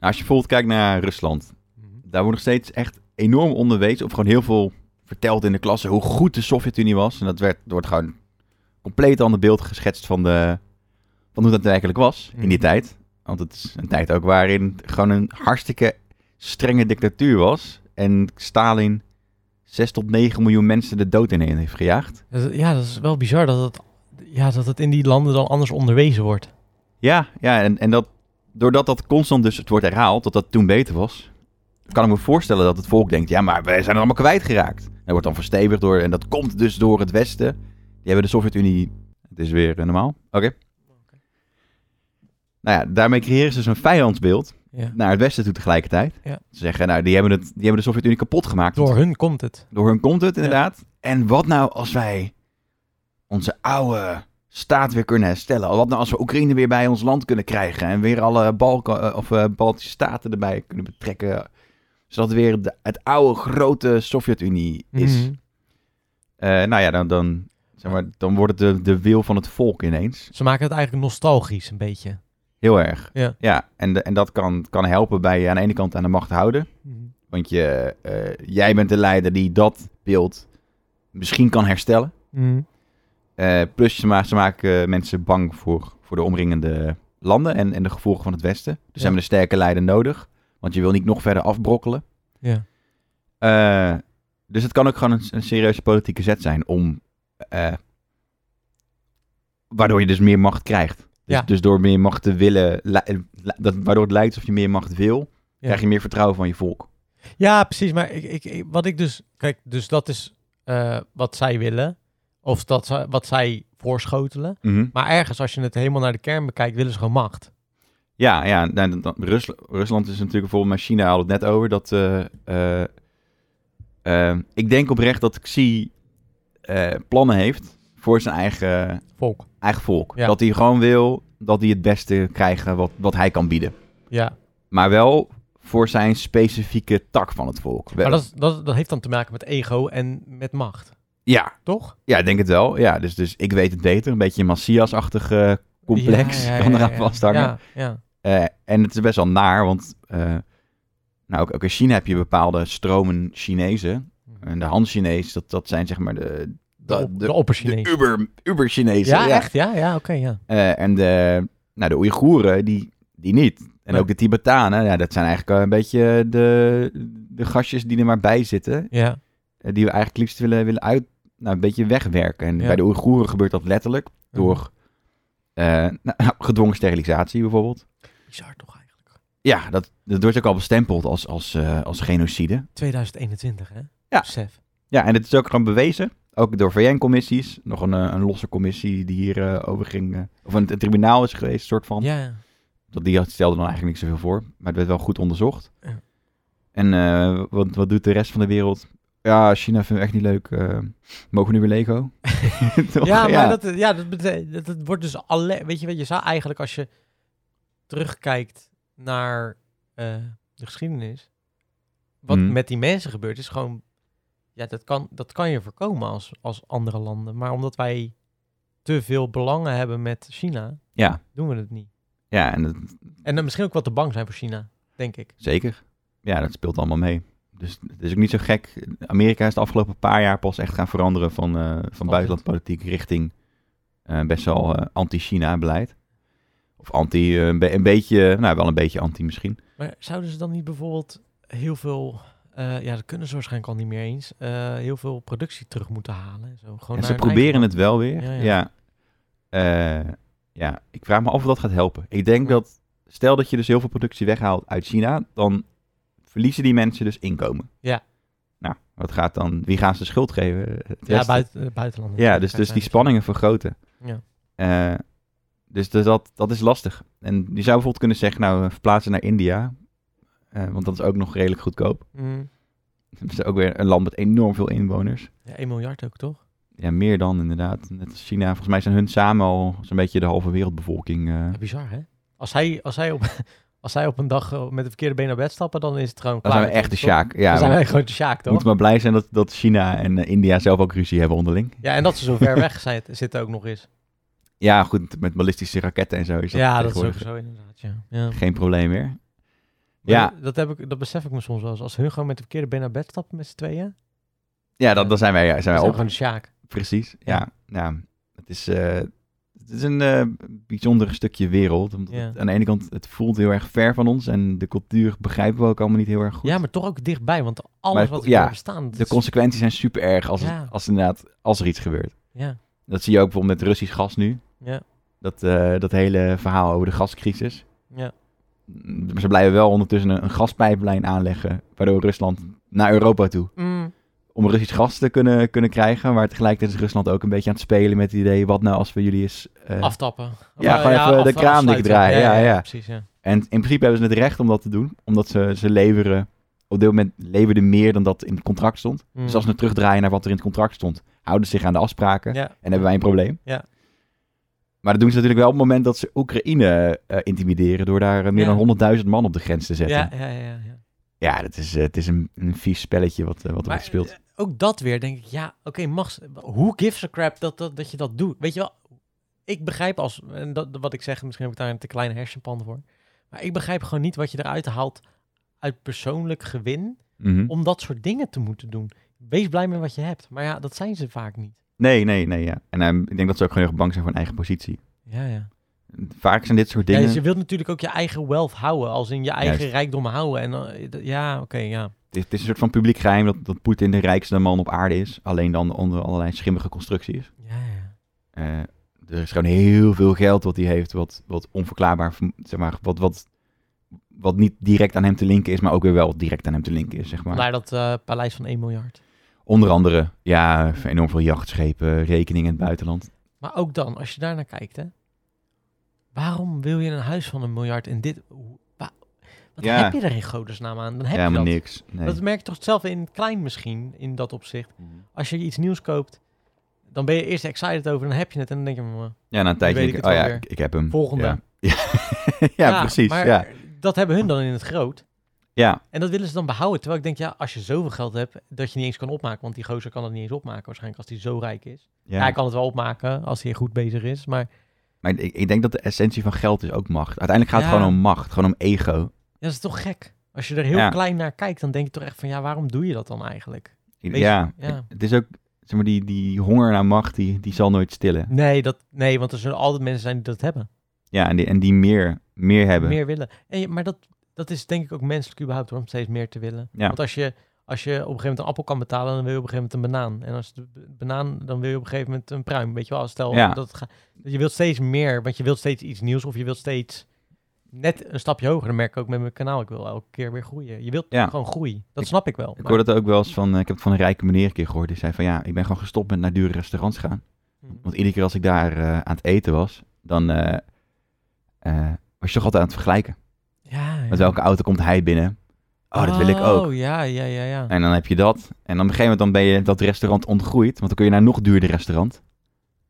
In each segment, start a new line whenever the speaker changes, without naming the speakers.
Nou, als je bijvoorbeeld kijkt naar Rusland,
Mhm.
daar wordt nog steeds echt enorm onderwezen. Of gewoon heel veel verteld in de klasse hoe goed de Sovjet-Unie was. En dat werd, wordt gewoon compleet ander beeld geschetst van, de, van hoe dat eigenlijk was in die
Mhm.
tijd. Want het is een tijd ook waarin het gewoon een hartstikke strenge dictatuur was. En Stalin 6 tot 9 miljoen mensen de dood in heeft gejaagd.
Dat is- Ja, dat is wel bizar dat het, ja, dat het in die landen dan anders onderwezen wordt.
Ja, ja en, en dat, doordat dat constant dus het wordt herhaald, dat dat toen beter was, kan ik me voorstellen dat het volk denkt, ja, maar wij zijn er allemaal kwijtgeraakt. En dat wordt dan verstevigd door, en dat komt dus door het Westen. Die hebben de Sovjet-Unie, het is weer eh, normaal, oké. Nou ja, daarmee creëren ze dus een vijandsbeeld
Ja.
naar het Westen toe tegelijkertijd.
Ja.
Ze zeggen, nou, die hebben, het, die hebben de Sovjet-Unie kapot gemaakt.
Door hun komt het.
Door hun komt het, inderdaad. En wat nou als wij onze oude staat weer kunnen herstellen? Wat nou als we Oekraïne weer bij ons land kunnen krijgen? En weer alle Balkan, eh, of, eh, Baltische staten erbij kunnen betrekken? Zodat het weer de, het oude grote Sovjet-Unie is.
Mhm.
Eh, nou ja, dan, dan, zeg maar, dan wordt het de, de wil van het volk ineens.
Ze maken het eigenlijk nostalgisch een beetje.
Heel erg.
Ja.
ja en, de- en dat kan, kan helpen bij je aan de ene kant aan de macht houden. Want je, eh, jij bent de leider die dat beeld misschien kan herstellen.
Mhm.
Eh, plus ze, ma- ze maken eh, mensen bang voor, voor de omringende landen en, en de gevolgen van het Westen. Dus ze
Ja.
hebben een sterke leider nodig, want je wil niet nog verder afbrokkelen.
Ja.
Eh, dus het kan ook gewoon een, een serieuze politieke zet zijn om... eh, waardoor je dus meer macht krijgt. Dus,
Ja.
dus door meer macht te willen, li- eh, li- dat, waardoor het lijkt alsof je meer macht wil, krijg je meer vertrouwen van je volk.
Ja, precies. Maar ik, ik, ik- wat ik dus. Kijk, dus dat is eh, wat zij willen. Of dat, ze- wat zij voorschotelen. Maar ergens, als je het helemaal naar de kern bekijkt, willen ze gewoon macht.
Ja, ja nou, dan- dan- Rus- Rusland is natuurlijk bijvoorbeeld, maar China had het net over, dat... eh, eh, eh, ik denk oprecht dat Xi eh, plannen heeft voor zijn eigen,
Volk.
eigen volk.
Ja.
Dat hij gewoon wil dat hij het beste krijgen wat, wat hij kan bieden.
Ja.
Maar wel voor zijn specifieke tak van het volk.
Maar dat, is- dat, dat heeft dan te maken met ego en met macht.
ja,
Toch?
ja, ik denk het wel. Ja, dus, dus ik weet het beter. Een beetje een Massias-achtig eh, complex
Ja, ja,
kan
ja,
eraan
ja.
vasthangen.
Ja, ja.
Eh, en het is best wel naar, want eh, nou, ook, ook in China heb je bepaalde stromen Chinezen.
Mhm.
En de Han-Chinees, dat, dat zijn zeg maar de,
De,
de,
op- de
de, de
opperchinees.
uber, uber-Chinezen.
Ja, echt? Ja, ja oké, ja.
Eh, en de, nou, de Oeigoeren, die, die niet. En
Nee.
ook de Tibetanen, ja, dat zijn eigenlijk eh, een beetje de, de gastjes die er maar bij zitten.
Ja,
eh, Die we eigenlijk liefst willen, willen uit, nou, een beetje wegwerken. En
Ja. Mhm.
bij de Oeigoeren gebeurt dat letterlijk door eh, nou, gedwongen sterilisatie bijvoorbeeld.
bizar toch eigenlijk.
Ja, dat, dat wordt ook al bestempeld als, als, eh, als genocide.
2021, hè?
Ja.
Besef.
Ja, en het is ook gewoon bewezen, ook door VN-commissies. Nog een, eh, een losse commissie die hier eh, over ging, eh, of een, een tribunaal is geweest, soort van.
Ja.
Dat die had- stelde dan eigenlijk niet zoveel voor, maar het werd wel goed onderzocht.
Ja.
En eh, wat, wat doet de rest van de wereld? Ja, China vinden we echt niet leuk. eh, mogen we nu weer Lego? Toch?
ja, maar Dat, ja, dat, bete- dat, dat wordt dus alle, weet je, weet je zou eigenlijk als je terugkijkt naar eh, de geschiedenis, wat
Mhm.
met die mensen gebeurt, is gewoon, ja, dat kan, dat kan je voorkomen als, als andere landen, maar omdat wij te veel belangen hebben met China,
ja,
doen we het niet.
ja en dat,
En dan misschien ook wat te bang zijn voor China, denk ik.
Zeker. Ja, dat speelt allemaal mee. Dus het is ook niet zo gek. Amerika is de afgelopen paar jaar pas echt gaan veranderen van, eh, van buitenlandpolitiek richting eh, best wel eh, anti-China beleid. Of anti, eh, een, be- een beetje, nou wel een beetje anti misschien.
Maar zouden ze dan niet bijvoorbeeld heel veel, eh, ja, dat kunnen ze waarschijnlijk al niet meer eens, eh, heel veel productie terug moeten halen? en Zo. Gewoon naar
en ze
hun eigen
proberen
land?
het wel weer. Ja,
Ja,
ja.
ja.
Eh, ja, ik vraag me af of dat gaat helpen. Ik denk dat, stel dat je dus heel veel productie weghaalt uit China, dan verliezen die mensen dus inkomen.
Ja.
Nou, wat gaat dan, wie gaan ze de schuld geven? Het
Ja,
Westen.
buiten, eh, buitenlanden.
Ja, dus, dus die spanningen vergroten.
Ja.
Eh, dus dus dat, dat is lastig. En je zou bijvoorbeeld kunnen zeggen, nou, eh, verplaatsen naar India. Eh, want dat is ook nog redelijk goedkoop.
Mm.
Dat is ook weer een land met enorm veel inwoners.
Ja, 1 miljard ook, toch?
Ja, meer dan inderdaad. Net als China. Volgens mij zijn hun samen al zo'n beetje de halve wereldbevolking. eh.
Ja, bizar, hè? Als zij, als, zij op, als zij op een dag eh, met de verkeerde been naar bed stappen, dan is het gewoon
dan
klaar.
zijn we echt de
Toch?
Sjaak. Ja,
dan
we
zijn wij gewoon de Sjaak, toch?
moeten maar blij zijn dat, dat China en eh, India zelf ook ruzie hebben onderling.
Ja, en dat ze zo ver weg zijn, zitten ook nog eens.
Ja, goed, met ballistische raketten en zo is dat
ja, dat is ook
tegenwoordig
zo inderdaad, ja. ja.
geen probleem meer.
Maar
Ja.
Dat, heb ik, dat besef ik me soms wel eens. Als hun gewoon met de verkeerde been naar bed stappen met z'n tweeën,
Ja, dat, dan zijn wij, ja, zijn
dan
wij
zijn we
op.
gewoon de Sjaak.
Precies. Ja,
Ja.
ja. Het, is, eh, het is een eh, bijzonder stukje wereld. Omdat
Ja.
het aan de ene kant, het voelt heel erg ver van ons en de cultuur begrijpen we ook allemaal niet heel erg goed.
Ja, maar toch ook dichtbij, want alles
Maar-
wat
ja,
er voor bestaan. dat
De
is-
consequenties zijn super erg als, het-
Ja.
als, inderdaad, als er iets gebeurt.
ja,
Dat zie je ook bijvoorbeeld met Russisch gas nu.
ja,
Dat, eh, dat hele verhaal over de gascrisis.
ja.
Mm, Maar ze blijven wel ondertussen een, een gaspijplijn aanleggen, waardoor Rusland naar Europa toe.
Mm,
Om Russisch gas te kunnen, kunnen krijgen, maar tegelijkertijd is Rusland ook een beetje aan het spelen met het idee, wat nou als we jullie eens... eh,
aftappen.
ja,
Of,
gewoon even de kraan
afsluiten.
dichtdraaien. Ja, ja.
Precies, ja.
En in principe hebben ze het recht om dat te doen, omdat ze, ze leveren, op dit moment leverden meer dan dat in het contract stond.
Mm.
Dus als ze het terugdraaien naar wat er in het contract stond, houden ze zich aan de afspraken
ja.
en hebben wij een probleem.
Ja.
Maar dat doen ze natuurlijk wel op het moment dat ze Oekraïne eh, intimideren door daar eh, meer
Ja.
dan 100.000 man op de grens te zetten.
Ja,
Ja,
ja, ja, ja.
dat is, eh, het is een, een vies spelletje wat, eh, wat er
Maar,
wordt gespeeld.
eh, Ook dat weer, denk ik, ja, oké, mag. Hoe gives a crap dat, dat, dat je dat doet? Weet je wel, ik begrijp als, en dat, wat ik zeg, misschien heb ik daar een te kleine hersenpan voor. Maar ik begrijp gewoon niet wat je eruit haalt uit persoonlijk gewin
Mhm.
om dat soort dingen te moeten doen. Wees blij met wat je hebt. Maar ja, dat zijn ze vaak niet.
Nee, nee, nee, ja. En ehm, ik denk dat ze ook gewoon heel erg bang zijn voor hun eigen positie.
Ja, ja.
Vaak zijn dit soort dingen...
ja dus je wilt natuurlijk ook je eigen wealth houden, als in je eigen
Juist.
rijkdom houden. En eh, d- ja, oké, ja.
Het is, het is een soort van publiek geheim dat, dat Poetin de rijkste man op aarde is. Alleen dan onder allerlei schimmige constructies.
Ja, ja.
Eh, er is gewoon heel veel geld wat hij heeft, wat, wat onverklaarbaar, verm- zeg maar, wat, wat, wat niet direct aan hem te linken is, maar ook weer wel direct aan hem te linken is, zeg maar.
Vandaar dat eh, paleis van 1 miljard.
Onder andere, ja, enorm veel jachtschepen, rekeningen in het buitenland.
Maar ook dan, als je daarnaar kijkt, hè, waarom wil je een huis van een miljard in dit. hoe- wa- Wat
Ja.
heb je er in godesnaam aan? Dan heb
ja,
je
maar
dat.
niks. Nee.
Dat merk je toch zelf in het klein misschien, in dat opzicht. Als je iets nieuws koopt, dan ben je eerst excited over, dan heb je het en dan denk je, "Mm,
Ja, na een tijdje
weet
denk ik,
ik
oh
het
ja,
wel
ik, ik heb hem.
Volgende.
Ja, ja. Ja, precies,
Maar
ja.
dat hebben hun dan in het groot.
Ja,
En dat willen ze dan behouden. Terwijl ik denk, ja, als je zoveel geld hebt, dat je niet eens kan opmaken. Want die gozer kan het niet eens opmaken, waarschijnlijk, als hij zo rijk is. Ja.
ja.
hij kan het wel opmaken als hij goed bezig is. Maar
Maar ik, ik denk dat de essentie van geld is ook macht. Uiteindelijk gaat het
Ja.
gewoon om macht, gewoon om ego.
ja, dat is toch gek? Als je er heel
Ja.
klein naar kijkt, dan denk je toch echt van, ja, waarom doe je dat dan eigenlijk?
Ik-
Weet je-
ja,
ja.
ik- het is ook, zeg maar, die, die honger naar macht, die, die zal nooit stillen.
Nee, dat, nee, want er zullen altijd mensen zijn die dat hebben.
Ja, en die, en die meer, meer hebben.
Meer willen. En, je- maar dat, dat is denk ik ook menselijk überhaupt hoor, om steeds meer te willen.
Ja.
Want als je, als je op een gegeven moment een appel kan betalen, dan wil je op een gegeven moment een banaan. En als de b- banaan, dan wil je op een gegeven moment een pruim. Weet je wel, als stel
Ja.
dat het ga- je wilt steeds meer, want je wilt steeds iets nieuws of je wilt steeds net een stapje hoger. Dan merk ik ook met mijn kanaal, ik wil elke keer weer groeien. Je wilt
Ja.
gewoon groei. Dat
Ik-
snap ik wel.
Ik
maar-
hoor dat ook wel eens van, eh, ik heb het van een rijke meneer een keer gehoord. Die zei van, ja, ik ben gewoon gestopt met naar dure restaurants gaan.
Mm.
Want iedere keer als ik daar eh, aan het eten was, dan eh, eh, was je toch altijd aan het vergelijken.
Ja, ja.
Met welke auto komt hij binnen? Oh, dat wil ik ook.
Oh, ja, ja, ja, ja.
En dan heb je dat. En op een gegeven moment dan ben je dat restaurant ontgroeid. Want dan kun je naar een nog duurder restaurant.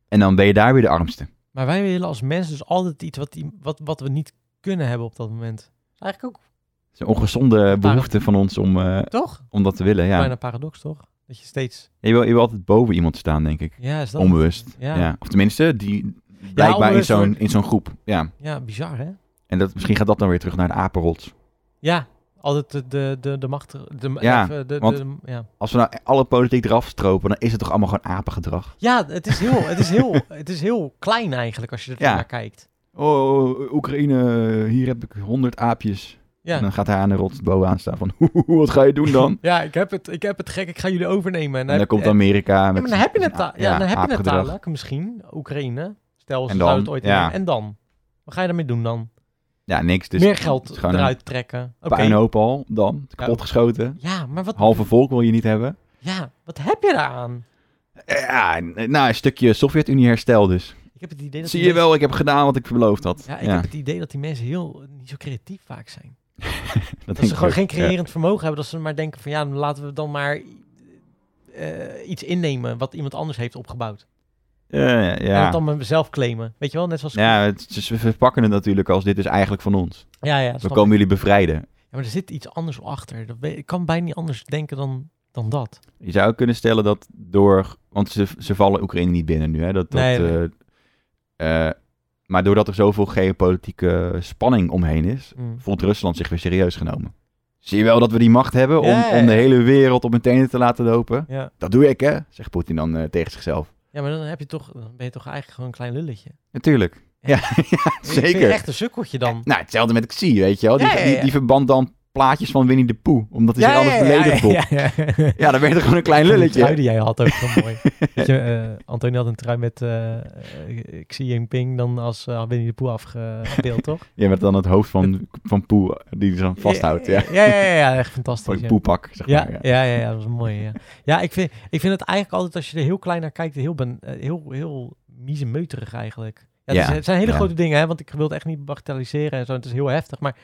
En dan ben je daar weer de armste.
Maar wij willen als mensen dus altijd iets wat, die- wat, wat we niet kunnen hebben op dat moment. Is Eigenlijk ook,
Het is een ongezonde behoefte van ons om, eh,
toch?
om dat te willen. Ja.
Bijna een paradox, toch? Dat je steeds...
Je, wil, je wil altijd boven iemand staan, denk ik.
Ja, is dat het?
Onbewust. Ja.
Ja, ja.
Of tenminste, die blijkbaar in
onbewust
zo'n
wordt-
in zo'n groep. Ja.
bizar, hè?
En dat, misschien gaat dat dan weer terug naar de apenrots.
Ja, altijd de, de, de, de macht... De,
Ja,
even de,
want-
de- ja.
Als we nou alle politiek eraf stropen, dan is het toch allemaal gewoon apengedrag.
ja, het is, heel, het, is heel, het is heel klein eigenlijk als je er
Ja.
naar kijkt.
Oh, Oekraïne, hier heb ik honderd aapjes. En
Ja.
dan gaat hij aan de rots bovenaan staan van, wat ga je doen dan?
Ja, ik heb, het, ik heb het gek, ik ga jullie overnemen. En
En dan
heb-
komt
eh,
Amerika.
ja,
Met
maar dan heb je
zijn-
het, da- ja, dan heb je het
apengedrag.
dadelijk misschien, Oekraïne. Stel, ze
En dan,
zouden het ooit
ja.
nemen. En dan? Wat ga je daarmee doen dan?
Ja, niks. Dus
meer
het
geld
is gewoon
eruit trekken.
een
Oké.
puinhoop al dan. Kapot geschoten.
Ja, maar wat,
Halve volk wil je niet hebben.
ja, wat heb je daaraan?
Ja, nou, een stukje Sovjet-Unie herstel dus.
Ik heb het idee dat
Zie
die
je
mensen-
wel, ik heb gedaan wat ik beloofd had.
Ja, ik heb het idee dat die mensen heel niet zo creatief vaak zijn.
dat
Dat
denk
ze
ik
gewoon
ook.
geen
Ja.
creërend vermogen hebben. Dat ze maar denken van ja, dan laten we dan maar eh, iets innemen wat iemand anders heeft opgebouwd.
Ja,
En
ja.
het dan maar zelf claimen. Weet je wel, net zoals...
Ja, het, ze verpakken het natuurlijk als dit is eigenlijk van ons.
ja, ja,
We
snap
komen
ik.
jullie bevrijden.
Ja, maar er zit iets anders achter. Dat weet- ik kan bijna niet anders denken dan, dan dat.
Je zou ook kunnen stellen dat door... Want ze, ze vallen Oekraïne niet binnen nu, hè? Dat, dat,
Nee, nee.
eh, eh, Maar doordat er zoveel geopolitieke spanning omheen is,
Mm.
voelt Rusland zich weer serieus genomen. Zie je wel dat we die macht hebben om,
Ja, ja,
om de
ja.
hele wereld op mijn tenen te laten lopen?
Ja.
Dat doe ik, hè? Zegt Poetin dan eh, tegen zichzelf.
ja, maar dan, heb je toch, dan ben je toch eigenlijk gewoon een klein lulletje.
Natuurlijk. Ja, ja,
Ik vind je
zeker.
echt een sukkeltje dan.
Nou, hetzelfde met Xi, weet je wel. Die,
Ja, ja, ja.
Die, die verband dan plaatjes van Winnie de Pooh, omdat hij zich alles beledigd voelt. Ja,
ja.
dan werd er gewoon een klein
Die trui
lulletje.
die jij had ook zo mooi. Weet je, eh Antonie had een trui met eh, eh, Xi Jinping dan als eh Winnie de Pooh afgebeeld, toch?
Je werd dan het hoofd van, van Pooh die ze dan vasthoudt. Ja.
Ja, ja, ja, ja, echt
Voor
fantastisch.
je
ja.
poepak, zeg
Ja,
maar. Ja.
ja, ja, ja, dat was mooi. Ja, ja ik, vind, ik vind het eigenlijk altijd, als je er heel klein naar kijkt, heel, ben, eh, heel, heel miezenmeuterig eigenlijk. Ja, het,
Ja,
is- het zijn hele
ja.
grote dingen, hè, want ik wil het echt niet bagatelliseren en zo. Het is heel heftig, maar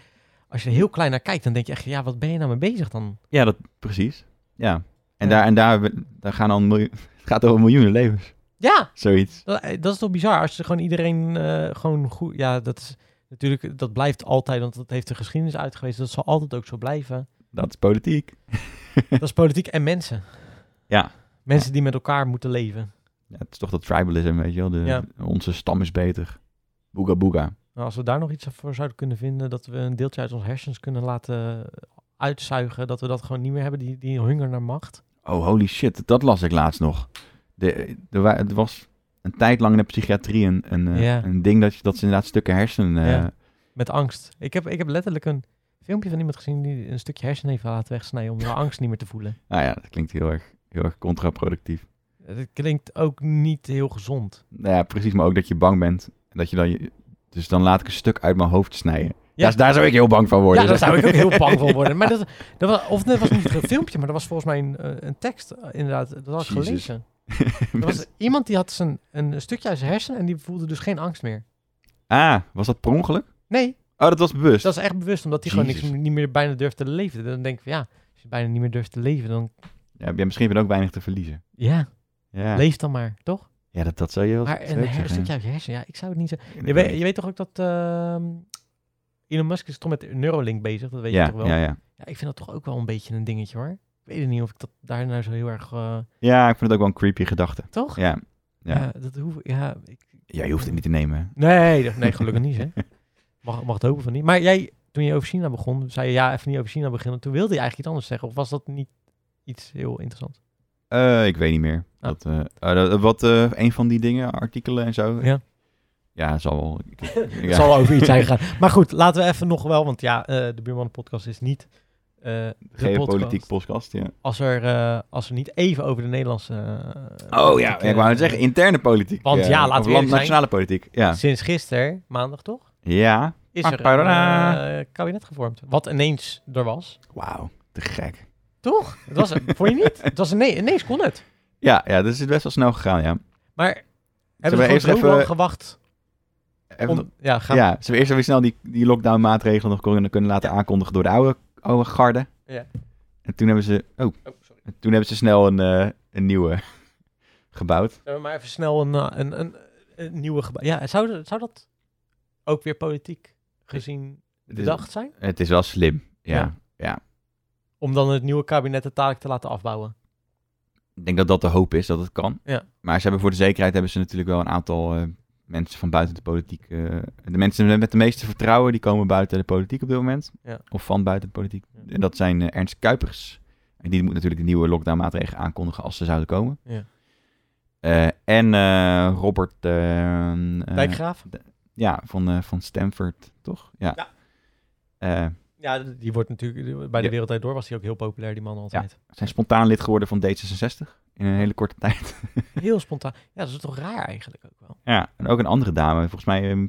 als je er heel klein naar kijkt, dan denk je echt, ja, wat ben je nou mee bezig dan?
Ja, dat precies. Ja. En,
Ja.
Daar, en daar, daar gaan al miljoen, het gaat over miljoenen levens.
Ja,
Zoiets.
Dat, eh, dat is toch bizar als je gewoon iedereen eh, gewoon goed. Ja, dat is natuurlijk, dat blijft altijd, want dat heeft de geschiedenis uitgewezen. Dat zal altijd ook zo blijven.
Dat is politiek.
dat is politiek en mensen.
Ja.
Mensen die met elkaar moeten leven.
Ja, het is toch dat tribalism, weet je wel. De,
Ja.
Onze stam is beter. Booga booga.
Nou, als we daar nog iets voor zouden kunnen vinden, dat we een deeltje uit onze hersens kunnen laten uitzuigen, dat we dat gewoon niet meer hebben, die, die honger naar macht.
Oh, holy shit. Dat las ik laatst nog. De, er wa- er was een tijd lang in de psychiatrie een, een, eh,
Ja.
een ding dat, je- dat ze inderdaad stukken hersenen... eh,
Ja. Met angst. Ik heb, ik heb letterlijk een filmpje van iemand gezien die een stukje hersen heeft laten wegsnijden om de angst niet meer te voelen.
Nou ja, dat klinkt heel erg, heel erg contraproductief.
Dat klinkt ook niet heel gezond.
Nou ja, precies. Maar ook dat je bang bent. En dat je dan... je- dus dan laat ik een stuk uit mijn hoofd snijden.
Ja.
Ja. daar zou ik heel bang van worden.
Ja, daar zou ik ook heel bang van worden. Maar dat, dat was, of dat was niet een filmpje, maar dat was volgens mij een, eh, een tekst. eh, Inderdaad, dat had ik
Jezus.
gelezen. Er was iemand die had zijn, een stukje uit zijn hersenen en die voelde dus geen angst meer.
Ah, was dat per ongeluk?
Nee,
Oh, dat was bewust.
dat is echt bewust, omdat hij gewoon niks,
Jezus.
niet meer bijna durft te leven. Dan denk ik van ja, als je bijna niet meer durft te leven, dan
Ja, ja, misschien heb je dan ook weinig te verliezen.
ja,
Ja,
leef dan maar, toch?
ja dat, dat zou je wel
Maar een
zou ik
her-
zeggen.
stukje uit je hersenen, ja, ik zou het niet zeggen.
Ja,
Je weet, je weet toch ook dat ehm, Elon Musk is toch met Neuralink bezig, dat weet
ja,
je toch wel?
Ja, ja.
Ja, ik vind dat toch ook wel een beetje een dingetje hoor. Ik weet het niet of ik dat daar nou zo heel erg... eh,
ja, ik vind het ook wel een creepy gedachte.
toch?
Ja. Ja.
Ja, dat hoef ja, ik.
ja, je hoeft het niet te nemen. hè?
Nee, dat- nee gelukkig niet. Hè. Mag, mag het hopen van niet. Maar jij, toen je over China begon, zei je ja, even niet over China beginnen. Toen wilde je eigenlijk iets anders zeggen. Of was dat niet iets heel interessants?
Eh, ik weet niet meer.
Ah.
Dat, eh, eh, dat- wat eh, een van die dingen, artikelen en zo.
Ja.
Ja, zal wel. Ik- ik-
Het
ja.
zal wel over iets zijn gegaan. Maar goed, laten we even nog wel, want ja, eh, de Buurman Podcast is niet. eh, de
Geopolitiek
podcast.
podcast, ja.
Als er, eh, als er niet even over de Nederlandse. eh,
Oh ja,
politiek,
ik wou
eh,
het zeggen, interne politiek.
Want
eh,
ja, laten
of
we eerlijk
land,
zijn.
nationale politiek, ja.
Sinds gisteren, maandag toch?
Ja,
Is
Ah,
er een
tada.
eh, kabinet gevormd. Wat ineens er was.
wauw, te gek.
Toch? Het was, vond je niet? Het was nee, ineens kon het.
Ja, ja, dat is best wel snel gegaan, ja.
Maar hebben
Zullen we
we gewoon
eerst
zo
even-
lang gewacht
Even
om...
nog-
Ja, gaan
Ja, zullen we eerst even snel die, die lockdown-maatregelen nog kunnen, kunnen laten aankondigen door de oude, oude garde?
Ja.
En toen hebben ze, oh, En toen hebben ze snel een, eh, een nieuwe gebouwd.
Zullen we maar even snel een, eh, een, een, een nieuwe gebouw... Ja, zou, zou dat ook weer politiek gezien
Het is,
bedacht zijn?
het is wel slim, ja.
Ja.
ja.
Om dan het nieuwe kabinet de taak te laten afbouwen.
Ik denk dat dat de hoop is, dat het kan.
Ja.
Maar ze hebben voor de zekerheid hebben ze natuurlijk wel een aantal eh, mensen van buiten de politiek. eh, de mensen met de meeste vertrouwen, die komen buiten de politiek op dit moment.
Ja.
Of van buiten de politiek.
Ja.
En dat zijn eh, Ernst Kuipers. En die moet natuurlijk de nieuwe lockdown-maatregelen aankondigen als ze zouden komen.
Ja.
Eh, en eh, Robert... eh, eh,
Dijkgraaf?
ja, van, eh, van Stanford, toch? Ja.
Ja.
Eh,
Ja, die wordt natuurlijk... Bij de
Ja.
Wereldtijd Door was hij ook heel populair, die man altijd.
zijn spontaan lid geworden van D66 in een hele korte tijd.
Heel spontaan. Ja, dat is toch raar eigenlijk ook wel.
Ja, en ook een andere dame, volgens mij ehm,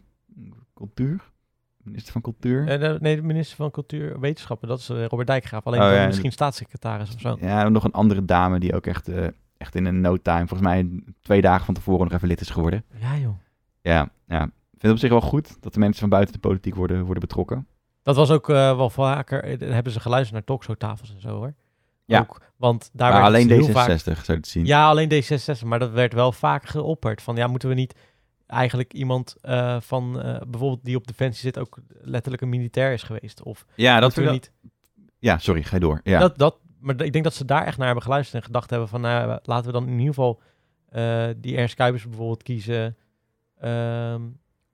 cultuur, minister van cultuur.
Eh, de- nee, de minister van Cultuur en Wetenschappen, dat is eh, Robert Dijkgraaf. Alleen
Oh,
dan
ja,
misschien staatssecretaris of zo.
ja, en nog een andere dame die ook echt, eh, echt in een no time, volgens mij twee dagen van tevoren nog even lid is geworden.
Ja, joh.
Ja, ja. Ik vind het op zich wel goed dat de mensen van buiten de politiek worden, worden betrokken.
Dat was ook eh, wel vaker. eh, Dan hebben ze geluisterd naar talkshowtafels en zo hoor.
Ja.
Ook, want daar
maar
werd
alleen
het
D66
heel vaak...
zou je het zien.
Ja, alleen D66. Maar dat werd wel vaak geopperd. Van ja, moeten we niet eigenlijk iemand eh, van eh, bijvoorbeeld die op defensie zit ook letterlijk een militair is geweest? Of
Ja, dat
moeten
vind
we
ik
niet?
Ja, sorry, ga je door. Ja.
Dat, dat, maar ik denk dat ze daar echt naar hebben geluisterd en gedacht hebben van nou, laten we dan in ieder geval eh, die Ernst Kuipers bijvoorbeeld kiezen ehm,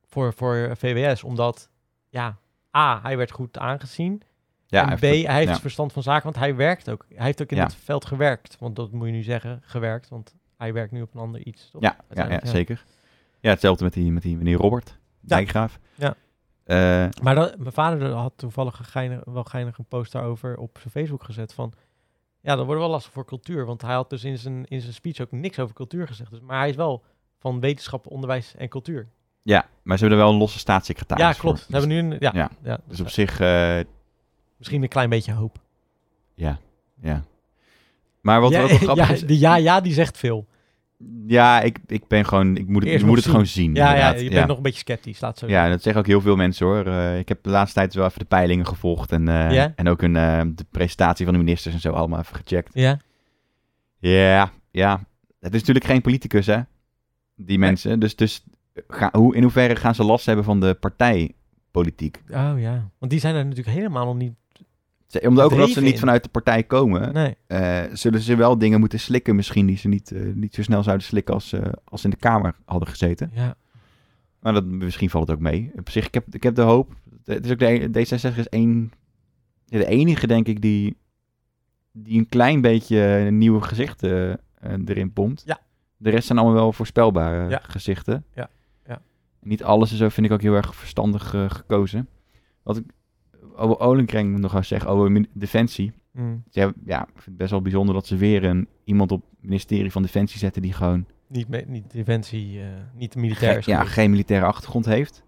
voor, voor VWS. Omdat, ja, A, hij werd goed aangezien.
Ja,
en
hij
B,
heeft-
hij heeft
ja.
dus verstand van zaken, want hij werkt ook. Hij heeft ook in
Ja.
het veld gewerkt. Want dat moet je nu zeggen, gewerkt. Want hij werkt nu op een ander iets, toch?
Ja, ja, ja,
Uiteindelijk, ja.
zeker. Ja, hetzelfde met die, met die meneer Robert, dijkgraaf.
Ja.
Eh,
Maar dat, mijn vader had toevallig een geinig, wel geinig een post daarover op zijn Facebook gezet van... Ja, dat wordt wel lastig voor cultuur. Want hij had dus in zijn, in zijn speech ook niks over cultuur gezegd. Dus, maar hij is wel van wetenschap, onderwijs en cultuur.
ja, maar ze hebben er wel een losse staatssecretaris
ja,
voor.
klopt. We
Dus,
hebben nu een, ja,
Ja.
ja.
dus op zich, eh,
misschien een klein beetje hoop.
ja, ja. Maar wat,
ja,
wat wel grappig
ja,
is...
die ja, ja, die zegt veel.
Ja, ik, ik ben gewoon... Ik moet het,
Eerst
ik moet het
nog
gewoon zien,
Ja, ja,
inderdaad.
je bent nog een beetje sceptisch, laat het zo
Ja, en dat zeggen ook heel veel mensen hoor. Eh, ik heb de laatste tijd wel even de peilingen gevolgd en, eh,
Ja?
en ook een, eh, de presentatie van de ministers en zo allemaal even gecheckt.
zeggen. Ja,
Ja, ja. Het is natuurlijk geen politicus hè, die mensen. Dus, dus ga, hoe, in hoeverre gaan ze last hebben van de partijpolitiek?
oh ja. Want die zijn er natuurlijk helemaal nog niet...
Ze- Omdat ook omdat ze
Bedreven
niet
in.
vanuit de partij komen,
Nee,
eh, zullen ze wel dingen moeten slikken misschien die ze niet, eh, niet zo snel zouden slikken als, eh, als ze in de Kamer hadden gezeten.
ja.
Maar dat, misschien valt het ook mee. Op zich, ik heb, ik heb de hoop. Het is ook de, e-, D66 is één, de enige, denk ik, die, die een klein beetje eh, nieuwe gezichten eh, erin pompt.
Ja.
De rest zijn allemaal wel voorspelbare
Ja.
gezichten.
Ja, ja.
Niet alles en zo vind ik ook heel erg verstandig eh, gekozen. Wat ik over Olenkreng moet nog eens zeggen, over min- Defensie.
Mm.
Ze hebben- ja, ik vind het best wel bijzonder dat ze weer een, iemand op het ministerie van Defensie zetten die gewoon
Niet, me- niet defensie, eh, niet de
Ge-
militair is
ja,
geweest.
geen militaire achtergrond heeft.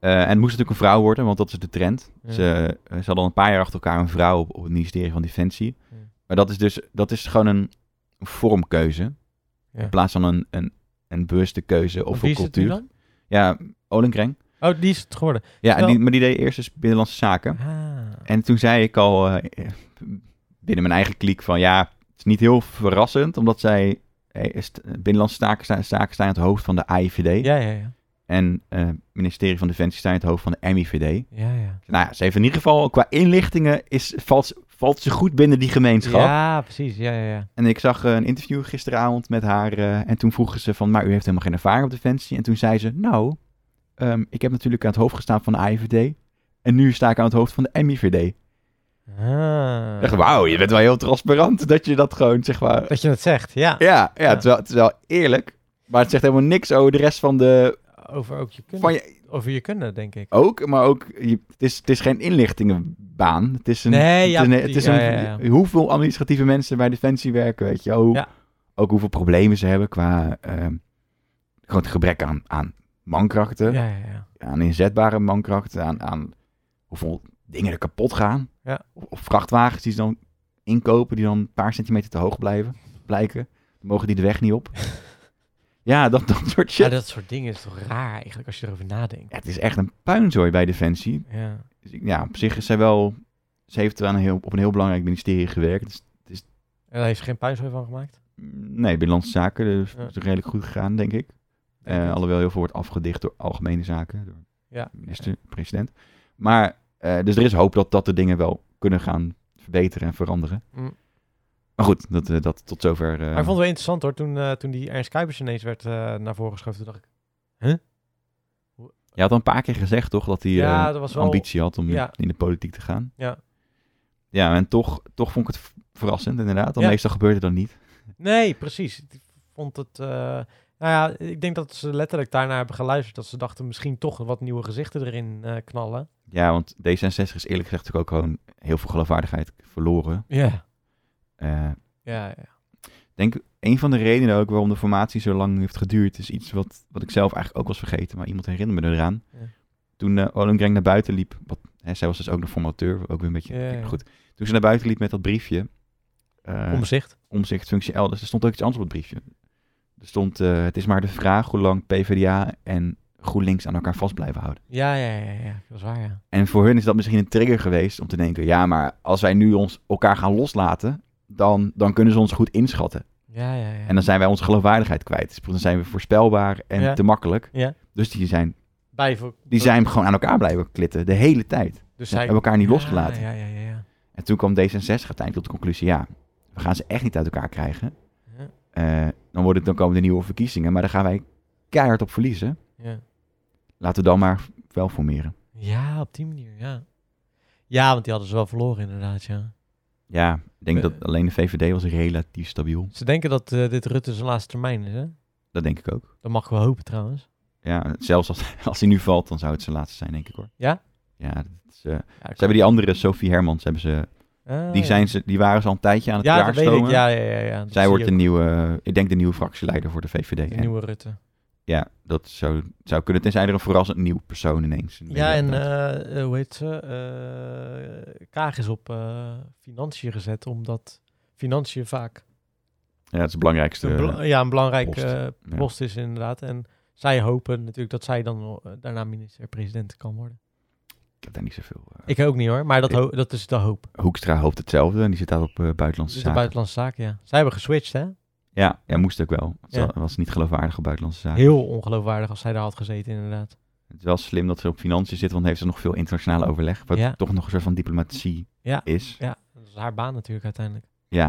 Eh, en het moest natuurlijk een vrouw worden, want dat is de trend.
Ja.
Ze, eh, ze hadden al een paar jaar achter elkaar een vrouw op, op het ministerie van Defensie.
Ja.
Maar dat is dus dat is gewoon een vormkeuze.
Ja.
In plaats van een, een, een bewuste keuze of
Wie
voor
is het nu
cultuur.
dan?
Ja, Olenkreng.
Oh, die is het geworden.
Ja, en
Terwijl-
die, maar die deed eerst dus Binnenlandse Zaken.
Ah.
En toen zei ik al eh, binnen mijn eigen kliek van ja, het is niet heel verrassend, omdat zij eh, is- Binnenlandse Zaken, staan- zaken staan aan het hoofd van de AIVD.
Ja, ja, ja.
En eh, ministerie van Defensie staan in het hoofd van de MIVD.
Ja, ja.
Nou ja, ze heeft in ieder geval qua inlichtingen is, valt, ze- valt ze goed binnen die gemeenschap.
Ja, precies. Ja, ja, ja.
En ik zag eh, een interview gisteravond met haar. eh, en toen vroegen ze van, maar u heeft helemaal geen ervaring op Defensie. En toen zei ze, nou, ehm, ik heb natuurlijk aan het hoofd gestaan van de AIVD. En nu sta ik aan het hoofd van de MIVD. Ik dacht,
Ah.
wauw, je bent wel heel transparant dat je dat gewoon, zeg maar...
Dat je dat zegt, ja.
Ja, ja,
Ja.
Het, is wel, het is wel eerlijk. Maar het zegt helemaal niks over de rest van de...
Over ook je kunnen,
Van je,
over je kunnen denk ik.
Ook, maar ook, je- het, is, het is geen inlichtingenbaan. Het is een,
Nee,
het
ja,
is een,
die-
het is
ja,
een-
ja,
hoeveel administratieve mensen bij Defensie werken, weet je. Hoe,
Ja.
Ook hoeveel problemen ze hebben qua ehm, gewoon het gebrek aan, aan mankrachten,
Ja, ja, ja.
aan inzetbare mankrachten, aan, aan hoeveel dingen er kapot gaan.
Ja.
Of, of vrachtwagens die ze dan inkopen, die dan een paar centimeter te hoog blijven, blijken. Dan mogen die de weg niet op. ja, dat, dat soort shit.
Maar Ah, dat soort dingen is toch raar eigenlijk als je erover nadenkt.
Ja, het is echt een puinzooi bij Defensie.
Ja.
Dus ik- ja, op zich is zij wel... Ze heeft aan een heel, op een heel belangrijk ministerie gewerkt. Dus,
En daar heeft ze geen puinzooi van gemaakt?
mm, nee, Binnenlandse Zaken dus
Ja.
is redelijk goed gegaan, denk ik.
Denk
Eh,
ik.
alhoewel heel veel wordt afgedicht door algemene zaken, door
Ja.
de minister, president. Maar, eh, dus er is hoop dat, dat de dingen wel kunnen gaan verbeteren en veranderen.
Mm.
Maar goed, dat, eh, dat tot zover... eh,
Maar ik vond het wel interessant hoor, toen, eh, toen die Ernst Kuipers ineens werd eh, naar voren geschoven, toen dacht ik...
Je had al een paar keer gezegd, toch, dat hij
Ja,
eh,
dat was wel-
ambitie had om
ja.
in de politiek te gaan.
Ja.
Ja, en toch, toch vond ik het v- verrassend, inderdaad. Dan
Ja.
meestal gebeurt het dan niet.
Nee, precies. Ik vond het... eh, Nou ja, ik denk dat ze letterlijk daarna hebben geluisterd. Dat ze dachten misschien toch wat nieuwe gezichten erin eh, knallen.
Ja, want D66 is eerlijk gezegd natuurlijk ook gewoon heel veel geloofwaardigheid verloren.
Ja.
Eh,
Ja, ja.
een van de redenen ook waarom de formatie zo lang heeft geduurd, is iets wat, wat ik zelf eigenlijk ook was vergeten, maar iemand herinnerde me eraan.
Ja.
Toen eh Olengreng naar buiten liep, wat, hè, zij was dus ook de formateur, ook weer een beetje
Ja, ja.
goed. Toen ze naar buiten liep met dat briefje, eh,
Omzicht.
omzicht functie elders. Er stond ook iets anders op het briefje. Er stond, eh, het is maar de vraag hoe lang PvdA en GroenLinks aan elkaar vast blijven houden.
Ja, ja, ja, ja. Dat is waar, ja.
En voor hun is dat misschien een trigger geweest om te denken, ja, maar als wij nu ons elkaar gaan loslaten, dan, dan kunnen ze ons goed inschatten.
Ja, ja, ja.
En dan zijn wij onze geloofwaardigheid kwijt. Dus dan zijn we voorspelbaar en
Ja.
te makkelijk.
Ja.
Dus die zijn,
Bij voor-
die zijn gewoon aan elkaar blijven klitten de hele tijd.
Dus
Ze hebben elkaar niet losgelaten.
Ja, ja, ja, ja.
En toen kwam D66 uiteindelijk tot de conclusie, ja, we gaan ze echt niet uit elkaar krijgen.
Ja,
Eh, dan, worden, dan komen de nieuwe verkiezingen, maar daar gaan wij keihard op verliezen.
ja.
Laten we dan maar wel formeren.
Ja, op die manier, ja. Ja, want die hadden ze wel verloren inderdaad, ja.
Ja, ik denk
Eh.
dat alleen de VVD was relatief stabiel.
Ze denken dat eh, dit Rutte zijn laatste termijn is, hè?
Dat denk ik ook.
Dat mag ik wel hopen trouwens.
Ja, zelfs als, als hij nu valt, dan zou het zijn laatste zijn, denk ik hoor.
Ja?
Ja, dat is, eh, ze
Ja, ik-
hebben die andere, Sophie Hermans, hebben ze,
Ah,
die,
ja.
zijn ze, die waren ze al een tijdje aan het
Ja, dat weet
klaarstomen.
ik. Ja, ja, ja. ja. Dat
Zij
zie
wordt
je
de
ook.
nieuwe, ik denk de nieuwe fractieleider voor de VVD.
De
En
nieuwe Rutte.
ja, dat zou, zou kunnen, tenzij er een verrassend nieuw persoon ineens. in de
Ja, en
wereld komt.
eh, eh, hoe heet ze? Eh, Kaag is op eh, financiën gezet, omdat financiën vaak
ja, dat is het belangrijkste. eh,
een, bela- ja, een belangrijke
post.
post,
Ja.
post is inderdaad. En zij hopen natuurlijk dat zij dan wel, eh, daarna minister-president kan worden.
Ik heb daar niet zoveel. eh,
Ik ook niet hoor, maar dat,
Ik-
ho- dat is de hoop.
Hoekstra hoopt hetzelfde en die zit daar op eh,
Dat
buitenlandse
is de
zaken.
buitenlandse zaken, ja. Zij hebben geswitcht, hè?
Ja, ja, moest ook wel. Het
Ja.
wa- was niet geloofwaardige buitenlandse zaken.
Heel ongeloofwaardig als zij daar had gezeten, inderdaad.
Het is wel slim dat ze op financiën zit, want dan heeft ze nog veel internationale overleg. Wat
Ja.
toch nog een soort van diplomatie
Ja.
is.
Ja, dat is haar baan natuurlijk uiteindelijk.
Ja,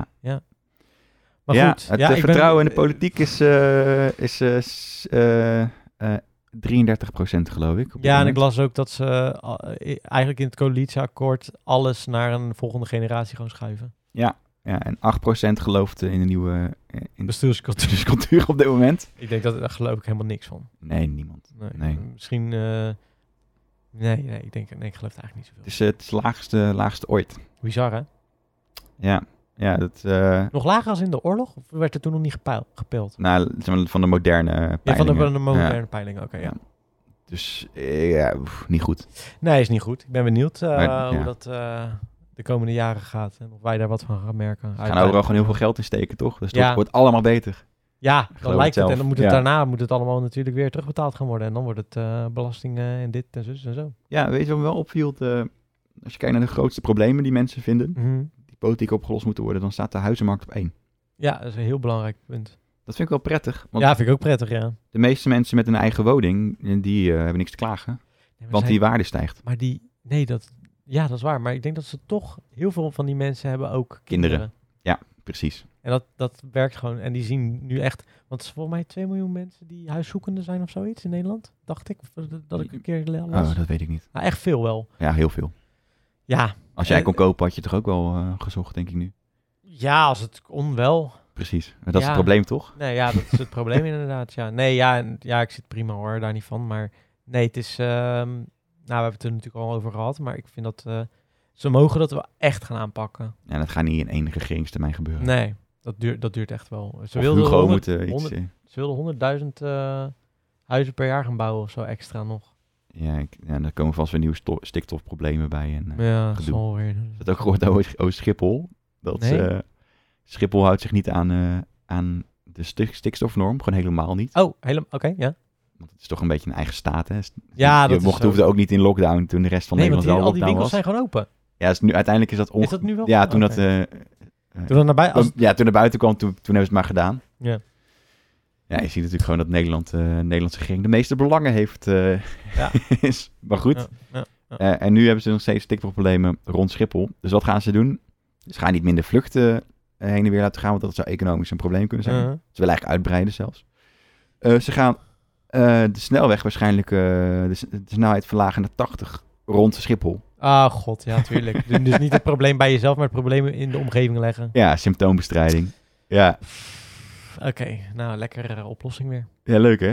Maar
ja,
goed,
het
ja,
eh,
ik ben-
vertrouwen in de politiek is, eh, is eh, s- eh, eh, 33 geloof ik. op dit
Ja, en ik
moment.
las ook dat ze eh, al- eh, eigenlijk in het coalitieakkoord alles naar een volgende generatie gaan schuiven.
ja, en 8 gelooft eh, in de nieuwe eh, in de
Bestuurscultuur.
cultuur op dit moment.
Ik denk dat daar geloof ik helemaal niks van.
Nee, niemand.
Nee.
Nee.
Misschien. eh, nee, nee, ik denk, nee, ik geloof het eigenlijk niet zoveel.
Het is eh, het is laagste, laagste ooit.
Bizar, hè?
Ja, ja dat, eh,
Nog lager als in de oorlog? Of werd er toen nog niet gepeil- gepeild?
nou, zeg maar, van de moderne eh,
Ja, van de,
peilingen.
van de
Ja.
moderne peilingen, oké. ja.
Dus eh, ja, oef, niet goed.
Nee, is niet goed. Ik ben benieuwd eh,
Maar,
hoe
ja.
dat eh, de komende jaren gaat. En of wij daar wat van gaan merken.
Ze gaan overal gewoon heel veel geld in steken, toch? Dus dat
Ja.
wordt allemaal beter.
Ja,
geloof
dan lijkt
het
het.
zelf.
En dan moet het
Ja.
daarna moet het allemaal natuurlijk weer terugbetaald gaan worden. En dan wordt het eh, belastingen en dit en zus en zo.
Ja, weet je wat me wel opviel? De- als je kijkt naar de grootste problemen die mensen vinden, die politiek opgelost moeten worden, dan staat de huizenmarkt op één.
Ja, dat is een heel belangrijk punt.
Dat vind ik wel prettig, want
ja, vind ik ook prettig, ja. Nee,
de meeste mensen met een eigen woning, die eh, hebben niks te klagen,
maar
want
zij-
die waarde stijgt.
Maar die... Nee, dat... Ja, dat is waar. Maar ik denk dat ze toch... Heel veel van die mensen hebben ook kinderen.
Kinderen. Precies.
En dat, dat werkt gewoon. En die zien nu echt... Want het is volgens mij 2 miljoen mensen die huiszoekende zijn of zoiets in Nederland. Dacht ik. Of dat- Dat ik een keer las.
Oh, dat weet ik niet.
Nou, echt veel wel.
Ja, heel veel.
Ja.
Als jij
Eh,
kon kopen, had je toch ook wel eh, gezocht, denk ik nu.
Ja, als het kon wel.
Precies. Maar Dat is
Ja.
het probleem, toch?
Nee, ja, dat is het probleem inderdaad. Ja, nee, ja, en- ja, ik zit prima hoor, daar niet van. Maar nee, het is. ehm, nou, we hebben het er natuurlijk al over gehad. Maar ik vind dat. eh, ze mogen dat wel echt gaan aanpakken.
Ja, dat gaat niet in één regeringstermijn gebeuren.
Nee, dat duurt, dat duurt echt wel. Ze
Of
wilden
Hugo
honderd-
moet eh, iets...
honderd-
eh,
ze wilden 100.000 eh, huizen per jaar gaan bouwen of zo extra nog.
ja, ik, ja, daar komen vast weer nieuwe sto- stikstofproblemen bij. En, eh,
Ja, dat
gedoe.
zal weer.
Ik heb ook gehoord over, over Schiphol. Dat
Nee.
eh, Schiphol houdt zich niet aan, eh, aan de stik- stikstofnorm. Gewoon helemaal niet.
Oh, helemaal. Oké, ja.
Want het is toch een beetje een eigen staat, hè?
Ja,
je
dat is
mocht
zo.
hoefde ook niet in lockdown toen de rest van
nee, want
Nederland
die,
wel
al die
lockdown was.
winkels zijn gewoon open.
Ja, is nu, uiteindelijk is dat onge...
Is dat nu wel?
Ja, toen
Oké.
dat... eh,
Toen dat naar bij. Als,
ja, toen er buiten kwam, toen, toen hebben ze het maar gedaan.
Ja.
Ja, je ziet natuurlijk gewoon dat Nederland, eh Nederlandse regering de meeste belangen heeft. eh,
Ja.
is, maar goed.
Ja, ja, ja.
Eh, en nu hebben ze nog steeds stikstofproblemen rond Schiphol. Dus wat gaan ze doen? Ze gaan niet minder vluchten eh, heen en weer laten gaan, want dat zou economisch een probleem kunnen zijn.
eh,
Ze willen eigenlijk uitbreiden zelfs. Eh, ze gaan eh, de snelweg waarschijnlijk, eh, de, s- de snelheid verlagen naar 80 rond Schiphol.
Ah, god, ja, tuurlijk. Dus- dus niet het probleem bij jezelf, maar het probleem in de omgeving leggen.
Ja, symptoombestrijding. Ja,
Oké, nou, lekkere eh, oplossing weer.
ja leuk hè?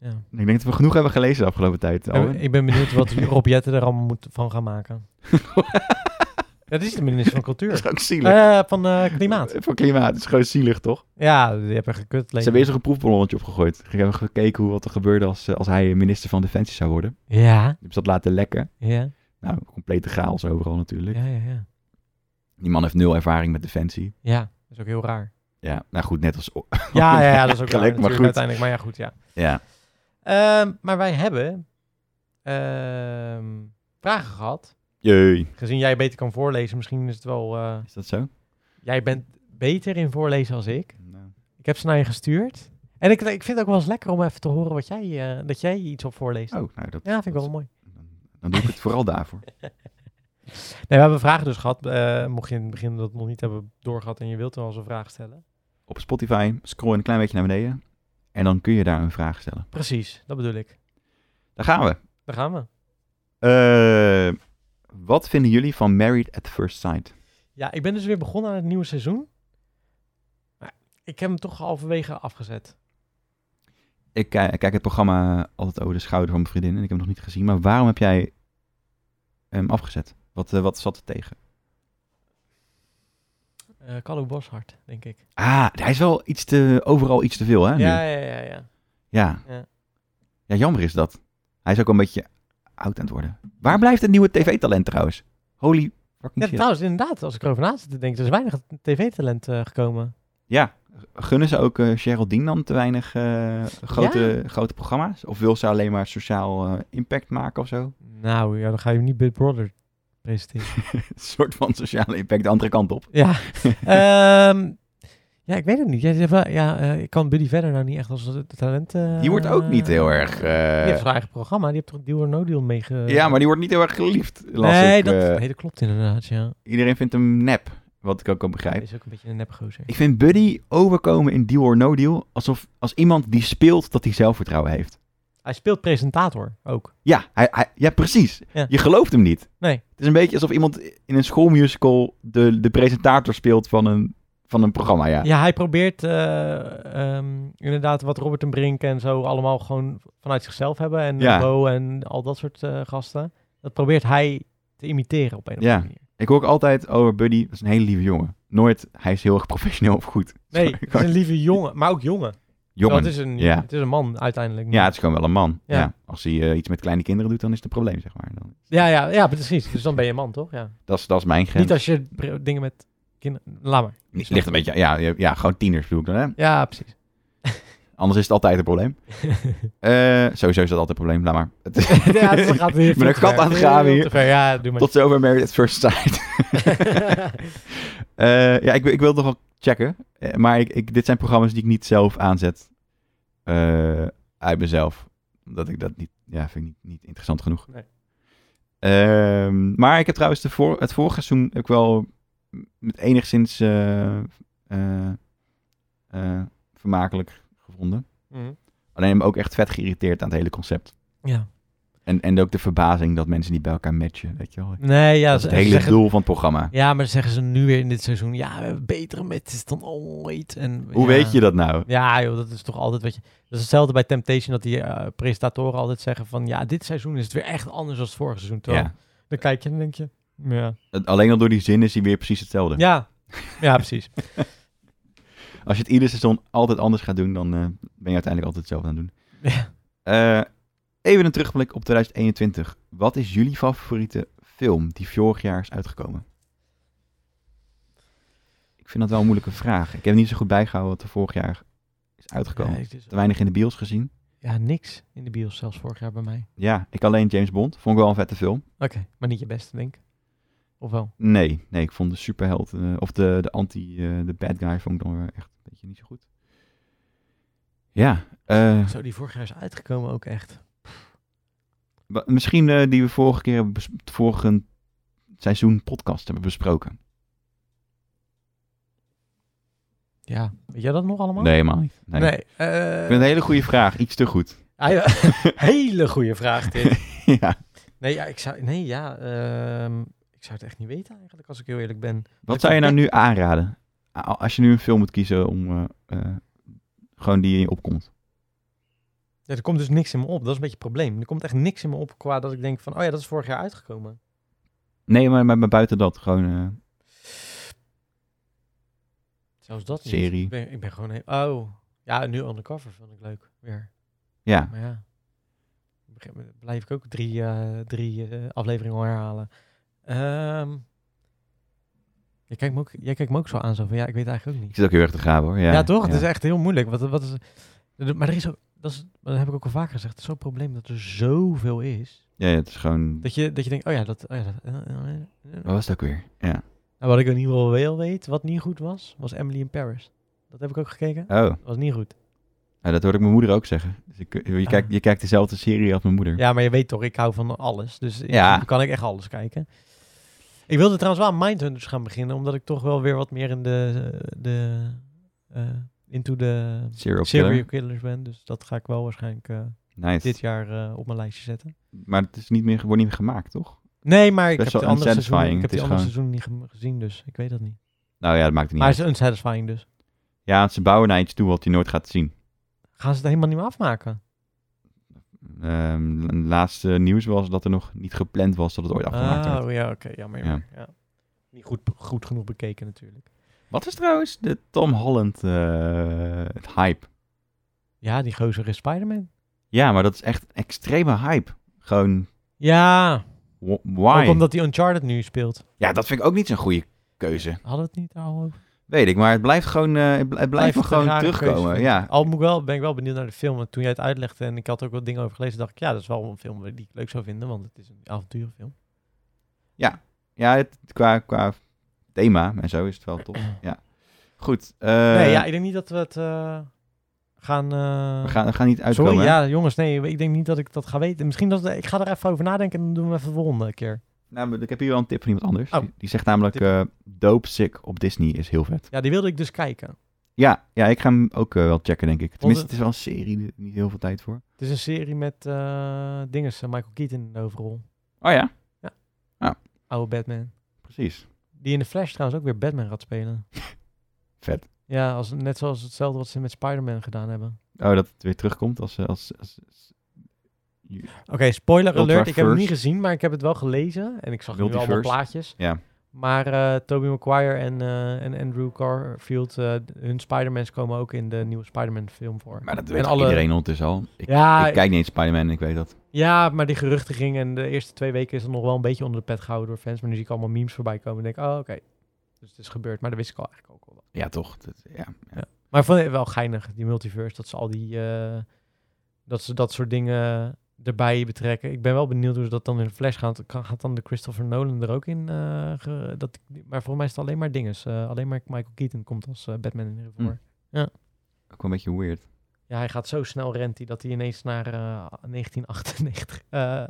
Ja.
Ik denk dat we genoeg hebben gelezen de afgelopen tijd.
Ik ben-
Alwin.
Ik ben benieuwd wat Rob Jetten er allemaal moet, van gaan maken. dat is de minister van
Dat
Cultuur.
is ook zielig.
Eh, van eh, Klimaat.
Voor klimaat, het is gewoon zielig, toch?
Ja, die hebben gekut.
Ze
leven.
hebben eerst nog een proefballonnetje opgegooid. Ik heb gekeken hoe wat er gebeurde als, eh, als hij minister van Defensie zou worden.
Ja,
Dus dat laten lekken.
ja,
Nou, complete chaos overal natuurlijk.
ja, ja, ja.
Die man heeft nul ervaring met Defensie.
Ja, dat is ook heel raar.
Ja, nou goed, net als...
Ja, ja, ja dat is ook raar
Gelijk,
natuurlijk
maar goed.
uiteindelijk. Maar ja, goed, ja.
Ja,
Ehm, maar wij hebben ehm, vragen gehad.
jee.
Gezien jij beter kan voorlezen, misschien is het wel... eh,
Is dat zo?
Jij bent beter in voorlezen als ik.
Nou.
Ik heb ze naar je gestuurd. En ik, ik vind het ook wel eens lekker om even te horen wat jij, eh, dat jij iets op voorleest.
Oh, nou, dat,
ja, vind ik wel
dat-
mooi.
Dan, dan doe ik het vooral daarvoor.
Nee, we hebben vragen dus gehad. eh, mocht je in het begin dat nog niet hebben doorgehad en je wilt wel eens een vraag stellen.
Op Spotify scroll je een klein beetje naar beneden. En dan kun je daar een vraag stellen.
Precies, dat bedoel ik.
Daar gaan we.
Daar gaan we.
Eh, wat vinden jullie van Married at First Sight?
Ja, ik ben dus weer begonnen aan het nieuwe seizoen. Maar ik heb hem toch halverwege afgezet.
Ik ki- kijk het programma altijd over de schouder van mijn vriendin en ik heb hem nog niet gezien. Maar waarom heb jij hem afgezet? Wat, eh, wat zat er tegen?
Eh Carlo Boshart, denk ik.
Ah, hij is wel iets te, overal iets te veel, hè? Ah, nu?
Ja, ja, ja, ja.
Ja.
Ja.
Ja, jammer is dat. Hij is ook wel een beetje oud aan het worden. Waar blijft het nieuwe tv-talent trouwens? Holy fucking
ja
shit.
trouwens, inderdaad, als ik erover na zit te denken, er is weinig tv-talent eh, gekomen.
Ja, gunnen ze ook eh Geraldine dan te weinig eh, grote, grote programma's? Of wil ze alleen maar sociaal eh, impact maken of zo?
Nou, ja, dan ga je niet Big Brother presenteren.
Een soort van sociale impact, de andere kant op.
ja. Ehm, ja, ik weet het niet. Ja, ze hebben- ja, eh, ik kan Buddy verder nou niet echt als het talent... eh,
Die wordt ook niet heel erg...
die heeft
eh,
zijn eigen programma. Die heeft toch Deal or No Deal meege...
ja, maar die wordt niet heel erg geliefd. Las
eh. Nee,
ik,
dat,
eh.
nee, dat klopt inderdaad, ja.
iedereen vindt hem nep, wat ik ook kan
Hij
begrijpen.
is ook een beetje een nepgozer.
Ik vind Buddy overkomen in Deal or No Deal alsof als iemand die speelt dat hij zelfvertrouwen heeft.
Hij speelt presentator ook.
Ja, hij, hij- ja precies.
Ja.
Je gelooft hem niet.
Nee.
Het is een beetje alsof iemand in een schoolmusical de, de presentator speelt van een, van een programma. Ja.
Ja, hij probeert eh, ehm, inderdaad wat Robert en Brink en zo allemaal gewoon vanuit zichzelf hebben. En
Ja.
Bo en al dat soort eh, gasten. Dat probeert hij te imiteren op een of
Ja.
andere manier.
Ik hoor ook altijd over Buddy, dat is een hele lieve jongen. Nooit, hij is heel erg professioneel of goed.
Nee, het is een lieve jongen, maar ook jongen. Nou,
Jongen.
Het is een,
ja.
het is een man uiteindelijk.
Ja, het is gewoon wel een man. Ja.
Ja.
Als hij eh, iets met kleine kinderen doet, dan is het een probleem, zeg maar. Dan,
ja, ja, ja, precies. Dus dan ben je een man, toch? Ja.
dat, is, dat is mijn grens.
Niet als je pr- dingen met kinderen... Laat maar.
Ligt een beetje, ja, ja, ja, gewoon tieners bedoel ik dan, hè.
Ja, precies.
Anders is het altijd een probleem. Eh, sowieso is dat altijd een probleem, laat maar. Het is-
ja, het gaat weer
Ik ben
veel
een
te
gat
ver.
aan het graven
Heel
hier.
te ver. Ja, doe maar.
Tot zover Married at First Sight. Eh, ja, ik, wil- ik wil het nog wel checken. Eh, maar ik, ik, dit zijn programma's die ik niet zelf aanzet. eh, uit mezelf. Omdat ik dat niet... Ja, vind ik niet, niet interessant genoeg.
Nee.
Ehm, maar ik heb trouwens de voor, het vorige seizoen heb ik wel met enigszins eh, eh, eh, vermakelijk gevonden.
Mhm.
Alleen me ook echt vet geïrriteerd aan het hele concept.
Ja.
En, en ook de verbazing dat mensen niet bij elkaar matchen, weet je wel.
Nee, ja.
dat is
ze-
het
ze
hele
zeggen-
doel van het programma.
Ja, maar zeggen ze nu weer in dit seizoen, ja, we hebben betere matches dan ooit. En,
Hoe
ja.
weet je dat nou?
Ja, joh, dat is toch altijd wat je... Dat is hetzelfde bij Temptation, dat die eh, presentatoren altijd zeggen van, ja, dit seizoen is het weer echt anders dan het vorige seizoen. Terwijl,
Ja.
dan kijk je en denk je, ja.
Het- Alleen al door die zin is hij weer precies hetzelfde.
Ja, ja precies.
Als je het ieder seizoen altijd anders gaat doen, dan eh, ben je uiteindelijk altijd hetzelfde aan het doen.
Ja.
Eh, even een terugblik op 2021. Wat is jullie favoriete film die vorig jaar is uitgekomen? Ik vind dat wel een moeilijke vraag. Ik heb niet zo goed bijgehouden wat er vorig jaar is uitgekomen.
Nee, het is-
Te weinig in de bios gezien.
dus- ja, niks in de bios, zelfs vorig jaar bij mij.
Ja, ik alleen James Bond. Vond ik wel een vette film.
Oké, maar niet je beste, denk ik. Of wel?
Nee, nee, ik vond de superheld, eh, of de, de anti, eh, de bad guy, vond ik dan weer echt een beetje niet zo goed. Ja, eh,
Zo, die vorig jaar is uitgekomen ook echt.
Wa- Misschien eh, die we vorige keer hebben bes- het vorige seizoen podcast hebben besproken.
Ja, weet jij dat nog allemaal?
Nee, helemaal niet. Nee.
Nee.
Ik
eh,
vind het een hele goede vraag. Iets te goed.
hij- hele goede vraag dit.
ja.
Nee, ja, ik zou, nee, ja ehm, ik zou het echt niet weten eigenlijk, als ik heel eerlijk ben.
Wat zou je nou nu aanraden? A- Als je nu een film moet kiezen om eh, eh, gewoon die in je opkomt.
Ja, er komt dus niks in me op, dat is een beetje het probleem. Er komt echt niks in me op qua dat ik denk van, oh ja, dat is vorig jaar uitgekomen.
Nee, maar, maar, maar buiten dat. Gewoon eh,
Zelfs dat niet.
Serie.
Ik ben, ik ben gewoon heel... Oh, ja, nu Undercover vond ik leuk, weer.
ja.
Maar ja, op een gegeven moment blijf ik ook drie, eh, drie eh, afleveringen herhalen. Ehm, jij, kijkt me ook, jij kijkt me ook zo aan, zo van, ja, ik weet eigenlijk ook niet.
Ik zit ook heel erg te graven hoor. Ja,
Ja, toch? Het is echt heel moeilijk. Wat, wat is, maar er is ook, dat, is, dat heb ik ook al vaker gezegd, het is zo'n probleem dat er zoveel is.
Ja, ja, het is gewoon...
Dat je, dat je denkt, oh ja, dat... Oh ja, dat eh, eh, eh.
Wat was het ook weer? Ja.
Nou, wat ik in ieder geval wel weet, wat niet goed was, was Emily in Paris. Dat heb ik ook gekeken.
Oh,
Dat was niet goed.
nou, dat hoorde ik mijn moeder ook zeggen. Dus ik, je, kijkt, je kijkt dezelfde serie als mijn moeder.
Ah. Ja, maar je weet toch, ik hou van alles. Dus in
Ja.
principe kan ik echt alles kijken. Ik wilde trouwens wel aan Mindhunters gaan beginnen, omdat ik toch wel weer wat meer in de... de eh, into de
Serial Killer.
serial killers ben. Dus dat ga ik wel waarschijnlijk eh,
Nice.
dit jaar eh, op mijn lijstje zetten.
Maar het is niet meer, wordt niet meer gemaakt, toch?
Nee, maar ik
Best
heb
wel
de andere seizoen,
unsatisfying. Het
ik heb die
is
andere seizoen niet gem- gezien, dus ik weet dat niet.
Nou ja, dat maakt het niet
Maar
uit.
het is unsatisfying dus.
Ja, ze bouwen naar iets toe wat je nooit gaat zien.
Gaan ze het helemaal niet meer afmaken?
Ehm, het laatste nieuws was dat er nog niet gepland was dat het ooit afgemaakt werd.
Oh ja, oké, jammer.
Ja.
jammer, Ja. Niet goed, goed genoeg bekeken natuurlijk.
Wat is trouwens de Tom Holland eh, het hype?
Ja, die gozer is Spider-Man.
Ja, maar dat is echt extreme hype. Gewoon,
Ja,
wh- why?
ook omdat hij Uncharted nu speelt.
Ja, dat vind ik ook niet zo'n goede keuze.
Hadden we het niet daar al over?
Weet ik, maar het blijft gewoon, eh, het bl- het blijft
een
gewoon
rare keuze,
terugkomen.
vind
Ja.
Al moet ik wel, ben ik wel benieuwd naar de film. Want toen jij het uitlegde en ik had er ook wat dingen over gelezen, dacht ik, ja, dat is wel een film die ik leuk zou vinden, want het is een avonturenfilm.
Ja, het, qua, qua thema en zo is het wel tof. Ja. Goed. eh,
nee, ja, ik denk niet dat we het eh, gaan... eh,
we, gaan, we gaan niet uitkomen.
Sorry,
hè?
ja, jongens, nee, ik denk niet dat ik dat ga weten. Misschien dat ik ga er even over nadenken en dan doen we even de volgende keer.
Nou, ik heb hier wel een tip van iemand anders.
Oh.
Die, die zegt namelijk, eh Dope Sick op Disney is heel vet.
Ja, die wilde ik dus kijken.
Ja, ja ik ga hem ook eh, wel checken, denk ik. Tenminste, het is wel een serie, er is niet heel veel tijd voor.
Het is een serie met eh dinges, eh, Michael Keaton in de overrol.
Oh ja,
Oude Batman.
precies.
Die in de Flash trouwens ook weer Batman gaat spelen.
Vet.
Ja, als, net zoals hetzelfde wat ze met Spider-Man gedaan hebben.
Oh, dat het weer terugkomt als... eh, als, als, als-
Oké, spoiler alert. Ik heb het niet
Ultraverse.
gezien, maar ik heb het wel gelezen. En ik zag nu wel allemaal
Multiverse.
plaatjes.
ja,
Maar eh Toby Maguire en, eh, en Andrew Garfield, eh, hun Spider-Mans komen ook in de nieuwe Spider-Man film voor.
maar dat
En
weet
alle-
iedereen ondertussen al. Ik,
ja,
ik kijk niet eens Spider-Man en ik weet dat.
Ja, maar die geruchten gingen en de eerste twee weken is het nog wel een beetje onder de pet gehouden door fans. Maar nu zie ik allemaal memes voorbij komen en denk ik, oh oké, dus het is gebeurd. Maar dat wist ik al eigenlijk ook al wel.
Ja, toch? Dat, ja.
Maar ik vond het wel geinig, die multiverse, dat ze al die, eh, dat ze dat soort dingen erbij betrekken. Ik ben wel benieuwd hoe ze dat dan in Flash gaan. Kan- Gaat dan de Christopher Nolan er ook in? eh, ge- dat, maar volgens mij is het alleen maar dinges. eh, alleen maar Michael Keaton komt als eh, Batman in ieder geval.
Hm. Ook wel een beetje weird.
Ja, hij gaat zo snel rent hij dat hij ineens naar eh 1998, eh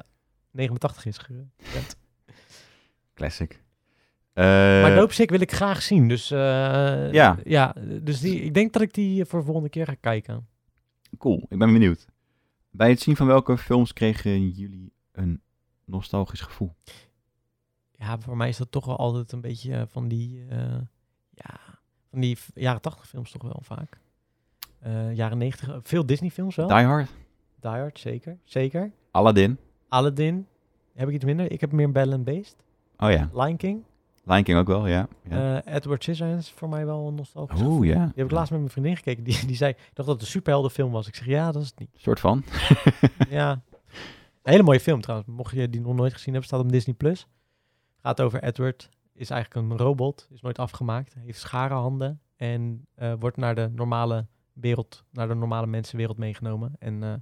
89 is gerend.
Classic.
Maar
Eh,
Dope Sick wil ik graag zien. Dus, eh,
Ja.
ja dus die, ik denk dat ik die voor de volgende keer ga kijken.
Cool, ik ben benieuwd. Bij het zien van welke films kregen jullie een nostalgisch gevoel?
Ja, voor mij is dat toch wel altijd een beetje eh, van die, eh, ja, van die v- jaren 80 films toch wel vaak. Eh, jaren 90, eh, veel Disney films wel.
Die Hard,
Die Hard, zeker. Zeker.
Aladdin.
Aladdin. Heb ik iets minder? Ik heb meer Bell and Beast.
Oh ja,
Lion King.
Lion King ook wel, ja. ja.
Eh, Edward Scissorhands is voor mij wel een nostalgisch.
Oeh,
gevoel.
ja.
Eh, Die heb ik laatst met mijn vriendin gekeken. Die, die zei, ik dacht dat het een superheldenfilm was. Ik zeg, ja, dat is het niet.
soort van.
Ja. Een hele mooie film trouwens. Mocht je die nog nooit gezien hebben, staat op Disney+. Plus. Gaat over Edward. Is eigenlijk een robot. Is nooit afgemaakt. Heeft scharenhanden. En eh, wordt naar de normale wereld, naar de normale mensenwereld meegenomen. En eh,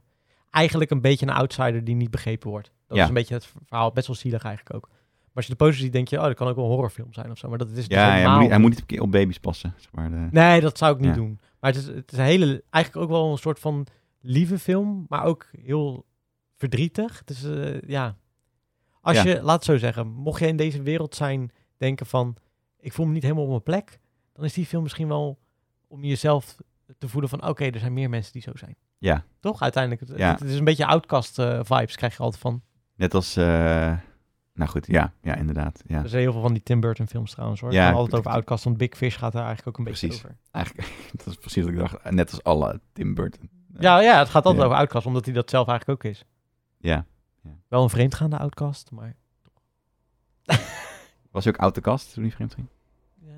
eigenlijk een beetje een outsider die niet begrepen wordt. Dat
Ja.
is een beetje het verhaal. Best wel zielig eigenlijk ook. Maar als je de poster ziet, denk je, oh, dat kan ook wel een horrorfilm zijn of zo. Maar dat is het dus
Ja, hij moet,
helemaal
niet- hij moet niet op ki- op baby's passen, zeg maar. De-
Nee, dat zou ik niet
Ja.
doen. Maar het is, het is een hele, eigenlijk ook wel een soort van lieve film, maar ook heel verdrietig. Dus eh, ja, als
Ja.
je, laat het zo zeggen, mocht je in deze wereld zijn, denken van, ik voel me niet helemaal op mijn plek, dan is die film misschien wel om jezelf te voelen van, oké, er zijn meer mensen die zo zijn.
Ja.
Toch uiteindelijk? Het,
Ja.
het, het is een beetje outcast eh, vibes krijg je altijd van.
Net als... eh, nou goed, ja, ja inderdaad. Ja.
Er zijn heel veel van die Tim Burton films trouwens hoor.
Ja,
Ja,
ik-
altijd over outcast, want Big Fish gaat daar eigenlijk ook een beetje
Precies.
over.
Eigenlijk, dat is precies wat ik dacht. eh, Net als alle Tim Burton.
Ja, ja, het gaat altijd
Ja.
over outcast, omdat hij dat zelf eigenlijk ook is.
Ja.
Wel een vreemdgaande outcast, maar...
Was hij ook out the cast toen hij vreemd ging?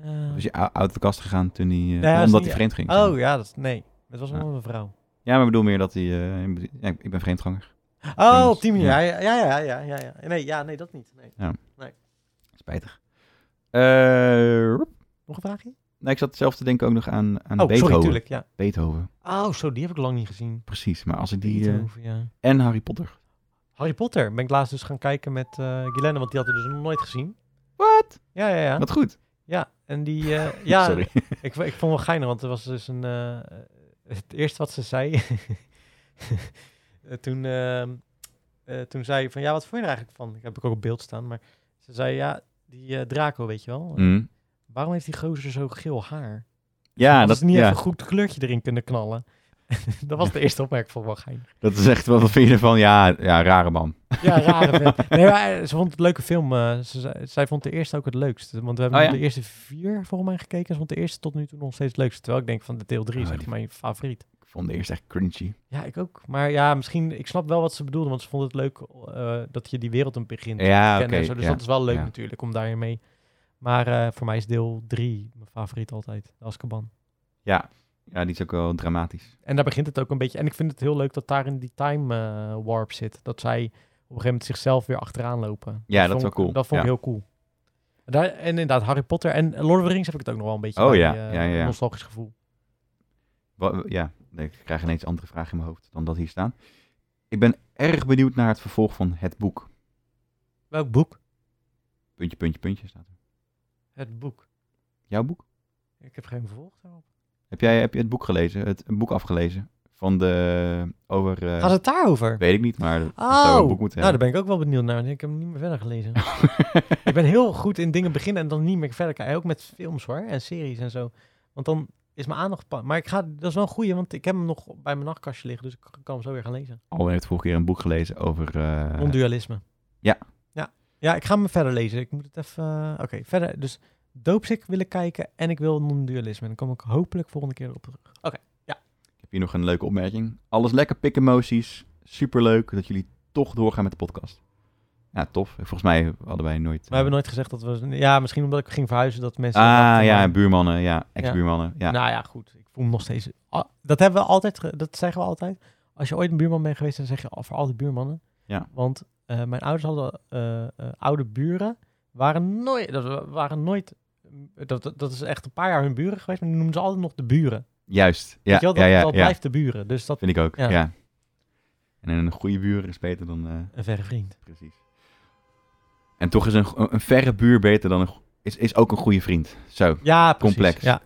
Ja.
Was hij ou- out the cast gegaan toen hij... eh,
Nee, hij is
omdat
niet-
hij vreemd ging?
Oh ja, dat, nee. Het was
Ja.
wel een vrouw.
Ja, maar ik bedoel meer dat hij... eh, ja, ik ik ben vreemdganger.
Oh,
dus-
op die manier. Ja, ja, ja, ja, ja. ja, ja. Nee, ja, nee, dat niet. Nee.
Spijtig. Eh, roep.
Nog een vraagje?
nou, ik zat zelf te denken ook nog aan, aan
oh,
Beethoven.
sorry, tuurlijk, ja.
Beethoven,
Oh, zo, die heb ik lang niet gezien.
precies. Maar als ik die... eh,
Beethoven, ja.
en Harry Potter.
Harry Potter ben ik laatst dus gaan kijken met eh Guylaine, want die had het dus nog nooit gezien.
Wat?
Ja, ja, ja.
Wat goed.
Ja, en die... eh, ja,
Sorry.
Ik, vo- ik vond het wel geinig, want er was dus een... eh, het eerste wat ze zei... eh, toen, eh, eh, toen zei ik van, ja, wat vond je er eigenlijk van? Ik heb ik ook op beeld staan, maar ze zei, ja, die eh, Draco, weet je wel.
Mm.
Waarom heeft die gozer zo geel haar?
Ja,
dat
dat
is niet
ja.
even een goed kleurtje erin kunnen knallen. dat was de eerste opmerking van wel geinig.
Dat is echt, wat wat vind je ervan? Ja, ja rare man.
Ja, rare vent. Nee, maar ze vond het een leuke film. eh, ze, zei- zij vond de eerste ook het leukste. Want we hebben
Oh,
nog
ja?
de eerste vier volgens mij gekeken. Ze vond de eerste tot nu toe nog steeds het leukste. Terwijl ik denk van de deel drie is
Oh,
echt
die-
mijn favoriet.
Ik vond het eerst echt cringy.
Ja, ik ook. Maar ja, misschien, ik snap wel wat ze bedoelde. Want ze vond het leuk eh, dat je die wereld een begint
Ja, oké.
kennen en zo. Dus
ja.
dat is wel leuk
ja.
natuurlijk, om daarin mee. Maar eh, voor mij is deel 3 mijn favoriet altijd, de Azkaban.
Ja. ja, die is ook wel dramatisch.
En daar begint het ook een beetje. En ik vind het heel leuk dat daar in die time eh, warp zit. Dat zij op een gegeven moment zichzelf weer achteraan lopen.
Ja, dat is
vond
wel
ik-
cool,
Dat vond ik
ja.
heel cool. En, daar, en inderdaad, Harry Potter en Lord of the Rings heb ik het ook nog wel een beetje
Oh
bij,
ja,
eh,
ja, ja, ja.
nostalgisch gevoel.
Wa- Ja, ik krijg ineens andere vragen in mijn hoofd dan dat hier staan. Ik ben erg benieuwd naar het vervolg van het boek.
Welk boek?
Puntje, puntje, puntje staat er.
Het boek.
Jouw boek?
Ik heb geen vervolg daarop.
Heb jij heb je het boek gelezen? Het een boek afgelezen? Van de... Over... eh,
Gaat het daarover?
Weet ik niet, maar het zou
Oh,
een boek moeten
nou,
hebben.
daar ben ik ook wel benieuwd naar. want Ik heb hem niet meer verder gelezen. ik ben heel goed in dingen beginnen en dan niet meer verder kijken. Ook met films hoor, en series en zo. Want dan is mijn aandacht... pa- Maar ik ga, dat is wel een goeie, want ik heb hem nog bij mijn nachtkastje liggen. Dus ik kan hem zo weer gaan lezen.
Alwin heeft vorige keer een boek gelezen over... eh,
Non-dualisme.
ja.
ja. Ja, ik ga hem verder lezen. Ik moet het even... eh, Oké, verder. Dus doopsik willen kijken en ik wil non-dualisme. En dan kom ik hopelijk volgende keer op terug.
Ik heb hier nog een leuke opmerking. Alles lekker, pik emoties. Superleuk dat jullie toch doorgaan met de podcast. Ja, tof. Volgens mij hadden wij nooit... eh,
We hebben nooit gezegd dat we... Ja, misschien omdat ik ging verhuizen dat mensen...
Ah,
dachten,
ja,
maar-
buurmannen. Ja, ex-buurmannen. Ja.
Nou ja, goed. Ik voel me nog steeds. Ah, dat hebben we altijd. ge- Dat zeggen we altijd. Als je ooit een buurman bent geweest, dan zeg je al voor alle buurmannen.
Ja.
Want eh, mijn ouders hadden eh, eh, oude buren. Waren nooit. Dat wa- waren nooit. mm, Dat, dat, dat is echt een paar jaar hun buren geweest. Maar die noemen ze altijd nog de buren.
Juist. Ja,
Weet je wel, dat,
ja, ja,
dat
ja.
blijft de buren. Dus dat.
Vind ik ook, ja.
Ja.
En een goede buur is beter dan... eh,
Een verre vriend.
precies. En toch is een, go- een verre buur beter dan een... go- Is, is ook een goede vriend. Zo.
Ja, precies.
Complex.
Ja.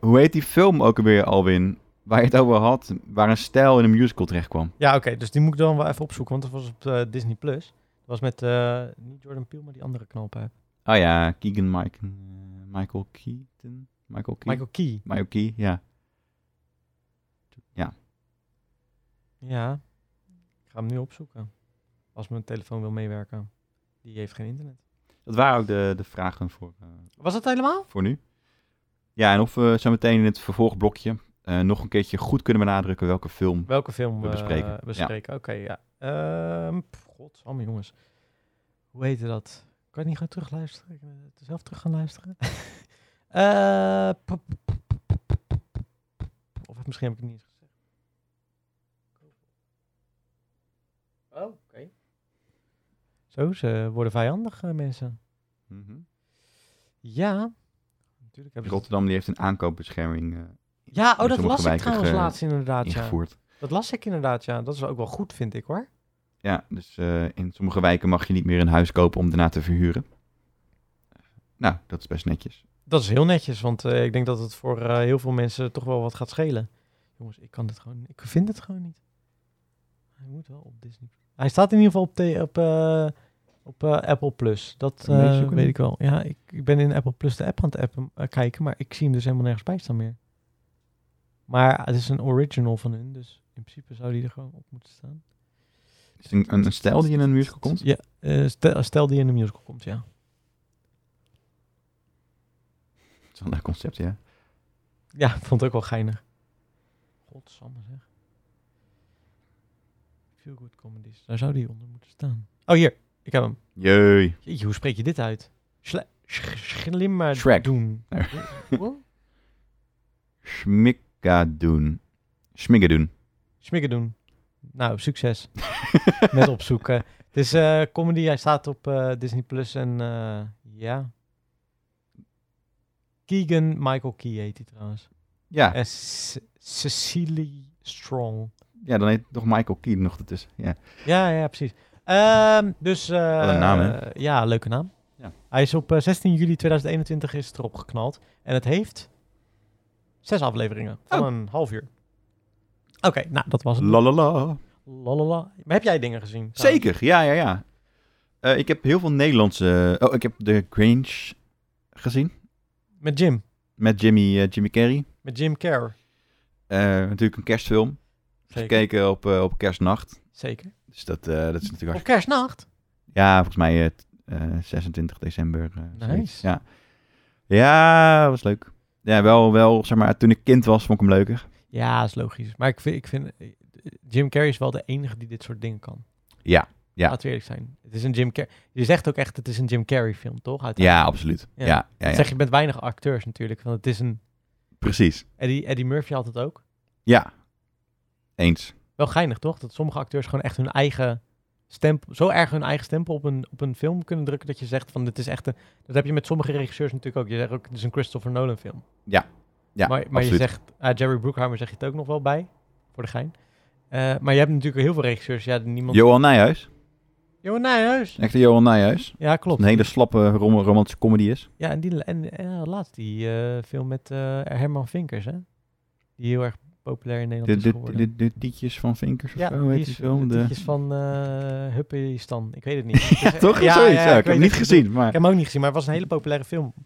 Hoe heet die film ook alweer, Alwin? Waar je het over had, waar een stijl in een musical terecht kwam.
Ja, oké. dus die moet ik dan wel even opzoeken, want dat was op eh, Disney Plus. Dat was met eh, niet Jordan Peele, maar die andere knalpen.
Oh ja, Keegan Mike, eh, Michael Keaton. Michael Keaton.
Michael Key.
Michael Key, ja.
Ja, ik ga hem nu opzoeken. Als mijn telefoon wil meewerken. Die heeft geen internet.
Dat waren ook de, de vragen voor, eh,
Was dat helemaal?
voor nu. Ja, en of we zo meteen in het vervolgblokje eh, nog een keertje goed kunnen benadrukken welke film.
Welke film
We
we
bespreken,
bespreken?
ja.
bespreken. Oké, ja. Ehm, pff, God, allemaal jongens. Hoe heette dat? Kan je het niet gaan terugluisteren? Ik ben het zelf terug gaan luisteren. Eh, p- p- p- p- p- p- p- p- of misschien heb ik het niet eens gezegd. Oh, oké. Zo, ze worden vijandig, eh, mensen.
Mhm.
Ja. Natuurlijk hebben ze
Rotterdam die heeft een aankoopbescherming eh,
Ja,
in
oh, dat
sommige
las ik
wijken
trouwens
ge-
laatst inderdaad, ja.
ingevoerd.
Dat las ik inderdaad, ja. Dat is ook wel goed, vind ik, hoor.
Ja, dus eh, in sommige wijken mag je niet meer een huis kopen om daarna te verhuren. Nou, dat is best netjes.
Dat is heel netjes, want eh, ik denk dat het voor eh, heel veel mensen toch wel wat gaat schelen. Jongens, ik kan dit gewoon... Ik vind het gewoon niet. Hij moet wel op Disney. Hij staat in ieder geval op, de- op, eh, op eh, Apple+. Plus. Dat
Kan je hem
eh,
zoeken?
weet ik wel. Ja, ik, ik ben in Apple Plus de app aan het appen, eh, kijken, maar ik zie hem dus helemaal nergens bij staan meer. Maar het is een original van hun, dus in principe zou die er gewoon op moeten staan.
Is het een, een, een stijl die in een musical komt?
Ja, eh, stel, stel die in de musical komt, ja.
Dat is wel een leuk concept, ja.
Ja, ik vond het ook wel geinig. Godsamme zeg. Feel good comedies. Daar zou die onder moeten staan. Oh, hier. Ik heb hem.
Jee.
Jeetje, hoe spreek je dit uit? Schla sch- schlimmer
Shrek.
doen.
Nee.
Wat?
Schmikkadoen. Schmikkadoen.
Smikken doen. Nou, succes. Met opzoeken. Het is eh, comedy. Hij staat op eh, Disney Plus en eh, ja. Keegan Michael Key heet hij trouwens.
Ja,
En Ce- Eh, Cecily Strong.
ja, dan heet toch Michael Keaton nog ertussen. Ja.
Ja, ja, precies. Ehm, dus... eh,
Wat een naam, hè?
eh, ja, leuke naam.
Ja.
Hij is op eh, 16 juli 2021 is het erop geknald. En het heeft zes afleveringen van
Oh.
een half uur. Oké, nou, dat was het.
La la la.
Lalala. Maar heb jij dingen gezien?
Zeker, ja, ja, ja. Eh, ik heb heel veel Nederlandse... Oh, ik heb de Grange gezien.
Met Jim.
Met Jimmy, eh, Jimmy Carrey.
Met Jim Kerr.
Eh, natuurlijk een kerstfilm.
Zeker.
gekeken op, eh, op kerstnacht.
Zeker.
Dus dat, eh, dat is natuurlijk
Op
hartstikke...
kerstnacht.
Ja, volgens mij eh, t- eh, 26 december. eh, zoiets.
Nice.
Ja. ja, was leuk. Ja, wel, wel, zeg maar, toen ik kind was, vond ik hem leuker.
Ja, is logisch. Maar ik vind, ik vind eh, Jim Carrey is wel de enige die dit soort dingen kan.
Ja, ja.
Laten we eerlijk zijn. Het is een Jim Carrey. Je zegt ook echt, het is een Jim Carrey film, toch? Uiteindelijk.
Ja, absoluut.
Ja.
Ja, ja, ja,
Dat zeg je met weinig acteurs natuurlijk. Want het is een
precies.
Eddie, Eddie Murphy had het ook.
Ja, eens.
Wel geinig, toch? Dat sommige acteurs gewoon echt hun eigen stempel, zo erg hun eigen stempel op een, op een film kunnen drukken dat je zegt van dit is echt een. Dat heb je met sommige regisseurs natuurlijk ook. Je zegt ook, het is een Christopher Nolan film.
Ja,
maar maar je
absoluut.
zegt, ah, Jerry Bruckheimer zeg je het ook nog wel bij, voor de gein. Eh, maar je hebt natuurlijk heel veel regisseurs, ja, die niemand...
Johan Nijhuis.
Johan Nijhuis!
Echte Johan Nijhuis.
Ja,
Wat
klopt.
een hele slappe rom romantische comedy is.
Ja, en, die, en, en laatst die eh, film met eh, Herman Vinkers, hè? Die heel erg populair in
De,
Nederland is
de,
geworden.
de, de Tietjes van Vinkers of
ja,
zo
die
heet die
is,
film.
de
De...
typjes van eh Huppistan. Ik weet het niet. Het is-
Toch? Zoiets. Ja, ik
weet
heb hem
het.
niet gezien,
Ik
maar
heb hem ook niet gezien, maar het was een hele populaire film. Zie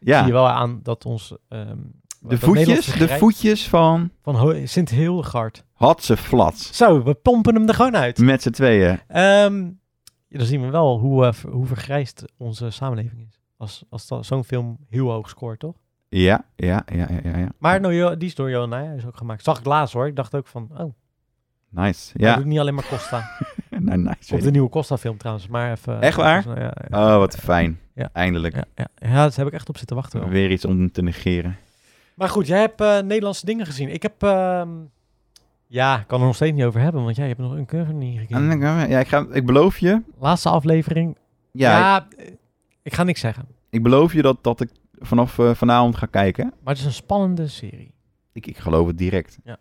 je
ja.
wel aan dat ons... ehm,
De
dat
voetjes,
Nederlandse
de
gerijp
voetjes van
Van Ho- Sint Hildegard.
Hatse Flats.
Zo, we pompen hem er gewoon uit.
Met z'n tweeën.
Ehm, ja, dan zien we wel hoe, eh, ver- hoe vergrijsd onze samenleving is. Als, als dat- zo'n film heel hoog scoort, toch?
Ja, ja, ja, ja, ja. ja.
Maar nou, Jo- die is door Johan Nijhuis ook gemaakt. Zag ik laatst hoor. Ik dacht ook van, oh,
Nice.
dat
Ja,
doet niet alleen maar Costa.
nou, nice.
Op
weet
de
ik.
nieuwe Costa film trouwens, maar even...
Echt waar?
Ja, ja, ja.
Oh, wat fijn.
Ja.
Eindelijk.
Ja, ja. ja, daar heb ik echt op zitten wachten. wel.
Weer iets om te negeren.
Maar goed, jij hebt eh, Nederlandse dingen gezien. Ik heb... ehm, ja, ik kan er nog steeds niet over hebben, want jij hebt nog een cover niet
En dan
gekeken.
gaan we- Ja, ik, ga, ik beloof je.
Laatste aflevering. Ja,
Ja,
eh, ik ga niks zeggen.
ik beloof je dat, dat ik vanaf eh, vanavond ga kijken.
Maar het is een spannende serie.
Ik, ik geloof het direct.
Ja.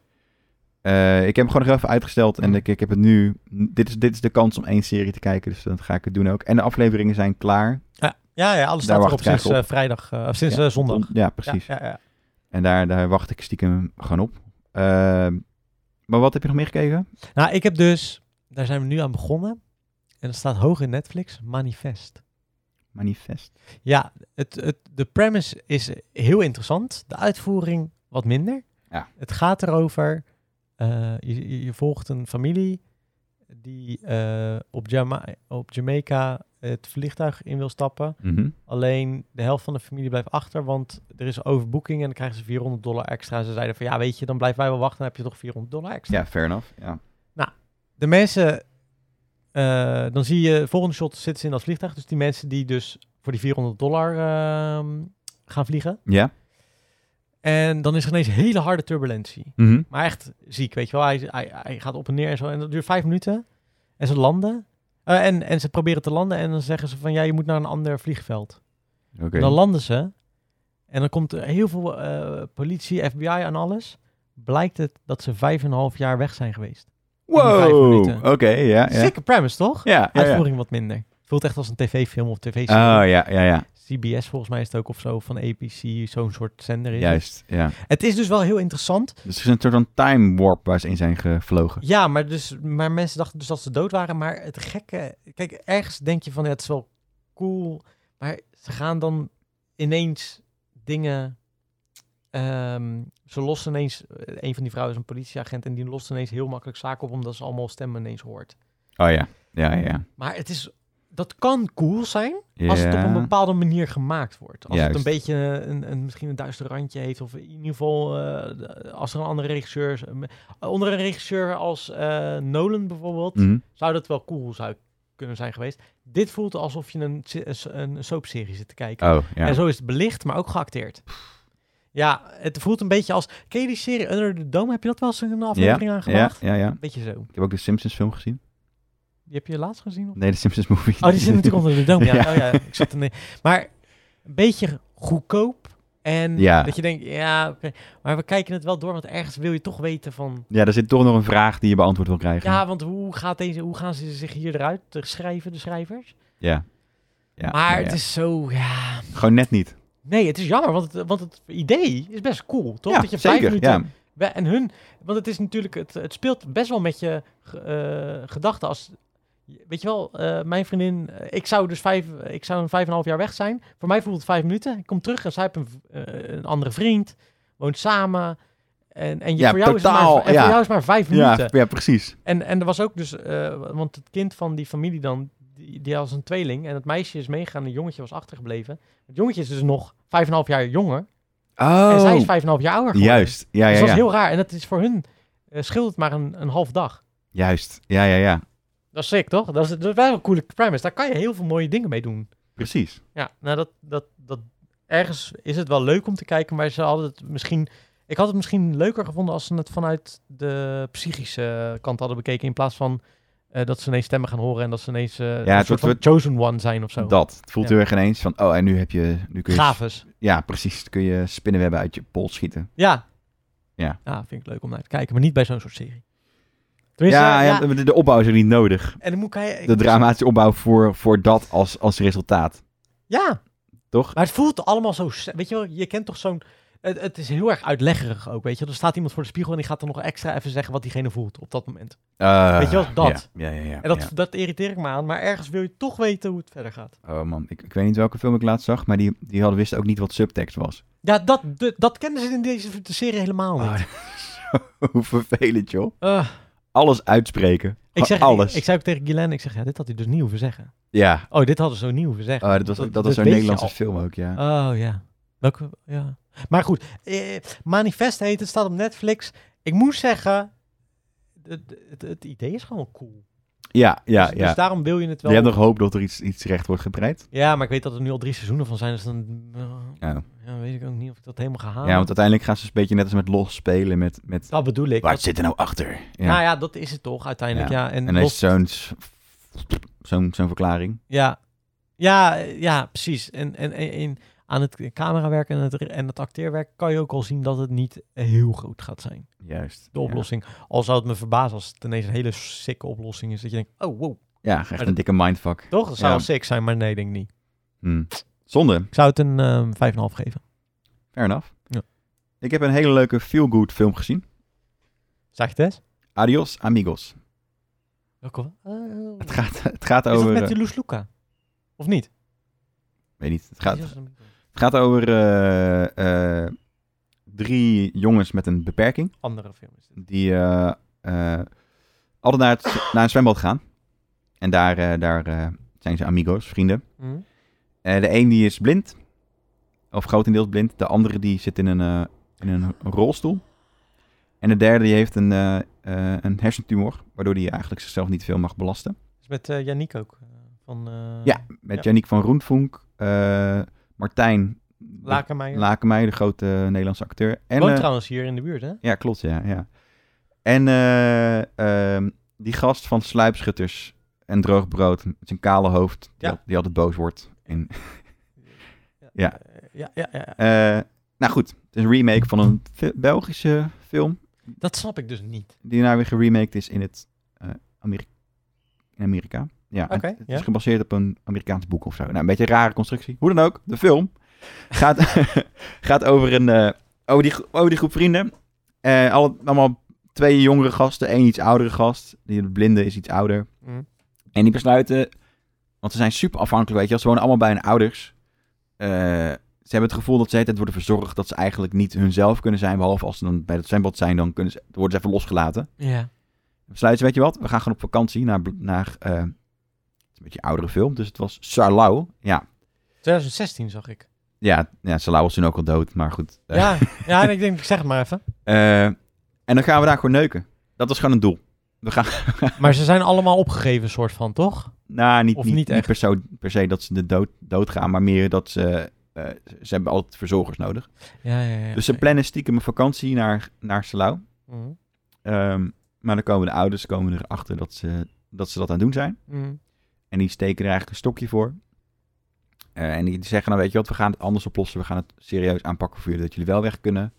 Eh, ik heb hem gewoon nog even uitgesteld en
Mm.
ik, ik heb het nu... Dit is, dit is de kans om één serie te kijken, dus dan ga ik het doen ook. En de afleveringen zijn klaar.
Ja, ja, ja alles
Daar
staat
wacht
erop
ik eigenlijk
sinds eh, vrijdag, eh, of sinds eh, zondag.
Om- Ja, precies.
Ja, ja, ja.
En daar, daar wacht ik stiekem gewoon op. Ehm, maar wat heb je nog meer gekeken?
Nou, ik heb dus... Daar zijn we nu aan begonnen. En dat staat hoog in Netflix. Manifest.
Manifest.
Ja, het, het, de premise is heel interessant. De uitvoering wat minder.
Ja.
Het gaat erover, eh, je, je- je volgt een familie die eh, op, Jama op Jamaica het vliegtuig in wil stappen.
Mhm.
Alleen de helft van de familie blijft achter, want er is overboeking en dan krijgen ze 400 dollar extra. En ze zeiden van, ja weet je, dan blijven wij wel wachten, dan heb je toch 400 dollar extra.
Ja, fair enough. Ja.
De mensen, eh, dan zie je, volgende shot zitten ze in dat vliegtuig. Dus die mensen die dus voor die 400 dollar ehm, gaan vliegen.
Ja?
En dan is er ineens hele harde turbulentie.
Mhm.
Maar echt ziek, weet je wel. Hij, hij, hij gaat op en neer en zo. En dat duurt vijf minuten. En ze landen. Eh, en, en ze proberen te landen. En dan zeggen ze van, ja, je moet naar een ander vliegveld.
Oké.
En dan landen ze. En dan komt er heel veel eh, politie, FBI en alles. Blijkt het dat ze vijf en een half jaar weg zijn geweest. in die vijf
Wow!
minuten.
Oké, ja, ja.
Sikke premise, toch?
Ja, ja, ja.
Uitvoering wat minder. Het voelt echt als een tv-film of tv-serie.
Oh, ja, ja, ja.
CBS volgens mij is het ook of zo, van APC, zo'n soort zender is. het.
Juist, ja.
Het is dus wel heel interessant.
Dus het is een soort van time warp waar ze in zijn gevlogen.
Ja, maar, dus, maar mensen dachten dus dat ze dood waren. Maar het gekke... Kijk, ergens denk je van, ja, het is wel cool. Maar ze gaan dan ineens dingen... ehm, ze lossen ineens... Een van die vrouwen is een politieagent... en die lost ineens heel makkelijk zaken op... omdat ze allemaal stemmen ineens hoort.
Oh ja, ja, ja.
Maar het is... Dat kan cool zijn
ja.
als het op een bepaalde manier gemaakt wordt. Als het
Juist.
een beetje een, een, misschien een duister randje heeft. Of in ieder geval eh, de- als er een andere regisseur is. Een- Onder een regisseur als eh, Nolan bijvoorbeeld.
Mhm.
Zou dat wel cool zou kunnen zijn geweest. Dit voelt alsof je een, si- een s- een soapserie zit te kijken.
Oh, ja.
En zo is het belicht, maar ook geacteerd. Ja, het voelt een beetje als... Ken je die serie Under the Dome? Heb je dat wel eens een aflevering
ja,
aangemaakt?
ja, ja.
Beetje zo.
Ik heb ook de Simpsons film gezien.
Die heb je laatst gezien? Of?
Nee, de Simpsons movie.
Oh, die zit natuurlijk onder de dome. Ja,
Ja.
Oh, ja ik zat er nee. Maar een beetje goedkoop. En
Ja.
dat je denkt, ja, oké. Maar we kijken het wel door, want ergens wil je toch weten van...
Ja, daar zit toch nog een vraag die je beantwoord wil krijgen.
Ja, want hoe, gaat deze, hoe gaan ze zich hier eruit te schrijven, de schrijvers?
Ja. Ja,
maar
ja, ja.
het is zo, ja...
Gewoon net niet.
Nee, het is jammer, want het, want het idee is best cool, toch?
ja,
dat je vijf
zeker.
minuten...
Ja.
we- En hun... Want het is natuurlijk... Het, het speelt best wel met je ge- eh, gedachten als... Weet je wel, eh, mijn vriendin... eh, Ik zou dus vijf... Ik zou een vijf en een half jaar weg zijn. Voor mij voelt het vijf minuten. Ik kom terug en zij heeft een, v- eh, een andere vriend. Woont samen. En, en je,
Ja,
voor, jou
totaal,
is het maar, en
ja.
voor jou is het maar vijf minuten.
Ja, ja, precies.
En, en er was ook dus, eh, want het kind van die familie dan, die, die was een tweeling. En het meisje is meegegaan, het jongetje was achtergebleven. Het jongetje is dus nog vijf en een half jaar jonger.
Oh,
En zij is vijf en een half jaar ouder geworden.
juist. Ja,
Dus
ja,
dat is
ja.
heel raar. En dat is voor hun, eh scheelt het maar een, een half dag.
Juist. Ja, ja, ja.
Dat is sick, toch? Dat is, dat is wel een coole premise. Daar kan je heel veel mooie dingen mee doen.
Precies.
Ja, nou dat, dat, dat ergens is het wel leuk om te kijken, maar ze hadden het misschien. Ik had het misschien leuker gevonden als ze het vanuit de psychische kant hadden bekeken. In plaats van eh, dat ze ineens stemmen gaan horen en dat ze ineens eh, een
het
soort van
wordt-
chosen one zijn of zo.
Dat. Het voelt
Ja.
heel erg ineens van, oh, en nu heb je... Nu kun je
Gaves.
Ja, precies. Dan kun je spinnenwebben uit je pols schieten.
Ja.
Ja.
vind ik leuk om naar te kijken, maar niet bij zo'n soort serie. Tenminste,
ja,
eh, ja,
ja, De, de opbouw is er niet nodig.
en dan moet ik... ik-
De dramatische opbouw voor, voor dat als, als resultaat.
Ja,
Toch?
Maar het voelt allemaal zo... se- Weet je wel, je kent toch zo'n... Het, het is heel erg uitleggerig ook, weet je. wel. Er staat iemand voor de spiegel en die gaat dan nog extra even zeggen wat diegene voelt op dat moment.
Eh,
Weet je wel, dat.
Ja, ja, ja. ja,
En dat,
ja.
dat irriteer ik me aan, maar ergens wil je toch weten hoe het verder gaat.
Oh man, ik, ik weet niet welke film ik laatst zag, maar die, die hadden wisten ook niet wat subtekst was.
Ja, dat, de- dat kennen ze in deze serie helemaal niet.
Oh, dat is zo vervelend, joh.
Eh,
Alles uitspreken.
ik, zeg,
Ah, Alles.
Ik, ik zei ook tegen Guylaine, ik zeg, ja, dit had hij dus niet hoeven zeggen.
Ja.
Oh, dit hadden ze niet hoeven zeggen.
Oh, dat was, dat, was zo'n
weet je
Nederlandse
al.
film ook, ja.
Oh, ja. Welke, ja. Maar goed, eh, Manifest heet het, staat op Netflix. Ik moet zeggen, het, het, het idee is gewoon cool.
ja, ja,
dus,
ja.
dus daarom wil je het wel.
Je hebt nog hoop dat er iets, iets recht wordt gebreid.
Ja, maar ik weet dat er nu al drie seizoenen van zijn, dus dan eh,
Ja.
ja, weet ik ook niet of ik dat helemaal ga halen.
Ja, want uiteindelijk gaan ze een beetje net als met Los spelen met... met
Dat bedoel Ah. ik.
waar
dat-
zit er nou achter? Ja.
Nou ja, dat is het toch uiteindelijk. Ja. En,
en dan is
los-
zo'n s- zo'n zo'n verklaring.
ja. Ja, eh, ja, precies. En, en, en, en aan het camerawerk en het, en het acteerwerk kan je ook al zien dat het niet heel groot gaat zijn.
Juist.
De
ja.
oplossing. Al zou het me verbazen als het ineens een hele sikke oplossing is. Dat je denkt, oh wow,
Ja, echt een dikke mindfuck.
toch? Dat zou
Ja.
wel sick zijn, maar nee, denk ik niet.
Hm. Zonde.
Ik zou het een ehm, 5,5 geven.
Fair enough.
Ja.
Ik heb een hele leuke feel-good film gezien.
Zeg je het?
Adios, amigos.
Welke? Oh.
Het gaat, het gaat
Is
over...
dat
eh,
met die Loes Luca? Of niet?
Weet niet. Het gaat,
Die was
het
een-
gaat over eh, eh, drie jongens met een beperking.
Andere film is dit.
die eh, eh, altijd naar, het, naar een zwembad gaan. En daar, eh, daar eh, zijn ze amigos, vrienden.
Hm?
Eh, de een die is blind, of grotendeels blind. De andere die zit in een, eh, in een rolstoel. En de derde die heeft een, eh, eh, een hersentumor, waardoor hij eigenlijk zichzelf niet veel mag belasten.
Is met eh Yannick ook. eh, Van, eh
Ja, met Yannick van Roentvonk, eh, Martijn
Lakenmeijer.
Lakenmeij, de grote Nederlandse acteur. En,
Woont
eh,
trouwens hier in de buurt, hè?
Ja, klopt, ja. ja. En eh, ehm, die gast van Sluipschutters en Droog Brood, met zijn kale hoofd, die,
Ja.
al- die altijd boos wordt. En, Ja.
Eh, ja, ja, ja, ja.
eh, nou goed, het is een remake van een fi- Belgische film,
Dat snap ik dus niet.
die nou weer geremaked is in, het, eh, Ameri- in Amerika. Ja,
Oké,
het, het
ja.
is gebaseerd op een Amerikaans boek of zo. Nou, een beetje een rare constructie. Hoe dan ook, de film gaat, gaat over, een, eh, over, die, gro- over die groep vrienden. Eh, alle, allemaal twee jongere gasten, één iets oudere gast. Die de blinde is iets ouder.
Hm.
En die besluiten, want ze zijn super afhankelijk, weet je wel. Ze wonen allemaal bij hun ouders. Eh, ze hebben het gevoel dat ze de hele tijd worden verzorgd. Dat ze eigenlijk niet hunzelf kunnen zijn. Behalve als ze dan bij het zwembad zijn, dan kunnen ze, dan worden ze even losgelaten.
Ja.
Dan besluiten ze, weet je wat, we gaan gewoon op vakantie naar... naar eh, het is een beetje een oudere film, dus het was Sarlau. Ja,
2016 zag ik.
ja, ja Sarlau was toen ook al dood, maar goed. Eh,
Ja, ja en ik denk, ik zeg het maar even.
eh, en dan gaan we daar gewoon neuken. Dat was gewoon een doel. We gaan,
Maar ze zijn allemaal opgegeven, soort van, toch?
nou, niet,
Of
niet,
niet
niet
echt.
per, se, per se dat ze de dood, dood gaan, maar meer dat ze... eh, ze hebben altijd verzorgers nodig.
Ja, ja, ja.
dus ze plannen stiekem een vakantie naar, naar Salau.
Mhm.
Ehm, maar dan komen de ouders komen erachter dat ze, dat ze dat aan het doen zijn.
Mhm.
En die steken er eigenlijk een stokje voor. Eh, en die zeggen, nou weet je wat, we gaan het anders oplossen. We gaan het serieus aanpakken voor jullie, dat jullie wel weg kunnen.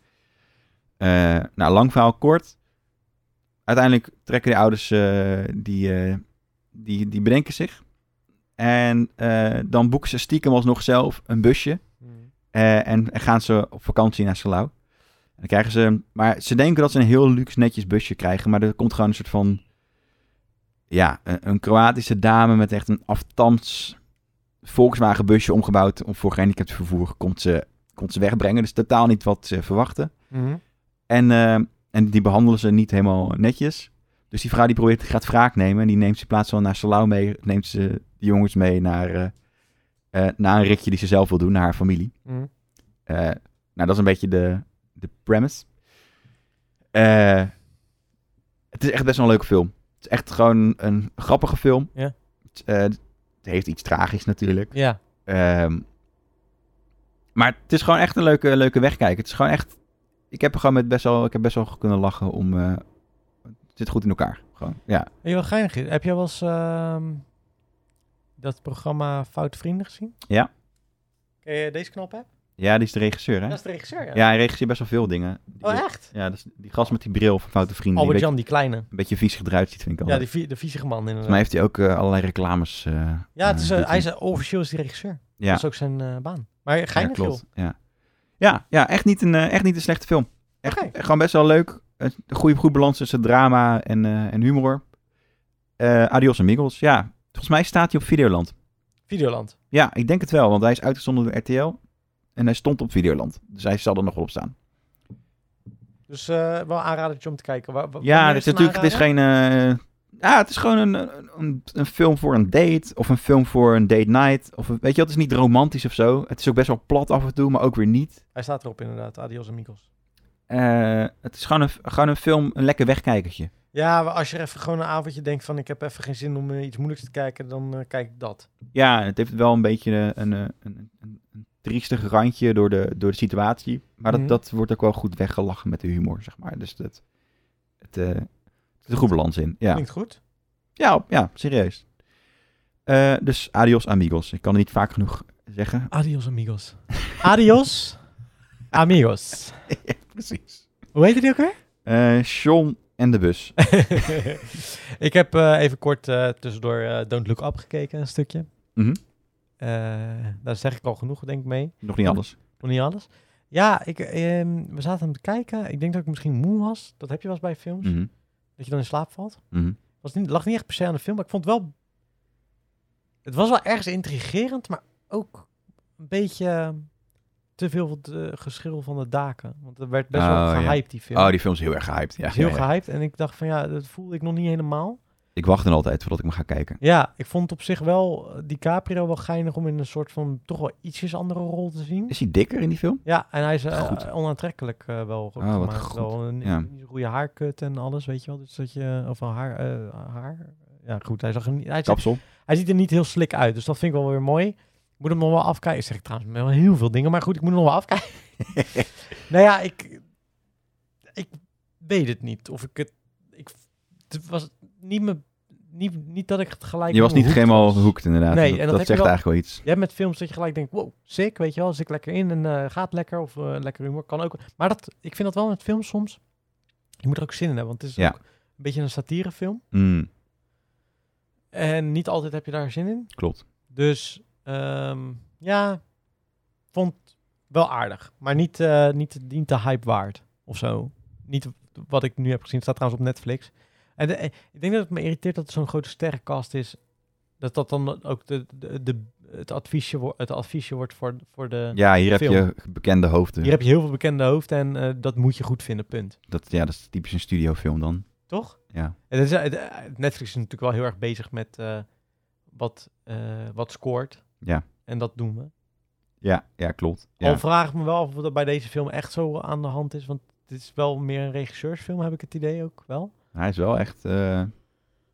Eh, nou, lang verhaal kort. Uiteindelijk trekken de ouders, eh, die, eh, die, die bedenken zich. En eh, dan boeken ze stiekem alsnog zelf een busje.
Mhm.
Eh, en, en gaan ze op vakantie naar Salau. En dan krijgen ze... Maar ze denken dat ze een heel luxe netjes busje krijgen. Maar er komt gewoon een soort van... Ja, een, een Kroatische dame met echt een aftans Volkswagen busje omgebouwd om voor gehandicapt vervoer komt ze, komt ze wegbrengen. Dus totaal niet wat ze verwachten.
Mhm.
En, eh, en die behandelen ze niet helemaal netjes. Dus die vrouw die probeert, gaat wraak nemen. En die neemt ze in plaats van naar Salau mee, neemt ze de jongens mee naar, eh, eh, naar een ritje die ze zelf wil doen, naar haar familie.
Mm.
Eh, nou, dat is een beetje de, de premise. Eh, het is echt best wel een leuke film. Het is echt gewoon een grappige film.
Ja.
Het, eh, het heeft iets tragisch natuurlijk.
Ja,
Ehm, maar het is gewoon echt een leuke, leuke wegkijk. Het is gewoon echt... Ik heb er gewoon met best wel, ik heb best wel kunnen lachen om... eh, het zit goed in elkaar. Gewoon, ja.
Weet je wat geinig is? Heb jij wel eens ehm, dat programma Foute Vrienden gezien?
Ja.
Ken je deze knop, hè?
ja, die is de regisseur, hè?
Dat is de regisseur, ja.
Ja, hij regisseert best wel veel dingen.
Oh, echt?
Ja, dat is die gast met die bril van Foute Vrienden. die een beetje,
Albert-Jan, die kleine.
een beetje viezig eruit ziet, vind ik al.
Ja, die, vie- de viezige man inderdaad.
Volgens mij heeft hij ook eh, allerlei reclames. eh,
ja, het is, eh,
eh,
hij is eh, officieel is die regisseur.
Ja.
Dat is ook zijn eh, baan. Maar
ja,
geinig, joh.
klopt. Ja, ja, ja echt, niet een, eh, echt niet een slechte film. Echt,
Oké.
Gewoon best wel leuk. Een goede, goede balans tussen drama en, eh, en humor. Eh Adios Amigos, ja. Volgens mij staat hij op Videoland.
Videoland.
Ja, ik denk het wel, want hij is uitgezonden door RTL. En hij stond op Videoland. Dus hij zal er nog wel op staan.
Dus eh, wel aanradertje om te kijken. Wa- wa-
Ja,
wanneer
het is
een
natuurlijk het is
aanrader?
geen. eh, ah, het is gewoon een, een, een film voor een date. Of een film voor een date night. Of een- weet je, wel, het is niet romantisch of zo. Het is ook best wel plat af en toe, maar ook weer niet.
Hij staat erop inderdaad. Adios amigos.
Eh, het is gewoon een, gewoon een film, een lekker wegkijkertje.
Ja, maar als je even gewoon een avondje denkt van... ik heb even geen zin om eh, iets moeilijks te kijken, dan eh, kijk ik dat.
Ja, het heeft wel een beetje eh, een, eh, een, een, een, triestig randje door de, door de situatie. Maar dat,
Mhm.
dat wordt ook wel goed weggelachen met de humor, zeg maar. Dus dat, het, eh, het is een goed balans in. Ja,
Klinkt goed.
ja, ja serieus. Eh, dus adios amigos. Ik kan het niet vaak genoeg zeggen.
Adios amigos. Adios amigos.
Precies.
Hoe heet die ook weer?
Eh, Sean en de bus.
ik heb eh, even kort eh, tussendoor eh, Don't Look Up gekeken, een stukje.
Mhm.
Eh, daar zeg ik al genoeg, denk ik, mee.
Nog niet alles.
Nog niet alles. Ja, ik, ehm, we zaten hem te kijken. Ik denk dat ik misschien moe was. Dat heb je wel eens bij films.
Mhm,
Dat je dan in slaap valt.
mhm.
Was niet, lag niet echt per se aan de film, maar ik vond het wel... Het was wel ergens intrigerend, maar ook een beetje eh, te veel eh, geschil van de daken. Want er werd best
Oh,
wel
ja.
gehyped, die film.
Oh, die film is heel erg gehyped. Ja,
Is heel
ja, ja.
gehyped. En ik dacht van ja, dat voelde ik nog niet helemaal.
Ik wacht dan altijd voordat ik hem ga kijken.
Ja, ik vond op zich wel eh, DiCaprio wel geinig om in een soort van toch wel ietsjes andere rol te zien.
Is hij dikker in die film?
Ja, en hij is eh,
Goed.
onaantrekkelijk eh, wel goed
Ah, wat
gemaakt.
goed.
Wel een,
Ja.
een goede haarkut en alles, weet je wel. Dus dat je, of een haar, eh, haar. Ja, goed. Hij, zag er niet, hij, zag-
Kapsel.
hij ziet er niet heel slik uit, dus dat vind ik wel weer mooi. Ik moet hem nog wel afkijken. Ik zeg trouwens wel heel veel dingen, maar goed, ik moet hem nog wel afkijken. nou ja, ik, ik weet het niet. Of ik het, ik, het was niet, me, niet, niet dat ik het gelijk
Je was
in mijn
niet
hoek
helemaal
was.
hoekt inderdaad.
Nee,
dat,
en
dat
dat heb je
zegt
wel-
eigenlijk wel iets.
Je hebt met films dat je gelijk denkt, wow, sick, weet je wel, zit ik lekker in en eh, gaat lekker of eh, lekker humor, kan ook. Maar dat, ik vind dat wel met films soms, je moet er ook zin in hebben, want het is
Ja.
ook een beetje een satirefilm.
Mm,
En niet altijd heb je daar zin in.
klopt.
Dus ehm, ja, vond wel aardig, maar niet, eh, niet, niet de hype waard of zo. Niet wat ik nu heb gezien, het staat trouwens op Netflix. En de- eh, ik denk dat het me irriteert dat het zo'n grote sterrenkast is. Dat dat dan ook de, de, de, het, adviesje, wo- het adviesje wordt voor, voor de...
Ja, hier heb
film.
je bekende hoofden.
Hier heb je heel veel bekende hoofden en eh, dat moet je goed vinden, punt.
dat, ja, dat is typisch een studiofilm dan.
Toch?
Ja.
En dat is, eh, eh, Netflix is natuurlijk wel heel erg bezig met eh, wat, eh, wat scoort.
Ja.
En dat doen we.
Ja, ja klopt. Ja.
Al vraag ik me wel af of dat bij deze film echt zo aan de hand is. Want het is wel meer een regisseursfilm, heb ik het idee ook wel.
Hij is wel echt... eh,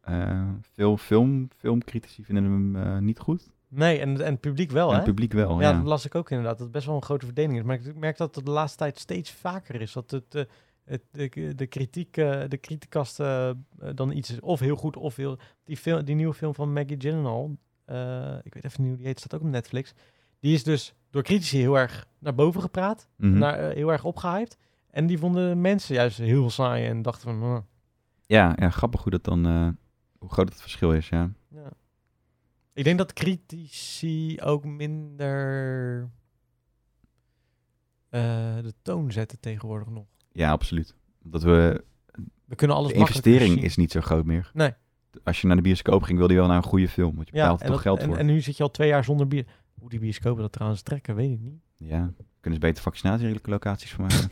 eh, veel film, filmcritici vinden hem eh, niet goed.
Nee, en, en het publiek wel,
en
hè?
het publiek wel,
ja,
ja.
dat las ik ook inderdaad. Dat het best wel een grote verdeling is. Maar ik merk dat het de laatste tijd steeds vaker is. Dat het, eh, het, de, de kritiek, eh, de kritiekast eh, eh, dan iets is. Of heel goed, of heel... Die, film, die nieuwe film van Maggie Gyllenhaal... eh, ik weet even niet hoe die heet, staat ook op Netflix. Die is dus door critici heel erg naar boven gepraat.
Mhm.
naar, eh, heel erg opgehyped. En die vonden mensen juist heel saai en dachten van... "Huh."
ja, ja, grappig hoe dat dan... eh, hoe groot het verschil is, ja.
Ja. Ik denk dat critici ook minder eh, de toon zetten tegenwoordig nog.
Ja, absoluut. Omdat we...
We kunnen alles
De
makkelijker
investering
zien.
is niet zo groot meer.
Nee.
Als je naar de bioscoop ging, wilde je wel naar een goede film. Want je
ja, en,
betaalt er toch
dat-
geld
en-
voor.
en nu zit je al twee jaar zonder bier. Hoe die bioscopen dat trouwens trekken, weet ik niet.
Ja, kunnen ze beter vaccinatielocaties voor maken.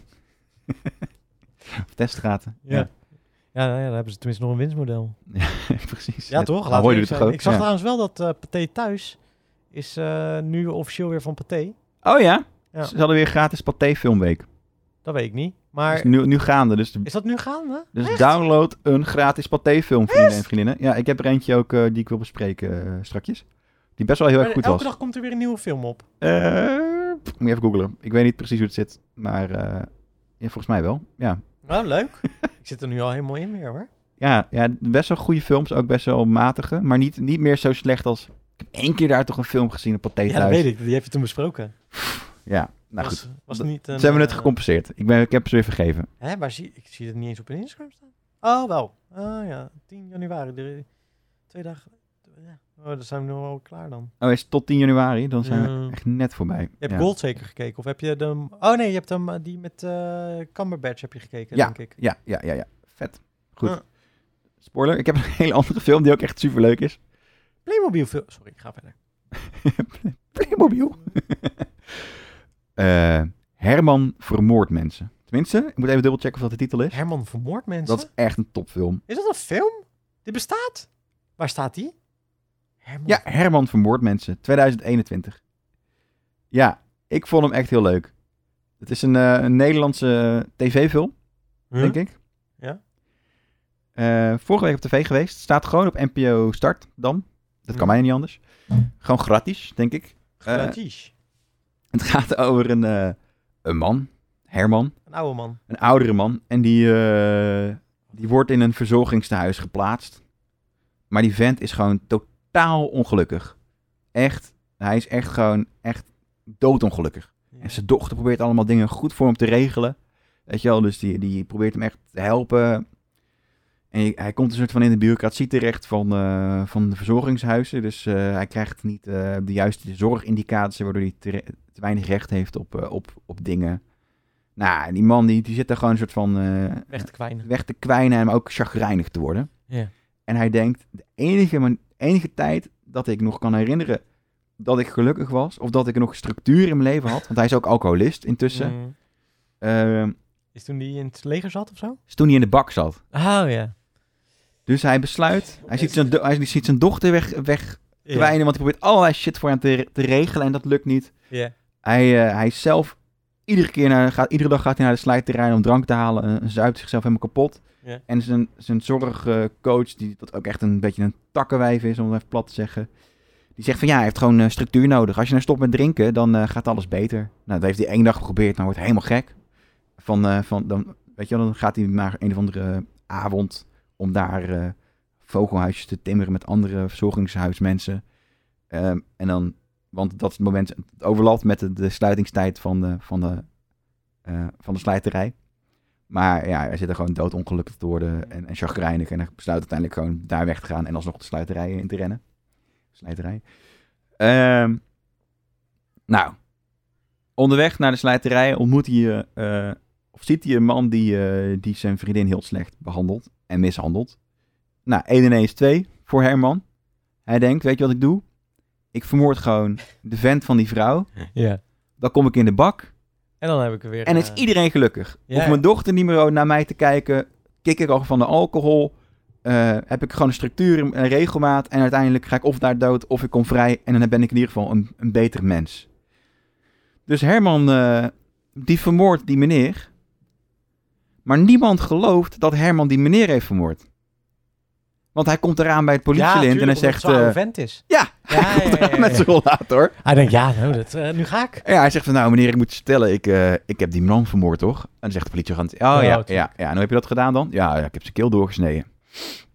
Of teststraten.
Ja. Ja. nou ja, dan hebben ze tenminste nog een winstmodel.
precies.
Ja, toch?
Laten hoor
Laten
je
we eerlijk
het
zijn.
toch ook?
Ik zag
Ja.
trouwens wel dat eh Pathé Thuis is eh, nu officieel weer van Pathé.
Oh ja?
Ja.
Ze hadden weer gratis Pathé Filmweek.
Dat weet ik niet. Maar
Dus nu, nu gaande. Dus, de-
is dat nu gaande?
dus download een gratis Pathé film, vrienden en vriendinnen. Ja, ik heb er eentje ook eh, die ik wil bespreken eh, strakjes. Die best wel heel erg
Maar
goed
elke
was.
dag komt er weer een nieuwe film op.
Eh, pff, moet je even googlen. Ik weet niet precies hoe het zit, maar eh, ja, volgens mij wel. Ja.
Nou, leuk. ik zit er nu al helemaal in weer hoor.
Ja, ja, best wel goede films, ook best wel matige, maar niet, niet meer zo slecht als... Ik heb één keer daar toch een film gezien op Pathé
Ja, dat
thuis.
weet ik. Die heb je toen besproken.
Ja, nou goed.
was, was
dat-
niet een,
Ze hebben het
eh,
gecompenseerd. Ik, ben, ik heb ze weer vergeven.
Hè, maar zie, ik zie het niet eens op een Instagram staan. Oh, wel. Oh ja, 10 januari. drie- twee dagen. Ja. Oh, dan zijn we nu al klaar dan.
Oh, is het tot 10 januari? Dan zijn
Ja.
we echt net voorbij.
Mm. Je hebt
ja.
Gold zeker gekeken? Of heb je de... Oh nee, je hebt hem, eh, die met eh Cumberbatch heb je gekeken, denk ik.
Ja, ja, ja, ja. Vet. Goed.
Ja.
Spoiler, ik heb een hele andere film die ook echt superleuk is.
Playmobil film. Sorry, ik ga verder.
Playmobil. Eh, Herman vermoordt mensen. Tenminste, ik moet even dubbelchecken of dat de titel is.
Herman vermoord mensen?
Dat is echt een topfilm.
Is dat een film? Dit bestaat? Waar staat die? Herman.
Ja, Herman vermoordt mensen. 2021. Ja, ik vond hem echt heel leuk. Het is een, eh, een Nederlandse eh, tv-film.
Huh?
denk ik.
Hm? Ja.
Eh, vorige week op tv geweest. Staat gewoon op NPO Start dan. Dat kan
Hm.
mij niet anders. Gewoon gratis, denk ik.
Gratis.
Het gaat over een, eh, een man, Herman,
een oude man.
een oudere man. En die, eh, die wordt in een verzorgingstehuis geplaatst. Maar die vent is gewoon totaal ongelukkig. Echt, hij is echt gewoon echt doodongelukkig. En zijn dochter probeert allemaal dingen goed voor hem te regelen. Weet je wel, dus die, die probeert hem echt te helpen. En je- hij komt een soort van in de bureaucratie terecht van, eh, van de verzorgingshuizen. Dus eh, hij krijgt niet eh, de juiste zorgindicatie, waardoor hij te, te weinig recht heeft op, eh, op, op dingen. Nou, en die man die, die zit daar gewoon een soort van eh,
Weg te kwijnen.
weg te kwijnen en maar ook chagrijnig te worden.
Ja.
En hij denkt, de enige, man- enige tijd dat ik nog kan herinneren dat ik gelukkig was, of dat ik nog structuur in mijn leven had, want hij is ook alcoholist intussen,
Mm.
ehm,
Is toen die in het leger zat of zo?
is toen hij in de bak zat.
Oh ja.
Dus hij besluit, hij ziet zijn, do- hij ziet zijn dochter weg, weg
Ja.
kwijnen, want hij probeert allerlei shit voor hem te, te regelen en dat lukt niet.
Ja.
Hij, eh, hij is zelf, iedere, keer naar, gaat, iedere dag gaat hij naar de slijterrein om drank te halen, en zuipt zichzelf helemaal kapot.
Ja.
En zijn, zijn zorgcoach, die dat ook echt een beetje een takkenwijf is, om het even plat te zeggen. Die zegt van ja, hij heeft gewoon eh, structuur nodig. Als je nou stopt met drinken, dan eh, gaat alles beter. Nou, dat heeft hij één dag geprobeerd, maar wordt helemaal gek. Van, eh, van, dan, weet je wel, dan gaat hij maar een of andere eh, avond om daar eh, vogelhuisjes te timmeren met andere verzorgingshuismensen. Ehm, en dan, want dat is het moment, het overlapt met de, de sluitingstijd van de, van, de, eh, van de slijterij. Maar ja, hij zit er gewoon doodongelukkig te worden en, en chagrijnig. En hij besluit uiteindelijk gewoon daar weg te gaan en alsnog de sluiterij in te rennen. Slijterij. Ehm, nou, onderweg naar de slijterij ontmoet hij, eh, eh, of ziet hij een man die, eh, die zijn vriendin heel slecht behandelt en mishandelt. Nou, 1 en 1 is 2 voor Herman. Hij denkt, weet je wat ik doe? Ik vermoord gewoon de vent van die vrouw.
ja.
Dan kom ik in de bak
En dan heb ik er weer...
en is
eh,
iedereen gelukkig.
ja,
Hoeft
ja.
mijn dochter niet meer naar mij te kijken. Kik ik al van de alcohol. eh, heb ik gewoon een structuur en regelmaat. En uiteindelijk ga ik of daar dood of ik kom vrij. En dan ben ik in ieder geval een, een beter mens. Dus Herman, eh, die vermoordt die meneer. Maar niemand gelooft dat Herman die meneer heeft vermoord. Want hij komt eraan bij het
ja,
politielint en hij
tuurlijk,
zegt...
omdat het zo'n oude
eh,
vent is.
ja,
Ja, ja, ja, ja,
met
ja.
zijn rollator.
Hij denkt, ja, nou, dat, eh, nu ga ik.
En ja, hij zegt van, nou meneer, ik moet je vertellen, ik, eh, ik heb die man vermoord, toch? En dan zegt de politieagent, oh ja, ja,
tuurlijk.
ja. En hoe heb je dat gedaan dan? Ja, ja, ik heb zijn keel doorgesneden.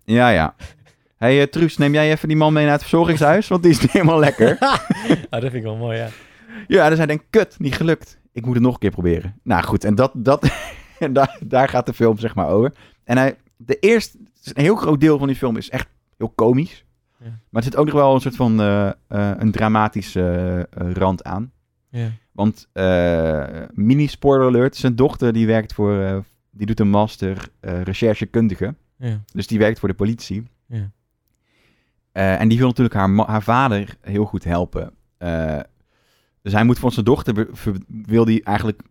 Ja, ja. Hé, hey, eh, Truus, neem jij even die man mee naar het verzorgingshuis, want die is niet helemaal lekker.
Ah, dat vind ik wel mooi, ja.
Ja, dus hij denkt, kut, niet gelukt. Ik moet het nog een keer proberen. Nou goed, en, dat, dat, en daar, daar gaat de film zeg maar over. En hij, de eerste, een heel groot deel van die film is echt heel komisch.
Ja.
Maar er zit ook nog wel een soort van eh, eh, een dramatische eh, eh, rand aan.
Ja.
Want eh, mini spoiler alert, zijn dochter die werkt voor, eh, die doet een master eh, recherchekundige.
ja.
Dus die werkt voor de politie.
Ja.
Eh, en die wil natuurlijk haar, ma- haar vader heel goed helpen. Eh, dus hij moet van zijn dochter, be- ver- wil die eigenlijk,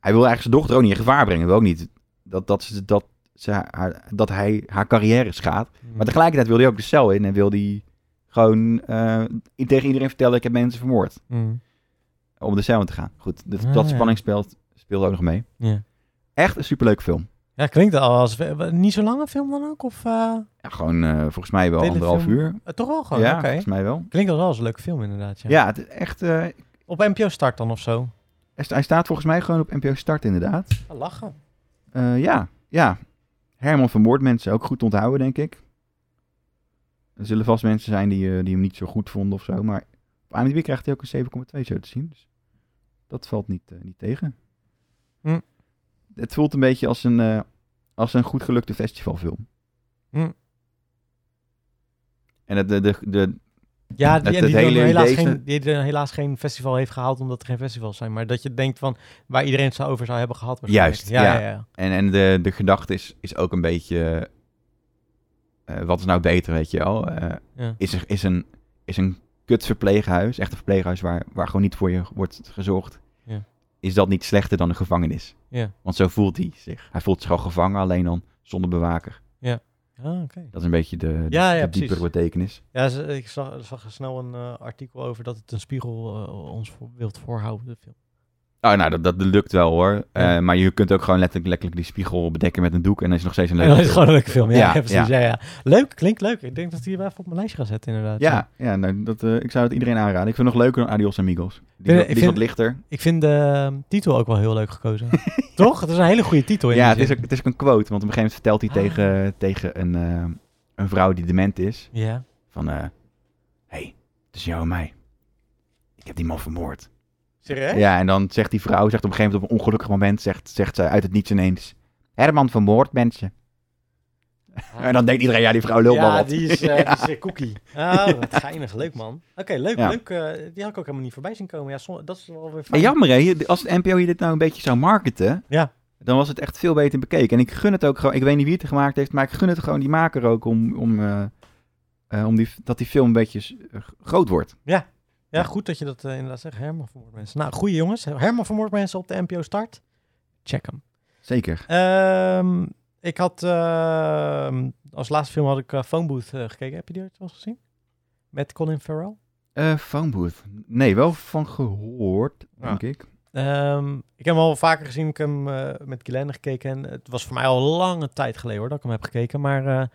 Hij wil eigenlijk zijn dochter ook niet in gevaar brengen. Wil ook niet dat, dat, ze, dat, ze haar, dat hij haar carrière schaadt.
Mm.
Maar tegelijkertijd wil hij ook de cel in en wil hij gewoon eh, tegen iedereen vertellen: ik heb mensen vermoord.
Mm.
Om de cel in te gaan. Goed, dat,
Ah,
dat
ja.
spanning speelt, speelt ook nog mee.
Ja.
Echt een superleuke film.
Ja, klinkt al als... eh, Niet zo lang een film dan ook? Of eh,
Ja, gewoon eh, volgens mij wel
Telefilm.
anderhalf uur.
eh, toch wel gewoon?
ja,
Oké.
volgens mij wel.
Klinkt al wel als een leuke film inderdaad, ja.
Ja, het is echt. eh,
Op NPO Start dan of zo?
hij staat volgens mij gewoon op NPO Start, inderdaad.
Ah, Lachen.
Eh, ja, ja. Herman van Moord, mensen ook goed te onthouden, denk ik. Er zullen vast mensen zijn die, eh, die hem niet zo goed vonden of zo. Maar op IMDb krijgt hij ook een 7,2 zo te zien. Dus dat valt niet, eh, niet tegen.
Hm.
Het voelt een beetje als een, eh, als een goed gelukte festivalfilm.
Hm.
En het, de, de, de,
Ja,
Het-
die, die,
het
dan
hele
helaas
idee is
geen,
dat-
die dan helaas geen festival heeft gehaald omdat er geen festivals zijn. Maar dat je denkt van waar iedereen het zou over zou hebben gehad. waarschijnlijk.
Juist,
ja.
ja.
Ja, ja,
en, en de, de gedachte is, is ook een beetje... eh, wat is nou beter, weet je wel? Eh,
ja.
is, er, is, een, is een kut verpleeghuis, echt een verpleeghuis waar, waar gewoon niet voor je wordt gezorgd,
Ja.
is dat niet slechter dan een gevangenis?
Ja.
Want zo voelt hij zich. Hij voelt zich al gevangen, alleen dan zonder bewaker.
Ah, oké.
Dat is een beetje de, de,
Ja, ja,
de
precies.
diepere betekenis.
Ja, ze- ik zag, zag snel een eh, artikel over dat het een spiegel eh, ons voor, wilt voorhouden. De film.
Oh, nou, dat, dat lukt wel hoor.
Ja.
Eh, maar je kunt ook gewoon letterlijk, letterlijk die spiegel bedekken met een doek en dan is het nog steeds een
En dat
leuke
is
film.
gewoon een leuke film. Ja,
Ja,
ja, precies. Ja. ja. Leuk, klinkt leuk. Ik denk dat die wel even op mijn lijstje gaan zetten inderdaad.
Ja, ja nou, dat, eh, ik zou het iedereen aanraden. Ik vind het nog leuker dan Adios Amigos. Die, is
Ik
wat- die is
vind-
wat lichter.
Ik vind de eh, titel ook wel heel leuk gekozen. Toch? Het is een hele goede titel. In
Ja,
die
het is,
zin.
ook, het is ook een quote, want op een gegeven moment vertelt hij
Ah.
tegen, tegen een, eh, een vrouw die dement is.
Ja.
Van, hé, hey, tussen jou en mij. Ik heb die man vermoord.
Serieus?
Ja, en dan zegt die vrouw, zegt op een gegeven moment op een ongelukkig moment, zegt, zegt ze uit het niets ineens, Herman vermoord mensen.
Ah.
En dan denkt iedereen, ja, die vrouw lult wel
ja,
wat.
die is, eh,
Ja.
Die is eh, cookie. Ah, wat geinig. Leuk, man. Oké, leuk,
Ja.
leuk. eh, die had ik ook helemaal niet voorbij zien komen. Ja, som- dat is wel weer
Maar
fijn.
jammer hè, als het NPO je dit nou een beetje zou marketen,
Ja.
dan was het echt veel beter bekeken. En ik gun het ook gewoon, ik weet niet wie het er gemaakt heeft, maar ik gun het gewoon die maker ook om, om, eh, eh, om die, dat die film een beetje eh, groot wordt.
Ja, goed dat je dat eh, inderdaad zegt. Herman vermoord mensen. Nou, goeie jongens. Herman vermoord mensen op de NPO Start. Check hem.
Zeker.
Ehm, ik had ehm, als laatste film had ik eh, Phone Booth eh, gekeken. Heb je die ooit wel eens gezien? Met Colin Farrell.
Eh phone booth. Nee, wel van gehoord, denk ik.
Ehm, ik heb hem al vaker gezien. Ik heb hem eh, met Guylaine gekeken. En het was voor mij al lange tijd geleden hoor, dat ik hem heb gekeken. Maar eh,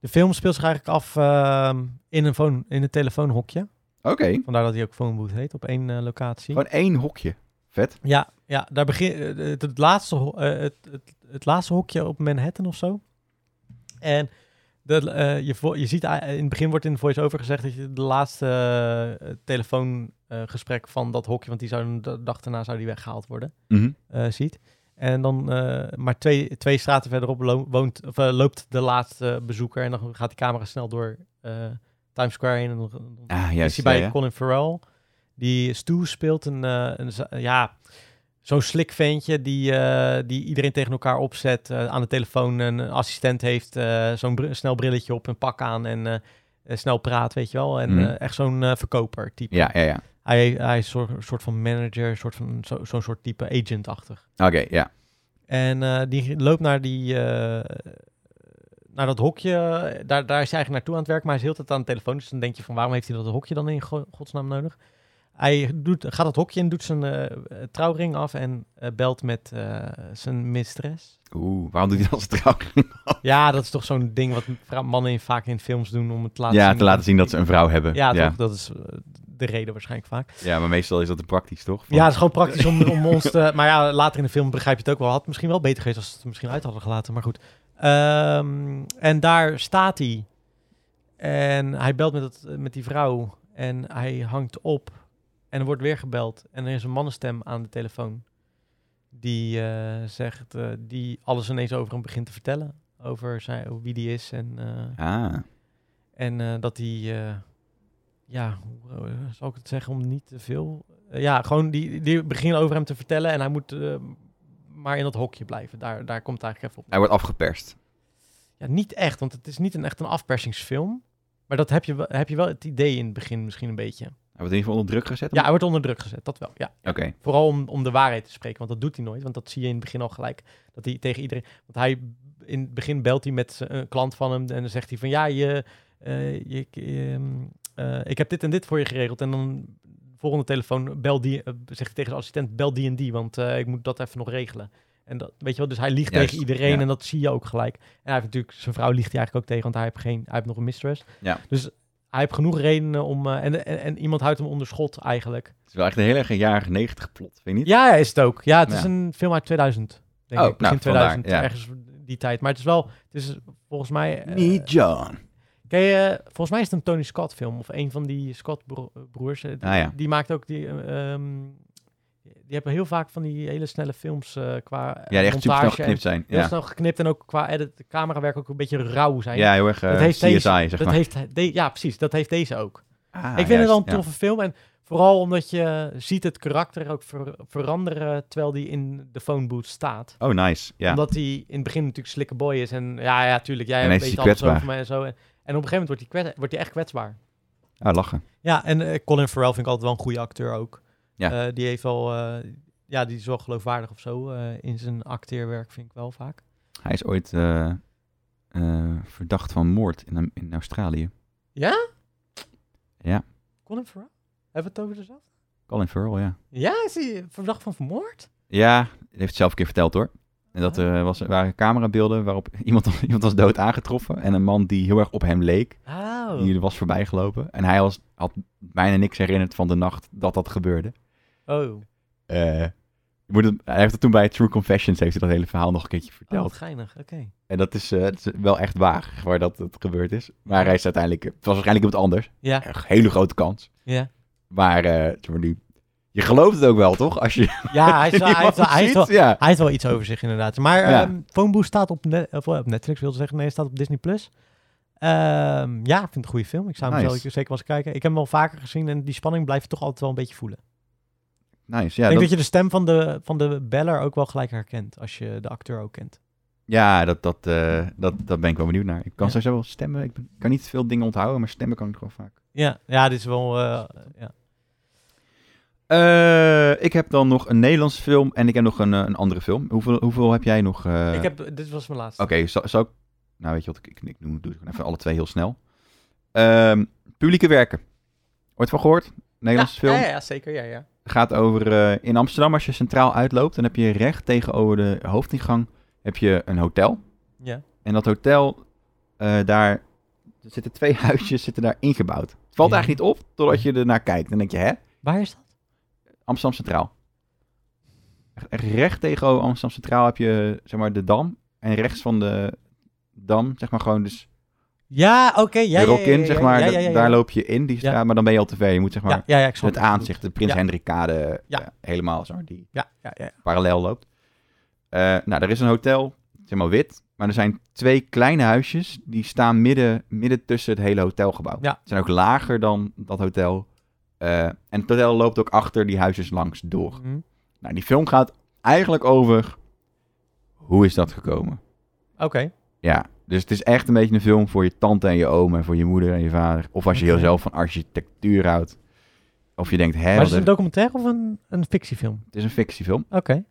de film speelt zich eigenlijk af ehm, in, een phone, in een telefoonhokje.
Oké.
Vandaar dat hij ook Phone Booth heet, op één eh, locatie.
Gewoon één hokje. Vet.
Ja, ja daar begin, eh, het, het laatste, ho- eh, het, het, het laatste hokje op Manhattan of zo. En de, eh, je, vo- je ziet, eh, in het begin wordt in de voice-over gezegd dat je de laatste eh, telefoongesprek van dat hokje, want die zou de dag daarna zou die weggehaald worden
Mhm.
eh, ziet. En dan eh, maar twee, twee straten verderop lo- woont, of, eh, loopt de laatste bezoeker. En dan gaat die camera snel door eh, Times Square heen. En dan, dan
Ah,
is
juist.
hij bij
ja, ja.
Colin Farrell. Die Stu speelt een, eh, een za- ja, zo'n slik ventje die, eh, die iedereen tegen elkaar opzet. eh, aan de telefoon een assistent heeft eh, zo'n br- snel brilletje op, een pak aan en eh, eh, snel praat, weet je wel. En
Mhm.
eh, echt zo'n eh, verkoper type.
Ja, ja, ja.
Hij, hij is een soort- soort van manager, een soort van zo- zo'n soort type agent-achtig.
Oké, ja.
En eh, die loopt naar, die, eh, naar dat hokje. Daar, daar is hij eigenlijk naartoe aan het werk, maar hij is heel de tijd aan de telefoon. Dus dan denk je van waarom heeft hij dat hokje dan in go- godsnaam nodig? Hij doet, gaat dat hokje in, doet zijn eh, trouwring af en eh, belt met eh, zijn mistress.
Oeh, waarom doet hij dat als trouw? Oh.
Ja, dat is toch zo'n ding wat vrou- mannen in, vaak in films doen om het te laten
ja,
zien.
te laten zien dat ze een vrouw hebben.
Ja,
ja.
toch? Dat is eh, de reden waarschijnlijk vaak.
Ja, maar meestal is dat praktisch, toch? Van-
Ja, het is gewoon praktisch om, om ons te... Maar ja, later in de film begrijp je het ook wel. Had het misschien wel beter geweest als ze het er misschien uit hadden gelaten. Maar goed. Ehm, en daar staat hij. En hij belt met, het, met die vrouw. En hij hangt op. En er wordt weer gebeld. En er is een mannenstem aan de telefoon. Die eh, zegt... eh, die alles ineens over hem begint te vertellen. Over zijn, wie die is en... eh,
Ah,
en eh, dat hij, eh, ja, hoe eh, zal ik het zeggen, om niet te veel. eh, ja, gewoon die, die beginnen over hem te vertellen en hij moet eh, maar in dat hokje blijven. Daar, daar komt het eigenlijk even op.
hij wordt afgeperst.
Ja, niet echt, want het is niet een, echt een afpersingsfilm. Maar dat heb je, wel- heb je wel het idee in het begin misschien een beetje.
wordt in ieder geval onder druk gezet.
Ja, hij wordt onder druk gezet, dat wel. Ja.
Oké.
Vooral om, om de waarheid te spreken, want dat doet hij nooit. Want dat zie je in het begin al gelijk. Dat hij tegen iedereen. Want hij in het begin belt hij met z'n- een klant van hem en dan zegt hij van ja, je, eh, je, ehm, eh, ik heb dit en dit voor je geregeld. En dan volgende telefoon bel die, eh, zegt hij tegen de assistent, bel die en die, want eh, ik moet dat even nog regelen. En dat, weet je wel, dus hij liegt
Juist,
tegen iedereen
ja.
en dat zie je ook gelijk. En hij heeft natuurlijk, zijn vrouw liegt hij eigenlijk ook tegen, want hij heeft, geen, hij heeft nog een mistress.
Ja.
Dus hij heeft genoeg redenen om, eh, en, en, en iemand houdt hem onder schot eigenlijk.
Het is wel echt een heel erg een jaren 90 plot, vind je niet?
Ja, ja, is het ook. Ja, het is
Ja.
een film uit 2000. Denk
Oh,
ik. Begin
nou,
2000,
vandaar, ja.
ergens die tijd. Maar het is wel, het is volgens mij... eh,
Niet John.
ken je, volgens mij is het een Tony Scott film. Of een van die Scott bro- broers. eh, die,
Ah, ja.
die maakt ook die... eh, ehm, die hebben heel vaak van die hele snelle films eh, qua
Ja, die echt super snel
montage en
geknipt zijn.
Heel
Ja.
snel geknipt en ook qua edit, de camerawerk ook een beetje rauw zijn.
ja, heel erg eh,
Dat heeft
CSI,
deze-
zeg
dat
maar.
heeft, hij- de- ja, precies. Dat heeft deze ook
Ah,
ik vind
juist,
het wel een
ja.
toffe film. En vooral omdat je ziet het karakter ook ver- veranderen terwijl die in de phone booth staat.
Oh, nice. Ja.
Omdat hij in het begin natuurlijk slikke boy is. En ja, ja, tuurlijk, jij
En
weet
ineens is
alles
hij kwetsbaar.
over mij en zo. En, en op een gegeven moment wordt hij, kwets- wordt hij echt kwetsbaar.
Ah, lachen.
Ja, en eh, Colin Farrell vind ik altijd wel een goede acteur ook.
Ja.
Eh, die heeft wel... eh, ja, die is wel geloofwaardig of zo eh, in zijn acteerwerk, vind ik wel vaak.
Hij is ooit eh, eh, verdacht van moord in, in Australië.
Ja?
Ja.
Colin Farrell? Hebben we het over dezelfde?
Colin Farrell, ja.
Ja, is hij eh, verdacht van vermoord?
Ja, dat heeft het zelf een keer verteld hoor. En dat
Oh.
er was, waren camerabeelden waarop iemand, iemand was dood aangetroffen. En een man die heel erg op hem leek,
Oh.
die er was voorbijgelopen. En hij was, had bijna niks herinnerd van de nacht dat dat gebeurde.
Oh,
Eh, je moet het- hij heeft het toen bij True Confessions, heeft hij dat hele verhaal nog een keertje
oh wat
verteld.
geinig. Oké.
En dat is, eh, dat is wel echt waar, waar dat het gebeurd is. Maar hij is uiteindelijk, het was waarschijnlijk iemand anders.
Ja.
Een hele grote kans.
Ja.
Maar, eh, zeg maar nu, je gelooft het ook wel toch? Als je
Ja, hij is wel, hij heeft wel, hij heeft wel,
ziet, ja.
hij heeft wel iets over zich inderdaad. Maar
Ja.
ehm Phone Booth staat op, net, of, eh, op Netflix, wilde zeggen. Nee, staat op Disney+. Plus. Ehm, ja, ik vind het een goede film. Ik zou hem
Nice.
zelf zeker wel eens kijken. Ik heb hem wel vaker gezien en die spanning blijf je toch altijd wel een beetje voelen.
Nice, ja.
ik denk
dat-
dat je de stem van de, van de beller ook wel gelijk herkent, als je de acteur ook kent.
Ja, dat, dat, eh, dat, dat ben ik wel benieuwd naar. Ik kan
Ja.
sowieso wel stemmen. Ik ben- kan niet veel dingen onthouden, maar stemmen kan ik gewoon vaak.
Ja, ja dit is wel... eh, ja.
Eh, ik heb dan nog een Nederlands film en ik heb nog een, eh, een andere film. Hoeveel, hoeveel heb jij nog? eh?
ik heb, dit was mijn laatste.
Oké, zal, zal ik... Nou, weet je wat, ik, ik, ik doe, doe het gewoon even alle twee heel snel. Ehm, publieke werken. Ooit van gehoord? Nederlands
ja,
film.
Ja, ja, zeker. Ja, ja.
gaat over eh, in Amsterdam als je centraal uitloopt, dan heb je recht tegenover de hoofdingang heb je een hotel.
Ja.
En dat hotel eh, daar er zitten twee huisjes zitten daar ingebouwd. Het valt
Ja.
eigenlijk niet op totdat je ernaar kijkt. Dan denk je, hè?
Waar is dat?
Amsterdam Centraal. Echt, echt recht tegenover Amsterdam Centraal heb je zeg maar de dam en rechts van de dam zeg maar gewoon dus
Ja, oké. ja,
de
ja,
rok
ja,
in
ja,
zeg
ja,
maar.
ja,
Da-
ja, ja,
Daar
ja.
loop je in die straat, maar dan ben je al te ver. Je moet zeg maar
Ja, ja, ja, ik snap
het aanzicht, de Prins
Ja.
Hendrikade
Ja.
eh, helemaal zo die
Ja, ja, ja.
parallel loopt. Eh, nou, er is een hotel, zeg maar wit, maar er zijn twee kleine huisjes die staan midden, midden tussen het hele hotelgebouw.
Ja.
Ze zijn ook lager dan dat hotel. Eh, en het hotel loopt ook achter die huisjes langs door.
Mhm.
Nou, die film gaat eigenlijk over hoe is dat gekomen?
Oké.
Ja, dus het is echt een beetje een film voor je tante en je oom en voor je moeder en je vader. Of als je heel
Oké.
zelf van architectuur houdt. Of je denkt, hè,
Maar
wat
is het een
er-
documentaire of een, een fictiefilm?
het is een fictiefilm.
Oké.
Eh,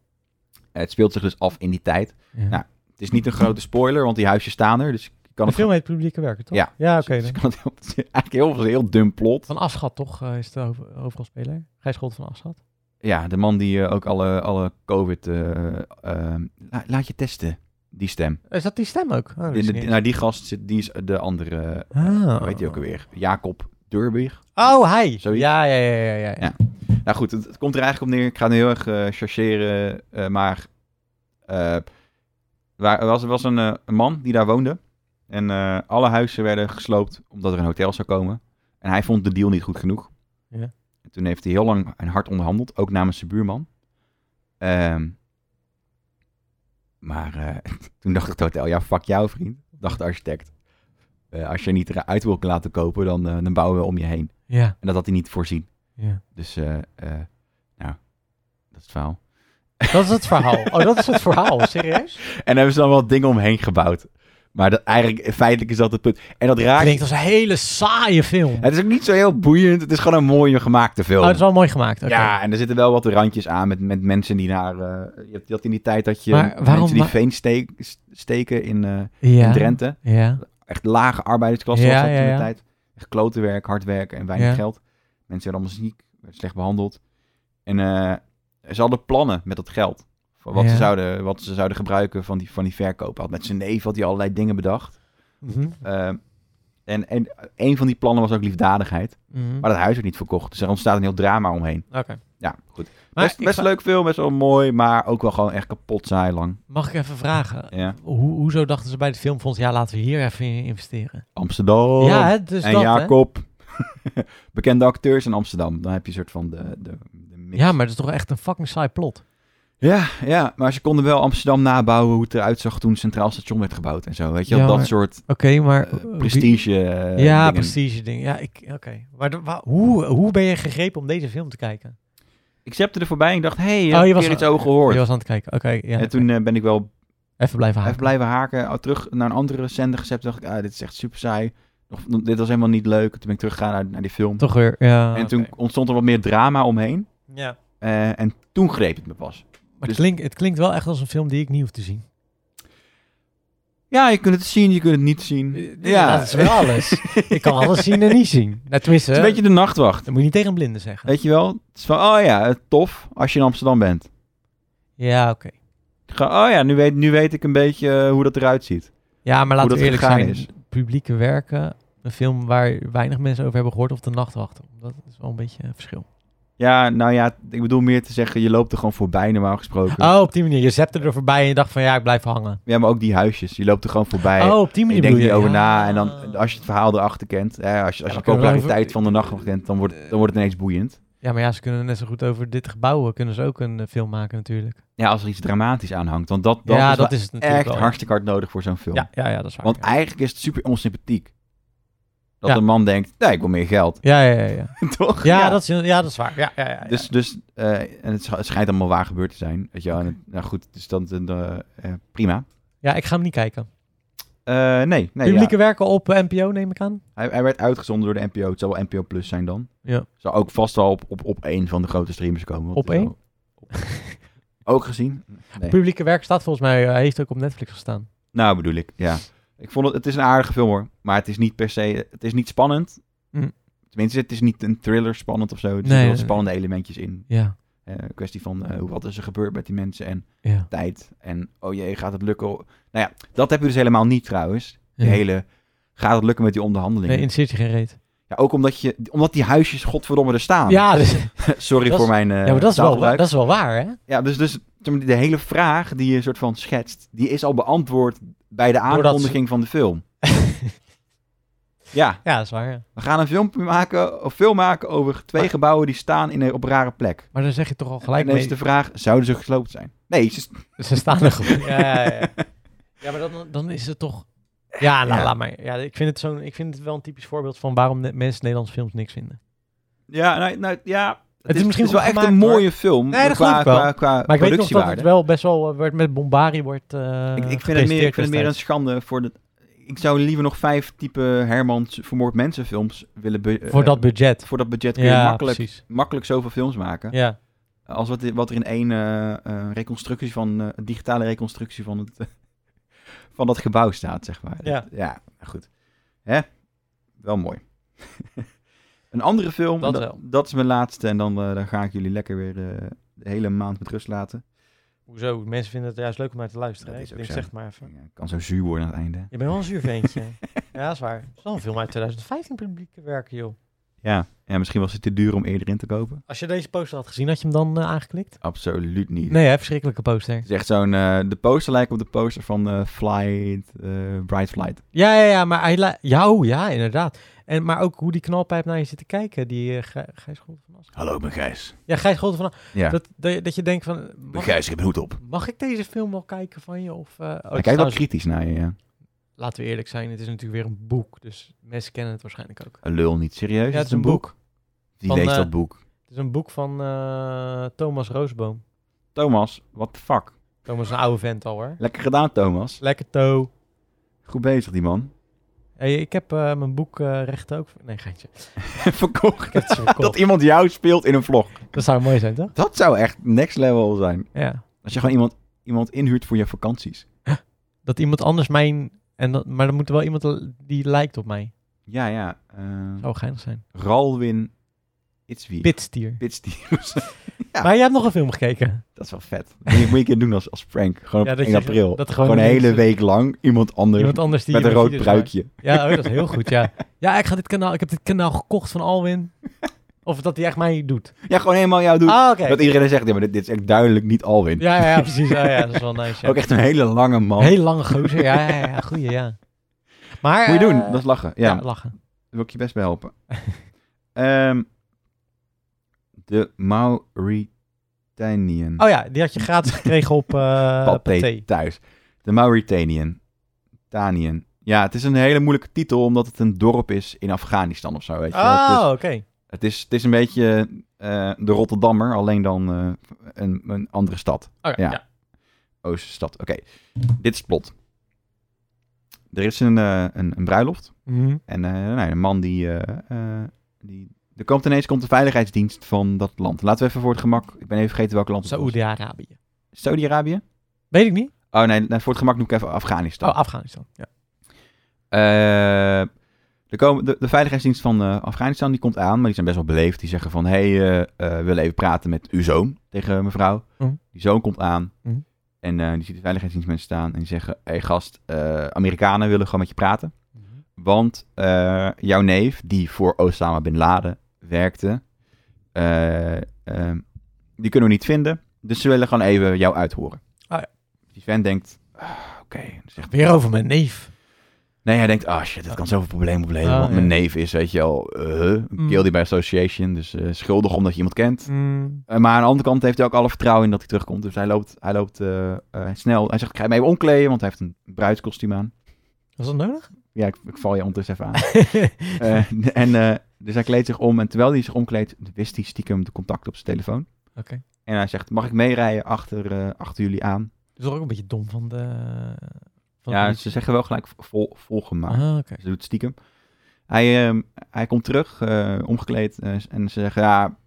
Het speelt zich dus af in die tijd. Nou, Het is niet een grote spoiler, want die huisjes staan er. Dus ik kan
de
het
film heet Publieke Werken, toch?
Ja.
Ja,
gewoon-
oké.
dus
dan.
ik kan het heel- het is eigenlijk heel, een heel dun plot.
Van Aschat, toch? eh, is de over- overal speler. Gijs Gold van Aschat.
Ja, de man die eh, ook alle, alle COVID... eh, eh, la- laat je testen, die stem.
Is Oh, dat die stem ook? Oh,
De- de- nou, die gast, zit, die is de andere... Hoe heet die ook alweer? Jacob Durbig.
Oh, hij.
Zoiets.
Ja, ja, ja, ja, ja.
Ja. Nou goed, het, het komt er eigenlijk op neer. Ik ga nu heel erg eh chargeren, eh, maar... eh, waar, er was, er was een, eh, een man die daar woonde. En eh, alle huizen werden gesloopt omdat er een hotel zou komen. En hij vond de deal niet goed genoeg.
Ja.
En toen heeft hij heel lang en hard onderhandeld, ook namens zijn buurman. Ehm, maar eh, toen dacht het hotel, ja, fuck jou vriend, dacht de architect. Eh, als je niet eruit wil laten kopen, dan, eh, dan bouwen we om je heen.
Ja,
En dat had hij niet voorzien.
ja.
Dus, eh, eh, nou, dat is het verhaal.
Dat is het verhaal. Oh, dat is het verhaal. Serieus?
En daar hebben ze dan wel dingen omheen gebouwd. Maar dat, eigenlijk, feitelijk is dat het punt. En dat raakt...
Klinkt als een hele saaie film.
Het is ook niet zo heel boeiend. Het is gewoon een mooie gemaakte film.
Oh, het is wel mooi gemaakt. oké.
Ja, en er zitten wel wat randjes aan met, met mensen die naar... eh, je hebt dat in die tijd dat je
Maar waarom-
mensen die
wa-
veen steek- steken in, eh, in
ja.
Drenthe.
Ja.
Echt lage arbeidersklasse
Ja,
was dat
ja,
in de
ja.
tijd. Echt klote werk, hard werken en weinig
Ja.
geld. Mensen werden allemaal ziek, werden slecht behandeld. En eh, ze hadden plannen met dat geld. Voor wat,
Ja.
ze zouden, wat ze zouden gebruiken van die, van die verkoop. Had met zijn neef had hij allerlei dingen bedacht.
Mhm.
Eh, en, en een van die plannen was ook liefdadigheid.
Mhm.
Maar dat huis werd niet verkocht. Dus er ontstaat een heel drama omheen.
Oké.
Ja, goed.
Maar
best
ik
best
ga-
leuk film, best wel mooi, maar ook wel gewoon echt kapot saai lang.
Mag ik even vragen?
Ja.
Hoe, hoezo dachten ze bij het filmfonds, ja, laten we hier even in investeren?
Amsterdam.
ja, hè, dus
en
dat, hè?
Jacob. Bekende acteurs in Amsterdam. Dan heb je een soort van de, de, de mix.
Ja, maar dat is toch echt een fucking saai plot.
ja, ja, maar ze konden wel Amsterdam nabouwen hoe het eruit zag toen het Centraal Station werd gebouwd en zo. Weet je, wel,
Ja,
dat
maar-
soort
Oké, maar...
eh,
eh, wie-
prestige eh,
ja,
dingen.
prestige ding. Ja, ik... Oké. Maar de- wa- hoe, hoe ben je gegrepen om deze film te kijken?
Ik zepte er voorbij en ik dacht, hé, hey,
Oh,
heb
je
je
was-
keer iets over gehoord.
Je was aan het kijken. Oké, ja.
en toen eh, ben ik wel
Even blijven haken.
Even blijven haken. Al terug naar een andere zender gezet. Dacht ik, ah, dit is echt super saai. Nog, nog- dit was helemaal niet leuk. Toen ben ik teruggegaan naar, naar die film.
Toch weer, ja.
en
oké.
toen ontstond er wat meer drama omheen.
Ja.
Eh, en toen greep het me pas.
Maar
Dus-
het, klinkt, het klinkt wel echt als een film die ik niet hoef te zien.
Ja, je kunt het zien, je kunt het niet zien. Ja,
dat is wel alles. ik kan alles zien en niet zien. Nou, tenminste,
Het is een beetje de nachtwacht.
dat moet je niet tegen een blinde zeggen.
Weet je wel? Het is van, oh ja, eh, tof als je in Amsterdam bent.
Ja, oké.
Ga, oh ja, nu weet, nu weet ik een beetje eh, hoe dat eruit ziet.
Ja, maar laten
dat
we eerlijk
gegaan
zijn.
is.
Publieke werken, een film waar weinig mensen over hebben gehoord, of de nachtwachten. Dat is wel een beetje een verschil.
Ja, nou ja, ik bedoel meer te zeggen, je loopt er gewoon voorbij normaal gesproken.
Oh, op die manier. Je zette er voorbij en je dacht van ja, ik blijf hangen.
Ja, maar ook die huisjes, je loopt er gewoon voorbij.
oh, op die
Je
manier.
denkt
bedoel
niet over
Ja.
na en dan als je het verhaal erachter kent, hè, als je, als
Ah. Ja,
je
dan kunnen we
populariteit
even-
van de nacht kent, dan wordt, dan wordt het ineens boeiend.
Ja, maar ja, ze kunnen net zo goed over dit gebouw, eh, kunnen ze ook een eh, film maken natuurlijk.
Ja, als er iets dramatisch aan hangt, want dat, dat
ja,
is
dat
wel
is het natuurlijk
echt
wel.
hartstikke hard nodig voor zo'n film.
Ja, ja, ja, dat is waar.
want
ja.
eigenlijk is het super onsympathiek. Dat
Ja.
een man denkt, nee, ik wil meer geld,
Ja, ja, ja. Ja,
toch?
ja, Dat, is, ja dat is waar. Ja, ja, ja, ja.
Dus, dus eh, en het sch- het schijnt allemaal waar gebeurd te zijn. Weet je, wel. En het- nou goed, dus dan eh, eh, prima.
ja, ik ga hem niet kijken.
Eh, nee, nee ja.
Publieke werken op eh, NPO, neem ik aan.
hij, hij werd uitgezonden door de NPO. Het zal wel NPO Plus zijn dan.
Ja.
Zal ook vast wel op, op, op één van de grote streamers komen. want
Op
het is
één?
wel- Ook gezien? Nee.
Publieke werk staat volgens mij, eh, heeft ook op Netflix gestaan.
Nou, bedoel ik, ja. Ik vond het, het is een aardige film hoor. Maar het is niet per se, het is niet spannend.
Mm.
Tenminste, het is niet een thriller spannend of zo. Er
Nee,
zitten wat
nee,
spannende elementjes in.
Ja,
Eh, Een kwestie van, eh, hoe wat is er gebeurd met die mensen en
ja.
tijd. En, oh jee, gaat het lukken? Nou ja, dat heb je dus helemaal niet trouwens. Die
ja.
hele, Ah, gaat het lukken met die onderhandelingen?
Nee, interesseert je geen reet.
Ja, ook omdat, je, omdat die huisjes, godverdomme, er staan.
Ja, dus,
Sorry
Dat is-
voor mijn eh
ja, maar dat is, wel,
taalgebruik.
dat is wel waar, hè?
Ja, dus, dus zeg maar, de hele vraag die je soort van schetst, die is al beantwoord bij de
Doordat ze-
aankondiging van de film. ja,
Ja, dat is waar. ja.
we gaan een film maken, of film maken over twee
Maar-
gebouwen die staan in een, op een rare plek.
Maar dan zeg je toch al
En
gelijk
dan is
mee,
de vraag, zouden ze gesloopt zijn? Nee, ze,
ze staan er gewoon. Ja, ja, ja. ja maar dan, dan is het toch... Ja, nou,
Ja.
laat maar. Ja, ik, vind het zo'n, ik vind het wel een typisch voorbeeld van waarom ne- mensen Nederlandse films niks vinden.
ja, nou, nou, ja, het,
is misschien
wel
goed
echt een
gemaakt,
mooie film
Nee, dat
qua,
geloof ik wel.
qua, qua
Maar ik weet nog dat het
productiewaarde.
wel best wel eh, werd met Bombari wordt eh,
Ik, ik vind het meer, ik
gepresenteerd
vind het meer een
destijds.
schande voor de... Ik zou liever nog vijf type Hermans vermoord mensen films willen... be- eh,
Voor dat budget.
voor dat budget kun je
Ja,
makkelijk,
precies.
makkelijk zoveel films maken.
Ja.
Als wat, wat er in één eh, eh, reconstructie van, eh, een digitale reconstructie van, het, eh, van dat gebouw staat, zeg maar.
Ja.
Dat- ja, goed. Hè? Wel mooi. een andere film,
Dat
dat,
wel.
dat is mijn laatste en dan, eh, dan ga ik jullie lekker weer eh, de hele maand met rust laten.
Hoezo? Mensen vinden het juist leuk om naar te luisteren.
Dat
hè?
is ook
Ik denk,
zo.
zeg het maar even.
Ik eh, kan zo zuur worden aan het einde.
Je bent wel een zuur ventje. ja, dat is waar. Het is wel een film uit 2015 publieke werken, joh.
Ja, ja, misschien was het te duur om eerder in te kopen.
Als je deze poster had gezien, had je hem dan eh, aangeklikt?
Absoluut niet.
Nee, hè? verschrikkelijke poster.
Het is echt zo'n... eh, de poster lijkt op de poster van eh, Flight, eh, Bright Flight.
Ja, ja, ja, maar hij la- ja, oh, ja, inderdaad. En, maar ook hoe die knalpijp naar je zit te kijken, die eh, Gij- Gijs Golden van As.
Hallo, mijn Gijs.
Ja, Gijs Golden van As.
Ja,
Dat, dat, dat je denkt van,
mijn
mag,
Gijs, ik heb een hoed op.
mag ik deze film wel kijken van je? Of, eh, oh, het
Hij
is
kijkt wel
trouwens-
kritisch naar je, ja.
laten we eerlijk zijn, het is natuurlijk weer een boek. Dus mensen kennen het waarschijnlijk ook.
Een lul niet, serieus?
Ja, het is een boek.
Die
Van,
leest
eh,
dat boek.
Het is een boek van eh, Thomas Roosboom.
Thomas, what the fuck?
Thomas is een oude vent al hoor.
Lekker gedaan, Thomas.
Lekker toe.
Goed bezig, die man.
Hey, ik heb eh, mijn boek eh recht ook... Nee, geintje.
Verkocht.
Ik heb het ze verkocht.
Dat iemand jou speelt in een vlog.
Dat zou mooi zijn, toch?
Dat zou echt next level zijn.
Ja.
Als je gewoon iemand, iemand inhuurt voor je vakanties.
Dat iemand anders mijn... En dat, maar dan moet er wel iemand l- die lijkt op mij.
Ja, ja. eh,
Zou Oh, geinig zijn.
Ralwin Itzwie.
Pitstier.
Pitstiers. Ja.
Maar jij hebt nog een film gekeken.
Dat is wel vet. Dat moet je- moet je een keer doen als, als prank. Gewoon
Ja,
op
dat
1
je-
april.
dat gewoon
gewoon een hele
mensen-
week lang iemand anders
Iemand anders die...
met een
je
rood
video's maakt.
pruikje.
Ja, oh, dat is heel goed, ja. Ja, ik, ga dit kanaal, ik heb dit kanaal gekocht van Alwin. Of dat hij echt mij doet.
Ja, gewoon helemaal jou doen.
Ah, oké.
Dat iedereen dan zegt, ja, maar dit, dit is echt duidelijk niet Alwin.
Ja, ja, ja, precies. Ja, ja, dat is wel nice. Ja.
Ook echt een hele lange man.
Heel lange gozer. Ja, ja, ja. Goeie, ja. Maar...
Moet je doen,
eh,
dat is lachen. Ja,
ja.
daar
lachen.
wil ik je best bij helpen. Ehm, de Mauritanian.
Oh ja, die had je gratis gekregen op eh
Pathé
Pathé.
thuis. De Mauritanian. Tanian. Ja, het is een hele moeilijke titel, omdat het een dorp is in Afghanistan of zo. Weet je? wel. Het is-
Oh, oké.
Het is, het is een beetje eh, de Rotterdammer, alleen dan eh, een, een andere stad.
Oké,
Ja.
ja.
Oosterstad. Oké, dit is het plot. Er is een, eh, een, een bruiloft.
Mhm.
En eh, nou, een man die, eh, eh, die... Er komt ineens komt de veiligheidsdienst van dat land. Laten we even voor het gemak... Ik ben even vergeten welk land het was.
Saoedi-Arabië.
Saudi-Arabië?
Weet ik niet.
Oh nee, nee, voor het gemak noem ik even Afghanistan.
Oh, Afghanistan. Ja.
Eh, er komen, de, de veiligheidsdienst van eh, Afghanistan die komt aan, maar die zijn best wel beleefd. Die zeggen van, hé, hey, eh, eh, we willen even praten met uw zoon tegen mevrouw.
Mhm.
Die zoon komt aan
Mhm.
en eh, die ziet de veiligheidsdienstmensen staan en die zeggen, hé hey, gast, eh, Amerikanen willen gewoon met je praten. Want eh, jouw neef, die voor Osama Bin Laden werkte, eh, ehm, die kunnen we niet vinden. Dus ze willen gewoon even jou uithoren.
Ah, ja.
Die vent denkt, ah, oké, dan zegt
Weer over mijn neef.
Nee, hij denkt, ah shit, dat kan zoveel problemen opleveren.
Ah,
want mijn
ja.
neef is, weet je wel, eh, een
Mm.
guilty by association. Dus eh, schuldig omdat je iemand kent.
Mm.
Eh, maar aan de andere kant heeft hij ook alle vertrouwen in dat hij terugkomt. Dus hij loopt, hij loopt eh, eh, snel. Hij zegt, ik ga mij even omkleden, want hij heeft een bruidskostuum aan.
Was dat nodig?
Ja, ik, ik val je ondertussen even aan. Eh, en, eh, dus hij kleedt zich om. En terwijl hij zich omkleedt, wist hij stiekem de contact op zijn telefoon.
Oké.
En hij zegt, mag ik meerijden achter, eh, achter jullie aan?
Dat is ook een beetje dom van de... Van
ja,
de-
ze zeggen wel gelijk vol, volgemaakt.
Ah, oké.
Ze doet het Eh, stiekem. Hij, ehm, hij komt terug, eh, omgekleed. eh, en ze zeggen, ja,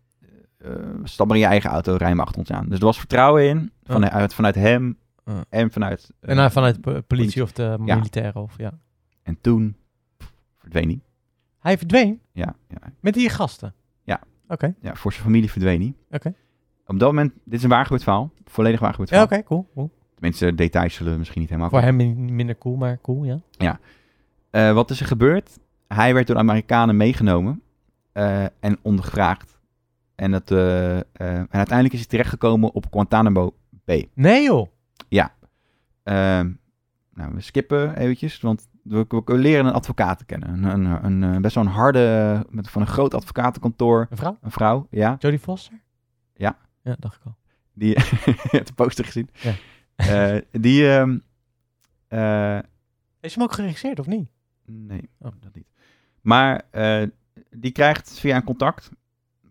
eh, stap maar in je eigen auto, rij maar achter ons aan. Dus er was vertrouwen in, van,
Ja.
uit, vanuit hem
Ja.
en vanuit... eh,
Oh. En dan vanuit de po-
politie.
politie of de
Ja.
militairen of ja.
en toen pff, verdween hij.
Hij verdween
Ja, ja,
met die gasten.
Ja.
Oké.
ja, voor zijn familie verdween hij.
Oké.
Op dat moment, dit is een waargebeurd verhaal. Volledig waargebeurd
Ja,
verhaal.
oké, cool, cool.
Mensen, details zullen misschien niet helemaal...
Voor hem min- minder cool, maar cool, ja.
Eh, wat is er gebeurd? Hij werd door de Amerikanen meegenomen eh, en ondergevraagd. En, dat, eh, eh, en uiteindelijk is hij terechtgekomen op Guantanamo Bay.
Nee joh.
Ehm, nou, we skippen eventjes, want we, we- we leren een advocaat kennen. Een, een, een, eh, best wel een harde, met, van een groot advocatenkantoor.
Een vrouw?
Een vrouw, ja.
Jodie Foster?
Ja.
Ja, dacht ik al.
Die, je hebt de poster gezien.
Ja.
Eh, die, ehm, eh,
Is hem ook geregisseerd of niet?
Nee,
Oh.
dat niet. Maar eh, die krijgt via een contact.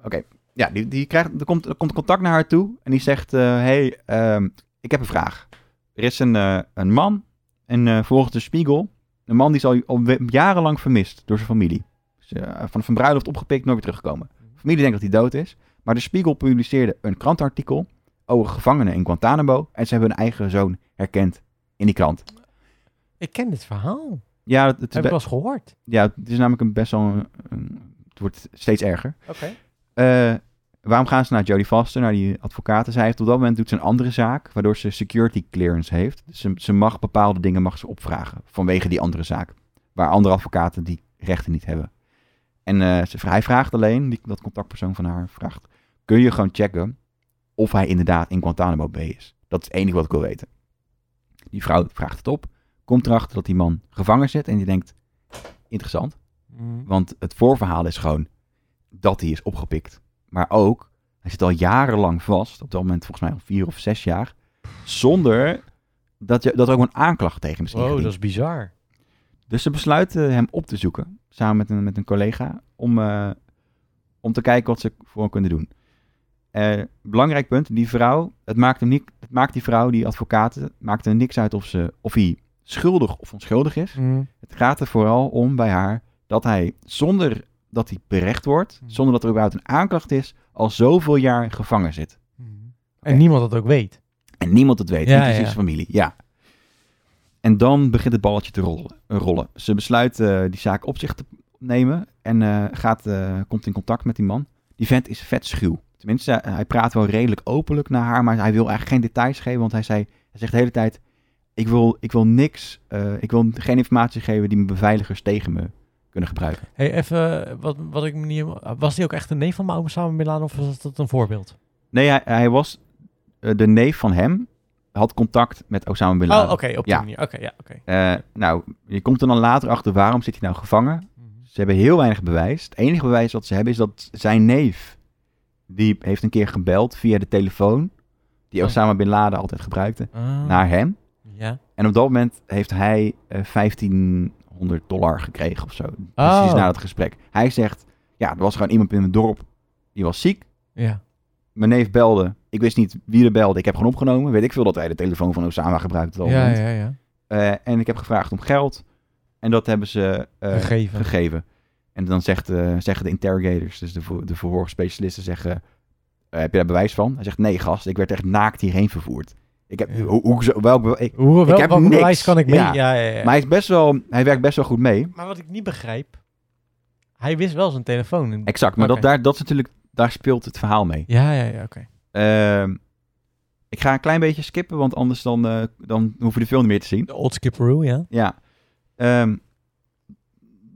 Oké, ja, die, die krijgt, er, komt, er komt contact naar haar toe en die zegt: Hé, hey, ehm, ik heb een vraag. Er is een, eh, een man, en eh, volgens de spiegel, een man die is al, al we- jarenlang vermist door zijn familie. Is, eh, van een bruiloft opgepikt, nooit weer teruggekomen. De familie denkt dat hij dood is, maar de spiegel publiceerde een krantartikel over gevangenen in Guantanamo en ze hebben hun eigen zoon herkend in die krant.
Ik ken dit verhaal.
Ja, het, het is
Heb
be-
ik wel eens gehoord.
ja, het is namelijk een best wel. een- een- het wordt steeds erger.
Oké.
Eh, waarom gaan ze naar Jodie Foster, naar die advocaten? Zij heeft op dat moment doet ze een andere zaak, waardoor ze security clearance heeft. Dus ze, ze mag bepaalde dingen mag ze opvragen vanwege die andere zaak, waar andere advocaten die rechten niet hebben. En eh, ze, hij vraagt alleen, die, dat contactpersoon van haar vraagt, kun je gewoon checken of hij inderdaad in Guantanamo Bay is? Dat is het enige wat ik wil weten. Die vrouw vraagt het op, komt erachter dat die man gevangen zit en die denkt, interessant. Want het voorverhaal is gewoon dat hij is opgepikt. Maar ook, hij zit al jarenlang vast, op dat moment volgens mij al vier of zes jaar, zonder dat, je, dat er ook een aanklacht tegen hem is
Wow,
ingediend.
dat is bizar.
Dus ze besluiten hem op te zoeken, samen met een, met een collega, om, eh, om te kijken wat ze voor hem kunnen doen. Eh, belangrijk punt, die vrouw, het maakt, hem niet, het maakt die vrouw, die advocaten, maakt er niks uit of, ze, of hij schuldig of onschuldig is. Het gaat er vooral om bij haar dat hij zonder dat hij berecht wordt,
Mhm.
zonder dat er überhaupt een aanklacht is, al zoveel jaar gevangen zit. Oké.
Mm. En niemand dat ook weet.
En niemand het weet,
Ja,
inclusief
ja.
zijn familie. Ja. En dan begint het balletje te rollen. eh, rollen. Ze besluit eh, die zaak op zich te nemen en eh, gaat, eh, komt in contact met die man. Die vent is vet schuw. Tenminste, eh, hij praat wel redelijk openlijk naar haar, maar hij wil eigenlijk geen details geven, want hij, zei, hij zegt de hele tijd, ik wil, ik wil niks, eh, ik wil geen informatie geven die mijn beveiligers tegen me kunnen gebruiken.
Hey, even eh, wat, wat ik me niet. helemaal- Was die ook echt een neef van Osama Bin Milaan of was dat een voorbeeld?
Nee, hij, hij was eh, de neef van hem. Had contact met Osama Bin
Oh,
Laden.
oké, op die
Ja.
manier. Oké, ja, oké.
Eh, nou, je komt er dan later achter waarom zit hij nou gevangen.
Mhm.
Ze hebben heel weinig bewijs. Het enige bewijs dat ze hebben is dat zijn neef... die heeft een keer gebeld via de telefoon... die
Oh.
Osama Bin Laden altijd gebruikte,
Ah,
naar hem.
Ja.
En op dat moment heeft hij eh, 1500 dollar gekregen of zo. Precies
Oh.
na dat gesprek. Hij zegt, ja, er was gewoon iemand in mijn dorp... die was ziek,
Ja.
mijn neef belde. Ik wist niet wie er belde. Ik heb gewoon opgenomen. Weet ik veel dat hij de telefoon van Osama gebruikte. op dat
Ja,
moment.
ja, ja.
Eh, en ik heb gevraagd om geld. En dat hebben ze eh,
Gegeven.
gegeven. En dan zegt, eh, zeggen de interrogators, dus de, vo- de verhoorspecialisten, zeggen... eh, heb je daar bewijs van? Hij zegt, nee gast, ik werd echt naakt hierheen vervoerd. Ik heb,
Ja.
hoe, hoe, zo- welk, bewa- ik,
Hoe, wel,
heb
welk
niks.
bewijs kan ik mee?
Ja.
Ja, ja, ja.
Maar hij, is best wel, hij werkt best wel goed mee.
Maar wat ik niet begrijp, hij wist wel zijn telefoon. in-
Exact, maar dat,
Oké.
daar, dat is natuurlijk, daar speelt het verhaal mee.
Ja, ja, ja, oké.
Ehm, ik ga een klein beetje skippen, want anders dan, eh, dan hoef je de film niet meer te zien.
De old skipperoo, ja.
Ja. Ehm,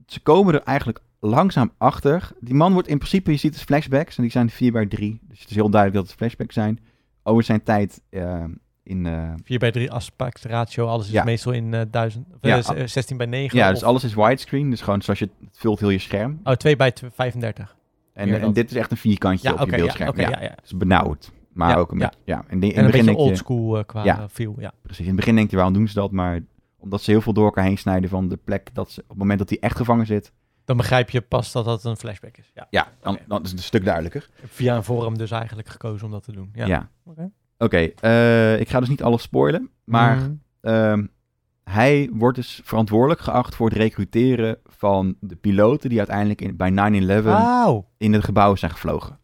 ze komen er eigenlijk langzaam achter. Die man wordt in principe, je ziet het flashbacks, en die zijn 4 bij 3. Dus het is heel duidelijk dat het flashbacks zijn. Over zijn tijd ehm, in. eh,
4 bij 3 aspect ratio, alles is
Ja.
meestal in eh, 1000, of,
Ja,
eh, z- eh, 16 bij 9.
ja,
of-
dus alles is widescreen. Dus gewoon zoals je het vult heel je scherm.
Oh, 2 bij 2 35. meer
En, en
dan.
dit is echt een vierkantje
Ja,
op
oké,
je
ja,
beeldscherm.
oké,
ja.
ja, ja. En
Het is benauwd. Maar
Ja,
ook een
ja.
beetje. Ja. En in, in
een
het begin
beetje
denk
old
je,
school eh, qua
Ja.
eh, feel, ja.
precies, in het begin denk je, waarom doen ze dat? Maar omdat ze heel veel door elkaar heen snijden van de plek dat ze op het moment dat hij echt gevangen zit.
Dan begrijp je pas dat dat een flashback is. Ja.
Ja, dan,
Oké.
dan is het een stuk duidelijker.
Via een forum dus eigenlijk gekozen om dat te doen. Ja.
Ja.
Oké.
Oké, eh, ik ga dus niet alles spoilen. Maar
Mhm.
ehm, hij wordt dus verantwoordelijk geacht voor het recruteren van de piloten die uiteindelijk in, bij 9-11
Wauw.
in het gebouw zijn gevlogen.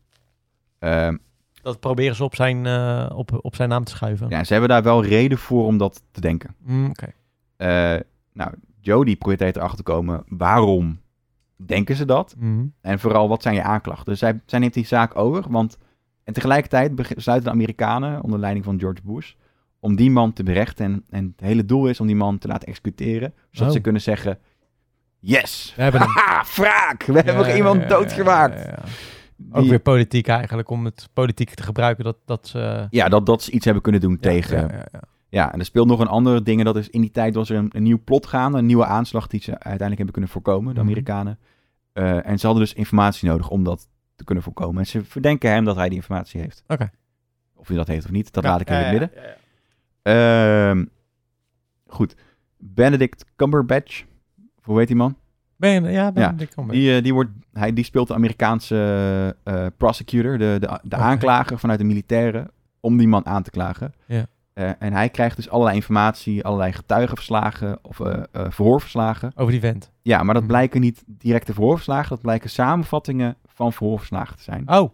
Ehm,
Dat proberen ze op zijn, eh, op, op zijn naam te schuiven.
ja, ze hebben daar wel reden voor om dat te denken.
Mm, Oké.
Eh, nou, Jody probeert erachter te komen waarom denken ze dat?
Mhm.
En vooral wat zijn je aanklachten? Dus zij, zij neemt die zaak over, want... En tegelijkertijd beg- besluiten de Amerikanen onder leiding van George Bush om die man te berechten. En, en het hele doel is om die man te laten executeren, zodat
Oh.
ze kunnen zeggen... Yes!
We hebben hem.
Haha, wraak! We hebben
Ja,
iemand
ja, ja,
doodgemaakt!
ja, ja. Ook
Die-
weer politiek eigenlijk, om het politiek te gebruiken dat, dat ze... eh,
Ja, dat, dat ze iets hebben kunnen doen tegen...
Ja,
Ja,
ja, ja, ja.
en er speelt nog een andere ding. en Dat is in die tijd was er een, een nieuw plot gaande, een nieuwe aanslag die ze uiteindelijk hebben kunnen voorkomen, de
Mhm.
Amerikanen. Eh, en ze hadden dus informatie nodig om dat te kunnen voorkomen. En ze verdenken hem dat hij die informatie heeft.
Oké.
Of hij dat heeft of niet, dat
Ja,
laat ik in
ja,
het midden.
ja, ja, ja.
Ehm, goed. Benedict Cumberbatch. Hoe heet die man?
Ben je, ja, ben
Ja,
je dik om,
Die, eh, die, wordt, hij, die speelt de Amerikaanse eh, prosecutor, de, de, de
Oké.
aanklager vanuit de militairen, om die man aan te klagen.
Ja.
Eh, en hij krijgt dus allerlei informatie, allerlei getuigenverslagen of eh, eh, verhoorverslagen.
Over die vent.
Ja, maar dat
Mhm.
blijken niet directe verhoorverslagen, dat blijken samenvattingen van verhoorverslagen te zijn.
Oh,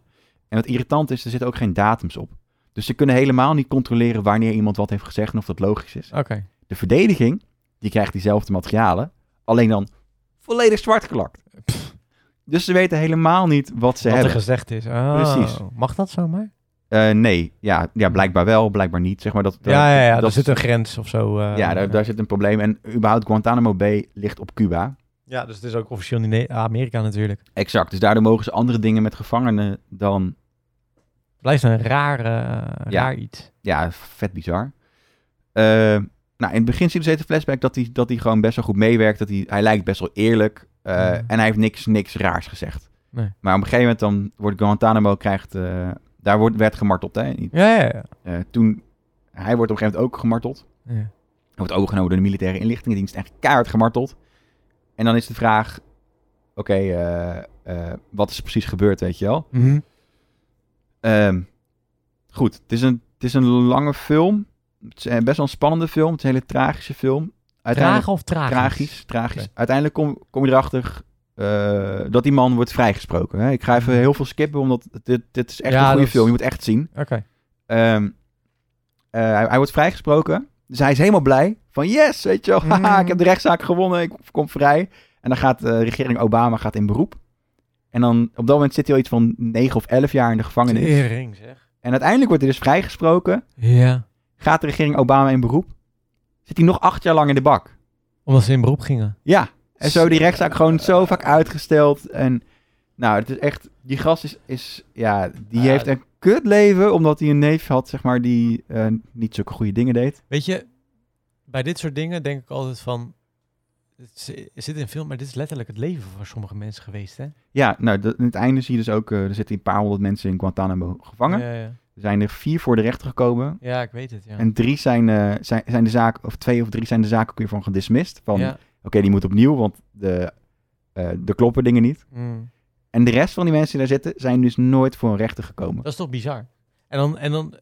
En wat irritant is, er zitten ook geen datums op. Dus ze kunnen helemaal niet controleren wanneer iemand wat heeft gezegd en of dat logisch is.
oké.
De verdediging, die krijgt diezelfde materialen, alleen dan volledig zwart gelakt. Dus ze weten helemaal niet wat ze
Wat er
hebben.
gezegd is. Oh,
Precies.
Mag dat zomaar?
Eh, nee, ja, ja, blijkbaar wel, blijkbaar niet. Zeg maar dat,
ja, ja, ja.
dat
er
is-
zit een grens of zo. eh,
ja daar, daar zit een probleem. En überhaupt, Guantanamo Bay ligt op Cuba.
ja, dus het is ook officieel in Ne- Amerika natuurlijk.
Exact, dus daardoor mogen ze andere dingen met gevangenen dan...
Blijft een raar, eh,
Ja.
raar iets.
Ja, vet bizar. Eh, nou, in het begin zie je dus even flashback dat hij, dat hij gewoon best wel goed meewerkt. Dat hij, hij lijkt best wel eerlijk. eh,
Mhm.
En hij heeft niks, niks raars gezegd.
Nee.
Maar op een gegeven moment dan wordt Guantanamo krijgt... eh, daar wordt, werd gemarteld, hè?
Ja, ja, ja.
Eh, toen, hij wordt op een gegeven moment ook gemarteld.
ja.
Hij wordt overgenomen door de militaire inlichtingendienst en keihard gemarteld. En dan is de vraag, oké, eh, eh, wat is er precies gebeurd, weet je wel? Ehm, goed, het is, een, het is een lange film. Het is eh, best wel een spannende film. Het is een hele tragische film. uiteindelijk
Traag of traag?
tragisch. tragisch. Uiteindelijk kom, kom je erachter eh, dat die man wordt vrijgesproken. Hè? Ik ga even heel veel skippen, omdat dit, dit is echt
Ja,
een goede
dat is-
film. Je moet echt zien.
Oké.
Ehm, eh, hij, hij wordt vrijgesproken. Dus hij is helemaal blij. Van yes, weet je wel. Haha,
Mm.
ik heb de rechtszaak gewonnen. Ik kom vrij. En dan gaat eh, regering Obama gaat in beroep. En dan op dat moment zit hij al iets van 9 of 11 jaar in de gevangenis.
Tering, zeg.
En uiteindelijk wordt hij dus vrijgesproken.
Ja.
Gaat de regering Obama in beroep. Zit hij nog acht jaar lang in de bak.
Omdat ze in beroep gingen.
Ja. En zo die rechtszaak gewoon zo vaak uitgesteld. En nou, het is echt... Die gast is... is ja, die
Ja.
heeft een kut leven. Omdat hij een neef had, zeg maar, die eh, niet zulke goede dingen deed.
Weet je, bij dit soort dingen denk ik altijd van... Het zi- het zit in film, maar dit is letterlijk het leven van sommige mensen geweest, hè?
Ja, nou, dat- in het einde zie je dus ook, eh, er zitten een paar honderd mensen in Guantanamo gevangen.
Ja, ja.
Er zijn er vier voor de rechter gekomen.
ja, ik weet het, ja.
En drie zijn, eh, zijn, zijn de zaak, of twee of drie zijn de zaak ook weer van gedismist. Van,
Ja.
oké, die moet opnieuw, want de, eh er kloppen dingen niet.
Mm.
En de rest van die mensen die daar zitten, zijn dus nooit voor een rechter gekomen.
Dat is toch bizar? En dan, en dan,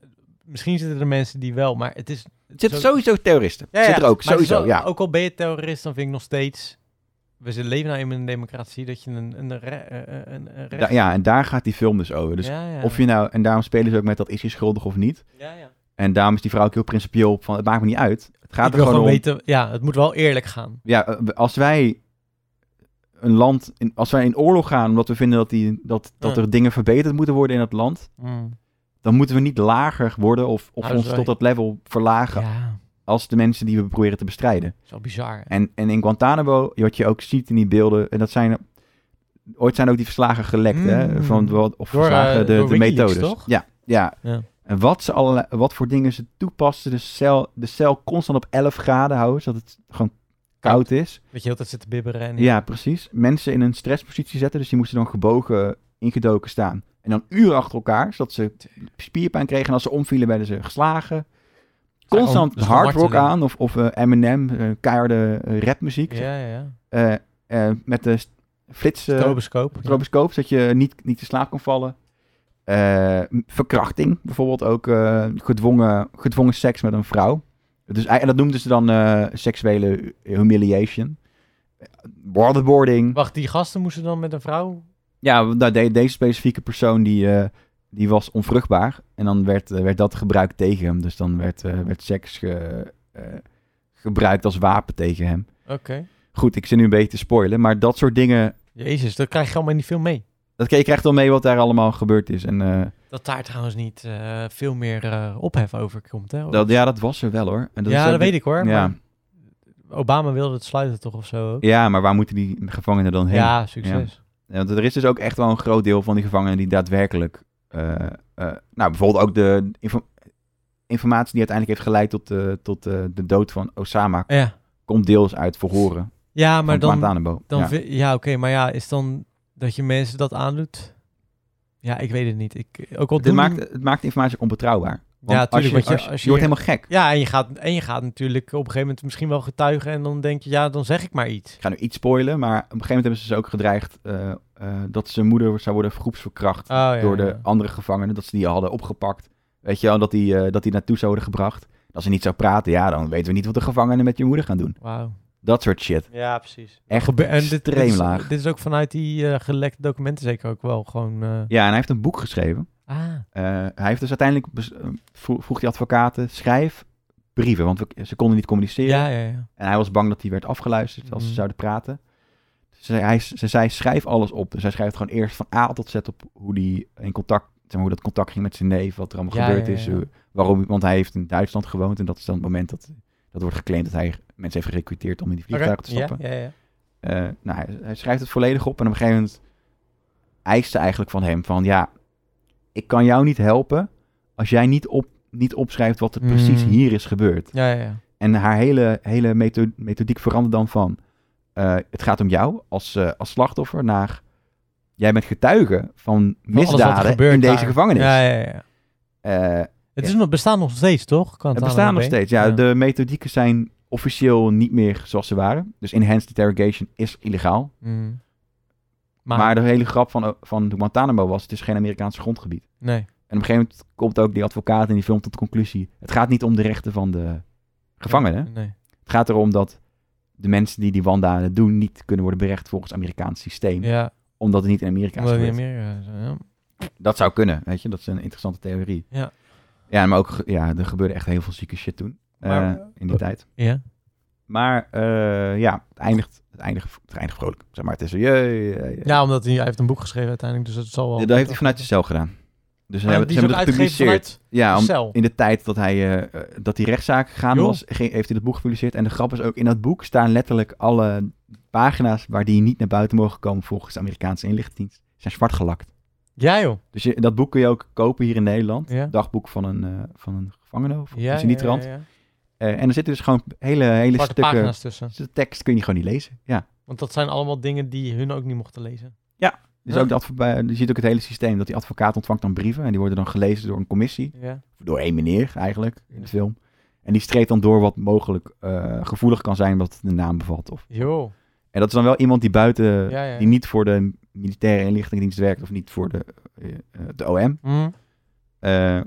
misschien zitten er mensen die wel, maar het is...
Het zitten
zo-
sowieso terroristen.
Ja, ja,
Zit er ook,
maar oh, het is
sowieso,
wel-
ja.
Ook al ben je terrorist, dan vind ik nog steeds... We zitten- leven nou eenmaal in een democratie, dat je een, een, re- eh, eh, een, een recht...
Da- ja, en daar gaat die film dus over. Dus
ja, ja.
of je nou, en daarom spelen ze ook met dat is je schuldig of niet.
Ja, ja.
En daarom is die vrouw ook heel principieel van, het maakt me niet uit. Het gaat
ik
er
wil
gewoon
gewoon
om,
weten... Ja, het moet wel eerlijk gaan.
ja, eh, als wij een land, in, als wij in oorlog gaan omdat we vinden dat, die, dat, dat
Ja.
er dingen verbeterd moeten worden in dat land,
Mm.
dan moeten we niet lager worden of, of
Nou, dat is
ons
wel-
tot dat level verlagen
Ja,
als de mensen die we proberen te bestrijden.
zo bizar. hè?
En, en in Guantanamo, wat je ook ziet in die beelden, en dat zijn, ooit zijn ook die verslagen gelekt, hè,
Mm.
van, wat- of
Door,
verslagen,
eh,
de,
door
de
Wikileaks,
methodes.
toch?
Ja, ja.
Ja.
En wat, ze allerlei, wat voor dingen ze toepassen, de cel, de cel constant op 11 graden houden, zodat het gewoon koud is.
Dat je altijd zit te bibberen en...
Ja, precies. Mensen in een stresspositie zetten. Dus die moesten dan gebogen, ingedoken staan. En dan uren achter elkaar, zodat ze spierpijn kregen. En als ze omvielen, werden ze geslagen. Constant
gewoon- dat is
hard rock
marteling.
aan. Of, of eh, Eminem, eh, keiharde eh, rapmuziek.
ja, ja. ja.
Eh, eh, met de st- flits, eh,
Stroboscoop.
stroboscoop, zodat je niet, niet in slaap kon vallen. Eh, m- verkrachting, bijvoorbeeld ook eh, gedwongen, gedwongen seks met een vrouw. Dus, ei- en dat noemden ze dan eh, seksuele humiliation. Eh, Waterboarding.
Wacht, die gasten moesten dan met een vrouw...
Ja, want nou, de- deze specifieke persoon die, eh, die was onvruchtbaar. En dan werd, eh, werd dat gebruikt tegen hem. Dus dan werd, eh, werd seks ge- eh, gebruikt als wapen tegen hem.
Oké.
Goed, ik zit nu een beetje te spoilen. Maar dat soort dingen,
Jezus, dat krijg je allemaal in die film mee.
dat je krijgt wel mee wat daar allemaal gebeurd is. En eh,
Dat daar trouwens niet eh, veel meer eh, ophef over komt, hè?
dat, ja, dat was er wel hoor. En dat
ja,
is ook
dat weet ik hoor.
Ja.
Maar Obama wilde het sluiten toch of zo ook?
Ja, maar waar moeten die gevangenen dan heen? Ja.
Ja, succes.
Want er is dus ook echt wel een groot deel van die gevangenen die daadwerkelijk... eh, eh, nou, bijvoorbeeld ook de info- informatie die uiteindelijk heeft geleid tot, eh, tot eh, de dood van Osama...
Ja, ja.
komt deels uit verhoren
maar
van
dan...
Guantanamo.
dan
ja.
vi- ja, oké, maar ja, is dan dat je mensen dat aandoet? Ja, ik weet het niet. Ik, ook al
het,
doen-
maakt, het maakt de informatie onbetrouwbaar. Want
Ja,
als je,
tuurlijk, want je-
als je,
als
je
je-
wordt helemaal gek.
Ja, en je, gaat, en je gaat natuurlijk op een gegeven moment misschien wel getuigen en dan denk je, ja, dan zeg ik maar iets.
Ik ga nu iets spoilen, maar op een gegeven moment hebben ze dus ook gedreigd... eh, eh, dat zijn moeder zou worden groepsverkracht
Oh, ja,
door de
ja.
andere gevangenen. Dat ze die hadden opgepakt. Weet je wel, dat die, eh, dat die naartoe zouden gebracht. Als ze niet zou praten, ja, dan weten we niet wat de gevangenen met je moeder gaan doen.
Wauw.
Dat soort shit.
Ja, precies.
Echt
dit,
extreem
is,
laag.
dit is ook vanuit die eh, gelekte documenten zeker ook wel gewoon... eh,
Ja, en hij heeft een boek geschreven.
Ah,
Eh, hij heeft dus uiteindelijk... bes- eh, vro- vroeg die advocaten, schrijf brieven. Want we- ze konden niet communiceren.
ja, ja, ja.
En hij was bang dat hij werd afgeluisterd als ze
Mhm.
zouden praten. Dus hij, hij- ze zei, schrijf alles op. Dus hij schrijft gewoon eerst van A tot Z op hoe die in contact, zeg maar, hoe dat contact ging met zijn neef, wat er allemaal
Ja,
gebeurd
ja,
is. eh,
ja.
hoe- waarom, want hij heeft in Duitsland gewoond en dat is dan het moment dat, dat wordt geclaimd dat hij mensen heeft gerecruiteerd om in die vliegtuig
Oké,
te stappen.
Ja, ja, ja.
Eh, nou, hij, hij schrijft het volledig op en op een gegeven moment eist ze eigenlijk van hem van ja, ik kan jou niet helpen als jij niet, op, niet opschrijft wat er precies
Mm.
hier is gebeurd.
ja, ja, ja.
En haar hele, hele metho- methodiek verandert dan van... eh, het gaat om jou als, eh, als slachtoffer naar... Jij bent getuige van
Van alles wat er
misdaden
gebeurt
in deze
daar.
gevangenis.
Ja, ja, ja.
Eh,
Het is nog, bestaan nog steeds, toch? Kan
het bestaan nog steeds. Ja, De methodieken zijn officieel niet meer zoals ze waren. Dus enhanced interrogation is illegaal.
Mm. Maar,
Maar de hele grap van, van Guantanamo was... het is geen Amerikaans grondgebied.
nee.
En op een gegeven moment komt ook die advocaat in die film tot de conclusie... het gaat niet om de rechten van de gevangenen.
Nee.
Het gaat erom dat de mensen die die wandaden doen niet kunnen worden berecht volgens het Amerikaans systeem.
Ja,
Omdat het niet in Amerika is
omdat het niet
gebeurd.
meer... eh, ja.
Dat zou kunnen, weet je. Dat is een interessante theorie.
Ja.
Ja, maar ook, ge- ja, er gebeurde echt heel veel zieke shit toen. eh,
Maar-
in die tijd.
ja.
Maar eh, ja, het eindigt, het, eindigt, het eindigt vrolijk. Zeg maar, het is zo, jee, eh, eh.
ja, omdat hij, hij heeft een boek geschreven uiteindelijk, dus het zal wel...
Dat heeft hij vanuit zichzelf gedaan. Dus ze hebben,
die
ze
is
hebben
ook
het
uitgegeven
gepubliceerd.
vanuit
Ja,
de
om,
cel.
in de tijd dat, hij, eh, eh, dat die rechtszaak gegaan
Joh.
was, ging- heeft hij dat boek gepubliceerd. En de grap is ook, in dat boek staan letterlijk alle pagina's waar die niet naar buiten mogen komen volgens de Amerikaanse inlichtingendienst. Zijn zwart gelakt.
Ja joh.
Dus je, dat boek kun je ook kopen hier in Nederland.
Ja.
Dagboek van een, eh, van een gevangene of
Ja,
een
ja, ja,
sinitrant.
ja.
Eh, en er zitten dus gewoon hele, hele
Zwarte
stukken...
pagina's tussen.
De tekst kun je gewoon niet lezen. Ja.
Want dat zijn allemaal dingen die hun ook niet mochten lezen.
Dus
Huh?
ook de advo- je ziet ook het hele systeem dat die advocaat ontvangt dan brieven. En die worden dan gelezen door een commissie.
Ja.
door één meneer eigenlijk in
Ja.
de film. En die streept dan door wat mogelijk eh, gevoelig kan zijn wat de naam bevat. Of...
Joh.
En dat is dan wel iemand die buiten,
Ja, ja.
Eh, die niet voor de militaire inlichtingendienst werkt of niet voor de, eh, eh, de OM.
Hm.
Eh,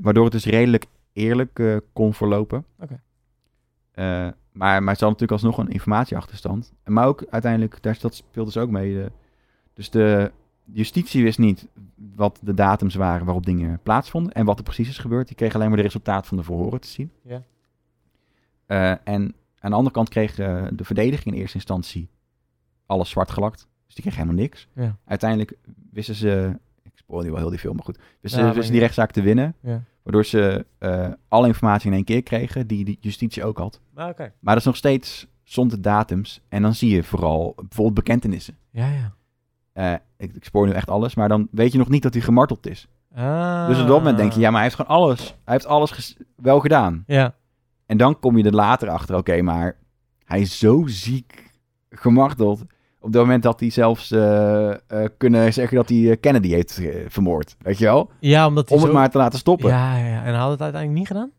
waardoor het dus redelijk eerlijk eh, kon verlopen.
Oké.
Eh, maar, maar het zal natuurlijk alsnog een informatieachterstand. Maar ook uiteindelijk, daar, dat speelt dus ook mee. eh, dus de justitie wist niet wat de datums waren waarop dingen plaatsvonden. En wat er precies is gebeurd. Die kreeg alleen maar de resultaat van de verhoren te zien.
Ja.
Eh, en aan de andere kant kreeg eh, de verdediging in eerste instantie alles zwart gelakt. Dus die kreeg helemaal niks.
Ja.
Uiteindelijk wisten ze... Ik spoor nu wel heel die film, maar goed. Wisten,
Ja,
ze-
maar
wisten die rechtszaak te winnen.
Ja.
Waardoor ze eh, alle informatie in één keer kregen, die de justitie ook had.
Maar oké.
Maar dat is nog steeds zonder datums. En dan zie je vooral bijvoorbeeld bekentenissen.
Ja, ja.
Eh, ik, ik spoor nu echt alles, maar dan weet je nog niet dat hij gemarteld is.
Ah.
Dus op dat moment denk je, ja, maar hij heeft gewoon alles. Hij heeft alles ges- wel gedaan.
Ja.
En dan kom je er later achter, oké, maar hij is zo ziek gemarteld. Op dat moment dat hij zelfs eh, eh, kunnen zeggen dat hij eh, Kennedy heeft eh, vermoord. Weet je wel?
Ja, omdat hij
Om het
zo-
maar te laten stoppen.
Ja, ja, ja. En hij had het uiteindelijk niet gedaan?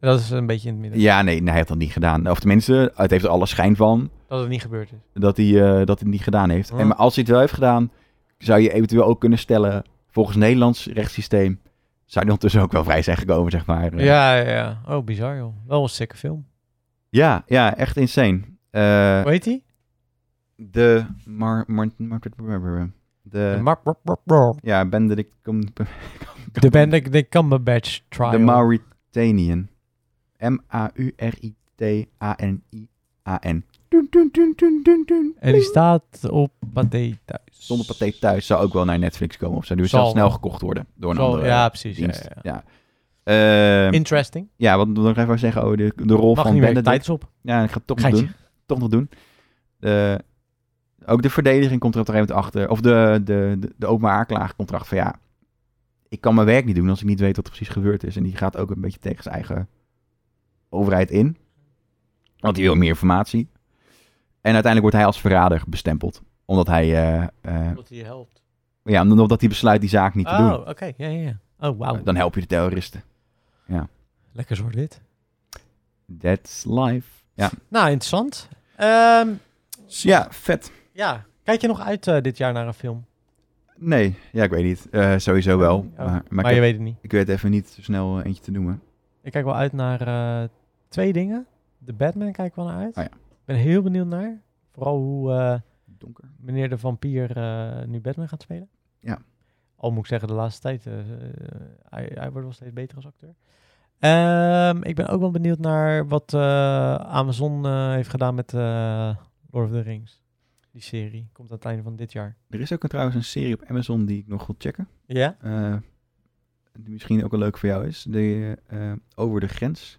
Dat is een beetje in het midden.
Ja, nee, nee, hij heeft dat niet gedaan. Of tenminste, het heeft er alle schijn van
Dat het niet gebeurd is.
dat hij, eh, dat hij het niet gedaan heeft.
Hm.
En maar als hij het wel heeft gedaan, zou je eventueel ook kunnen stellen, volgens Nederlands rechtssysteem, zou hij ondertussen ook wel vrij zijn gekomen, zeg maar. Eh,
Ja, ja, ja. Oh, bizar joh. Wel een sikke film.
ja, ja, echt insane. Eh,
Hoe heet die?
de Mar... Mar, Mar- Mar- de...
De Mar- Mar- Mar- Mar-
ja, Benedict...
De Benedict Cumberbatch Trial.
De Mauritanian. M-A-U-R-I-T-A-N-I-A-N. Dun, dun, dun, dun, dun, dun.
En die staat op Pathé thuis.
Zonder paté thuis zou ook wel naar Netflix komen. Of zou die
Zal
zelfs snel
wel.
gekocht worden door een
Zo,
andere
ja, precies. Ja,
dienst.
ja, ja.
Ja, ja. Ehm,
Interesting.
ja wat wil ik even zeggen over de, de rol
Mag
van
niet meer.
Benedict.
Tijd is op.
Ja, ik ga het toch nog
Geitje.
doen. Toch nog doen. Eh, ook de verdediging komt er op een gegeven moment achter. Of de, de, de, de openbaar aanklager komt erachter van ja, ik kan mijn werk niet doen als ik niet weet wat er precies gebeurd is. En die gaat ook een beetje tegen zijn eigen overheid in. Want die wil meer informatie. En uiteindelijk wordt hij als verrader bestempeld. Omdat hij eh, eh,
Wat hij helpt.
ja, omdat hij besluit die zaak niet te
Oh,
doen.
oké. Ja, ja, ja. Oh, wauw.
Dan help je de terroristen.
Lekker soort dit.
That's life. Ja,
Nou, interessant. Ehm,
ja vet.
ja. Kijk je nog uit eh, dit jaar naar een film?
Nee, ja, ik weet niet. Eh, sowieso wel.
Oh,
maar maar,
Maar,
ik,
je
heb-
weet het niet.
ik weet even niet zo snel eh, eentje te noemen.
Ik kijk wel uit naar eh, twee dingen. De Batman kijk ik wel naar uit.
Ah, ja.
Ik ben heel benieuwd naar. Vooral hoe eh,
Donker.
meneer de vampier eh, nu Batman gaat spelen.
Ja.
Al moet ik zeggen, de laatste tijd. eh, hij, hij wordt wel steeds beter als acteur. Ehm, ik ben ook wel benieuwd naar wat eh, Amazon eh, heeft gedaan met eh, Lord of the Rings. Die serie komt aan het einde van dit jaar.
Er is ook een, trouwens een serie op Amazon die ik nog wil checken.
Ja?
Eh, die misschien ook wel leuk voor jou is. De, eh, over de grens.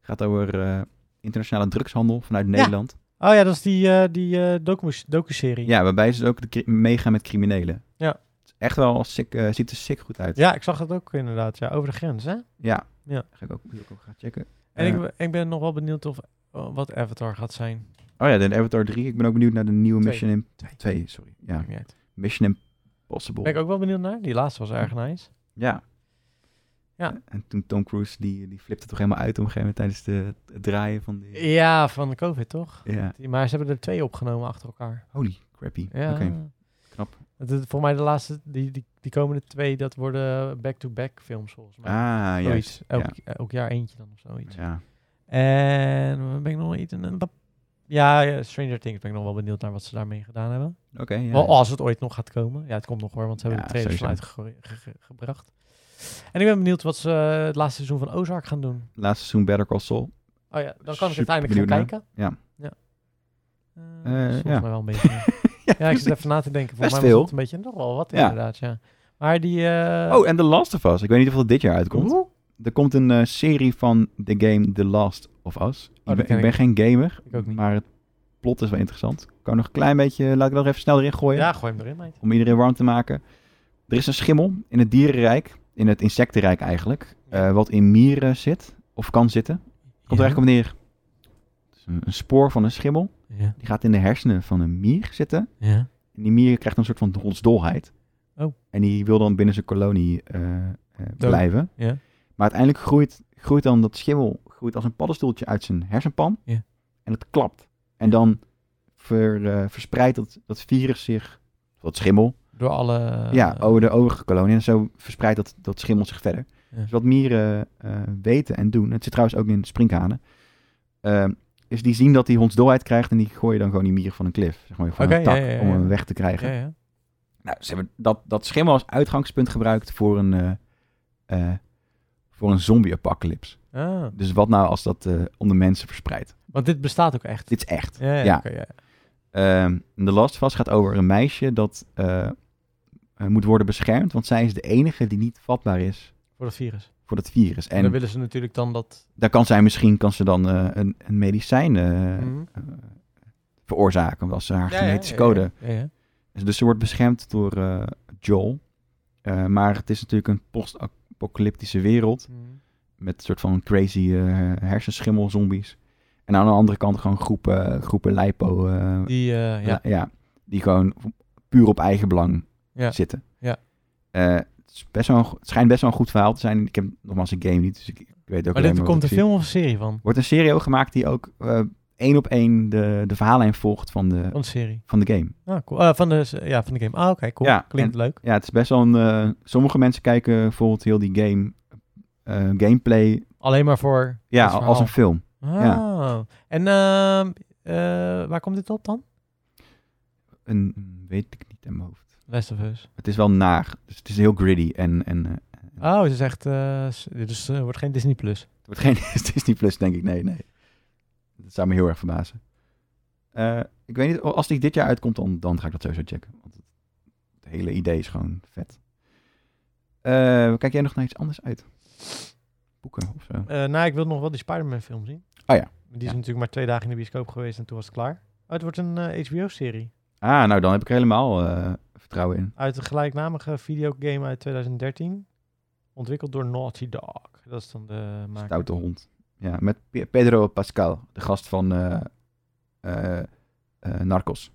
Gaat over eh, internationale drugshandel vanuit Nederland.
Oh ja, dat is die, eh die eh, docu- docu-serie.
Ja, waarbij ze ook de cri- meegaan met criminelen.
Ja.
Het is Echt wel sick, eh, ziet er sick goed uit.
Ja, ik zag dat ook inderdaad. Ja, over de grens, hè?
Ja.
Ja.
Ga ik ook, die wil ik ook gaan checken.
En
Eh,
ik, ben- ik ben nog wel benieuwd of oh, wat Avatar gaat zijn.
Oh ja, de Avatar 3. Ik ben ook benieuwd naar de nieuwe
Twee.
Mission Imp-
Twee.
2, sorry. Ja,
Maakt niet uit.
Mission Impossible.
Ben ik ook wel benieuwd naar. Die laatste was erg nice.
Ja.
Ja.
En toen Tom Cruise, die, die flipte toch helemaal uit op een gegeven moment tijdens de, het draaien van die...
Ja, van de COVID toch?
Ja.
Die- Maar ze hebben er twee opgenomen achter elkaar.
Holy crappy.
Ja.
Oké, knap.
Het is voor mij de laatste, die, die, die komende twee, dat worden back-to-back films volgens mij.
Ah, juist.
Zoiets. Elk,
ja.
elk jaar eentje dan of zoiets.
Ja.
En ben ik nog wel iets... een- Ja, ja, Stranger Things ben ik nog wel benieuwd naar wat ze daarmee gedaan hebben.
Oké, ja.
Wel, als het ooit nog gaat komen. Ja, het komt nog hoor, want ze hebben
Ja,
de trailers
sowieso.
uitgebracht. En ik ben benieuwd wat ze eh, het laatste seizoen van Ozark gaan doen.
Laatste seizoen Better Call Saul.
Oh ja, dan kan ik
Super
uiteindelijk gaan
benieuwd
kijken.
Ja.
Ja. Eh,
Eh,
dat is volgens
ja.
mij wel een beetje... ja, ik zit even na te denken. Volgens
Best
mij was
veel.
het een beetje nog wel wat
Ja.
inderdaad, ja. Maar die... eh,
Oh, en The Last of Us. Ik weet niet of dat dit jaar uitkomt.
oeh,
Er komt een eh, serie van de game The Last of Us. Ik
Oh, dat
ben- ik,
ken
ben geen gamer,
Ik ook niet.
maar het plot is wel interessant. Kan nog een klein beetje, laat ik dat er even snel erin gooien.
Ja, gooi hem erin, meid.
Om iedereen warm te maken. Er is een schimmel in het dierenrijk, in het insectenrijk eigenlijk,
Ja.
eh, wat in mieren zit, of kan zitten. Komt er eigenlijk op neer. Het is een, een spoor van een schimmel,
Ja.
die gaat in de hersenen van een mier zitten.
ja.
En die mier krijgt een soort van hondsdolheid.
Oh.
En die wil dan binnen zijn kolonie eh, eh, blijven.
Ja.
Maar uiteindelijk groeit, groeit dan dat schimmel groeit als een paddenstoeltje uit zijn hersenpan.
Ja.
En het klapt. En dan ver, eh, verspreidt dat, dat virus zich, dat schimmel,
Door alle...
ja, oh,
eh,
over de overige kolonie. En zo verspreidt dat, dat schimmel zich verder.
Ja.
Dus wat mieren eh, weten en doen, het zit trouwens ook in sprinkhanen, ehm, is die zien dat die hondsdolheid krijgt en die gooien dan gewoon die mieren van een klif. Zeg maar, van
Oké,
een tak
ja, ja, ja,
om hem
ja.
weg te krijgen.
ja, ja.
Nou, ze hebben dat, dat schimmel als uitgangspunt gebruikt voor een, eh, eh, voor een zombie-apocalypse.
Ah,
Dus wat nou als dat eh, onder mensen verspreidt?
want dit bestaat ook echt.
Dit is echt.
Ja, ja.
Ja.
oké, ja.
Ehm, de Last of Us gaat over een meisje dat eh, eh, moet worden beschermd, want zij is de enige die niet vatbaar is
Voor dat virus.
voor dat virus.
En dan
En
willen ze natuurlijk dan dat...
daar kan zij misschien kan ze dan eh, een, een medicijn eh,
Mhm.
eh, veroorzaken, want ze haar
Ja, ja,
genetische
ja, ja.
code
Ja, ja.
Dus ze wordt beschermd door eh, Joel. Eh, maar het is natuurlijk een post-apocalyptische wereld.
Mhm.
Met een soort van crazy eh, hersenschimmel-zombies. En aan de andere kant gewoon groepen, groepen lipo. eh,
Die, eh, ja.
ja. die gewoon puur op eigen belang
Ja.
zitten.
Ja.
Eh, het, is best wel een go- het schijnt best wel een goed verhaal te zijn. Ik heb nogmaals een game niet, dus ik, ik weet ook
Maar
alleen
dit
wat
komt
ik
een
zie.
film of een serie van?
wordt een serie ook gemaakt die ook eh, één op één de, de verhaallijn volgt van de,
Van een serie.
van de game.
Ah, cool. Eh, van, de, s- ja, van de game. Ah, oké, cool.
Ja,
Klinkt leuk.
Ja, het is best wel een... eh, sommige mensen kijken bijvoorbeeld heel die game... eh, gameplay...
Alleen maar voor...
Ja,
dat
als een
verhaal.
film.
Ah. En ehm, eh, waar komt dit op dan?
Een, weet ik niet in mijn hoofd.
Last of Us.
Het is wel naar. Dus het is heel gritty. En, en eh,
Oh, het is echt... eh, s- dit is, eh, wordt geen Disney+. Plus.
het wordt geen Disney Plus, denk ik. Nee, nee. Dat zou me heel erg verbazen. Eh, ik weet niet, als die dit jaar uitkomt, dan, dan ga ik dat sowieso checken. Want het, het hele idee is gewoon vet. Eh, kijk jij nog naar iets anders uit? Boeken of zo?
Eh, nou, ik wil nog wel die Spider-Man film zien.
Oh ja.
Die is
Ja.
natuurlijk maar twee dagen in de bioscoop geweest en toen was het klaar. Oh, het wordt een HBO-serie.
Ah, nou dan heb ik er helemaal eh, vertrouwen in.
Uit een gelijknamige videogame uit 2013. Ontwikkeld door Naughty Dog. Dat is dan de maker.
Stoute hond. Ja, met Pe- Pedro Pascal, de gast van eh, eh, eh, Narcos.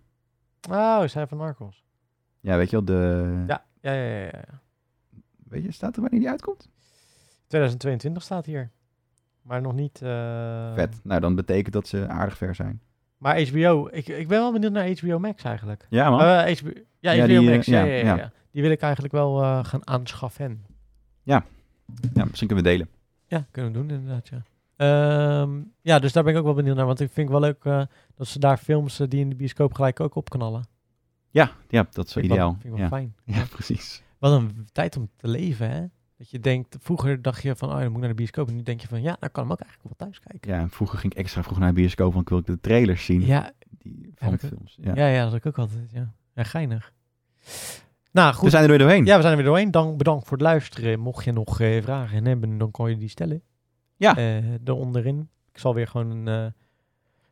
Oh, is hij van Narcos?
Ja, weet je wel, de...
Ja, ja, ja, ja. ja.
Weet je, staat er wanneer die uitkomt?
2022 staat hier. Maar nog niet... eh,
Vet. Nou, dan betekent dat ze aardig ver zijn.
Maar HBO... Ik, ik ben wel benieuwd naar HBO Max eigenlijk.
Ja, man.
Eh, HBO, ja,
Ja,
HBO
die, eh,
Max. Ja,
ja,
ja, ja,
ja.
ja. Die wil ik eigenlijk wel eh, gaan aanschaffen.
ja, misschien kunnen we delen.
Ja, kunnen we doen inderdaad, ja. Ehm, ja, dus daar ben ik ook wel benieuwd naar. Want ik vind wel leuk eh, dat ze daar films eh, die in de bioscoop gelijk ook opknallen.
Ja, ja dat is wel
Vind ik wel-
ideaal.
Vind ik wel
ja.
fijn.
ja, precies.
Wat een tijd om te leven, hè? Dat je denkt, vroeger dacht je van, oh, dan moet ik naar de bioscoop. En nu denk je van, ja, dan kan ik ook eigenlijk wel thuis kijken.
Ja, en vroeger ging ik extra vroeg naar de bioscoop, want ik wilde de trailers zien
Ja,
die,
Heb
van
ik het?
films. Ja. Dus
ja, ja, dat had ik ook altijd, ja. Ja, geinig. Nou,
We
goed.
zijn er weer doorheen.
Ja, we zijn er weer doorheen. Dan bedankt voor het luisteren. Mocht je nog eh, vragen hebben, dan kan je die stellen.
Ja.
Eh onderin. Ik zal weer gewoon een, eh,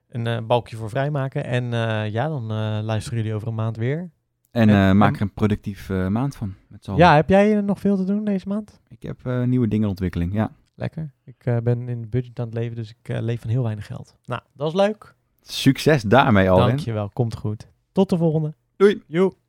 een eh, balkje voor vrijmaken. En eh, ja, dan eh, luisteren jullie over een maand weer.
En
En-
eh,
en-
maak er een productief eh, maand van. Met z'n allen.
Ja, heb jij eh, nog veel te doen deze maand?
Ik heb eh, nieuwe dingen in ontwikkeling, ja.
Lekker. Ik eh, ben in het budget aan het leven, dus ik eh, leef van heel weinig geld. Nou, dat is leuk.
Succes daarmee, Alwin.
Dankjewel. Komt goed. Tot de volgende.
Doei.
Joe.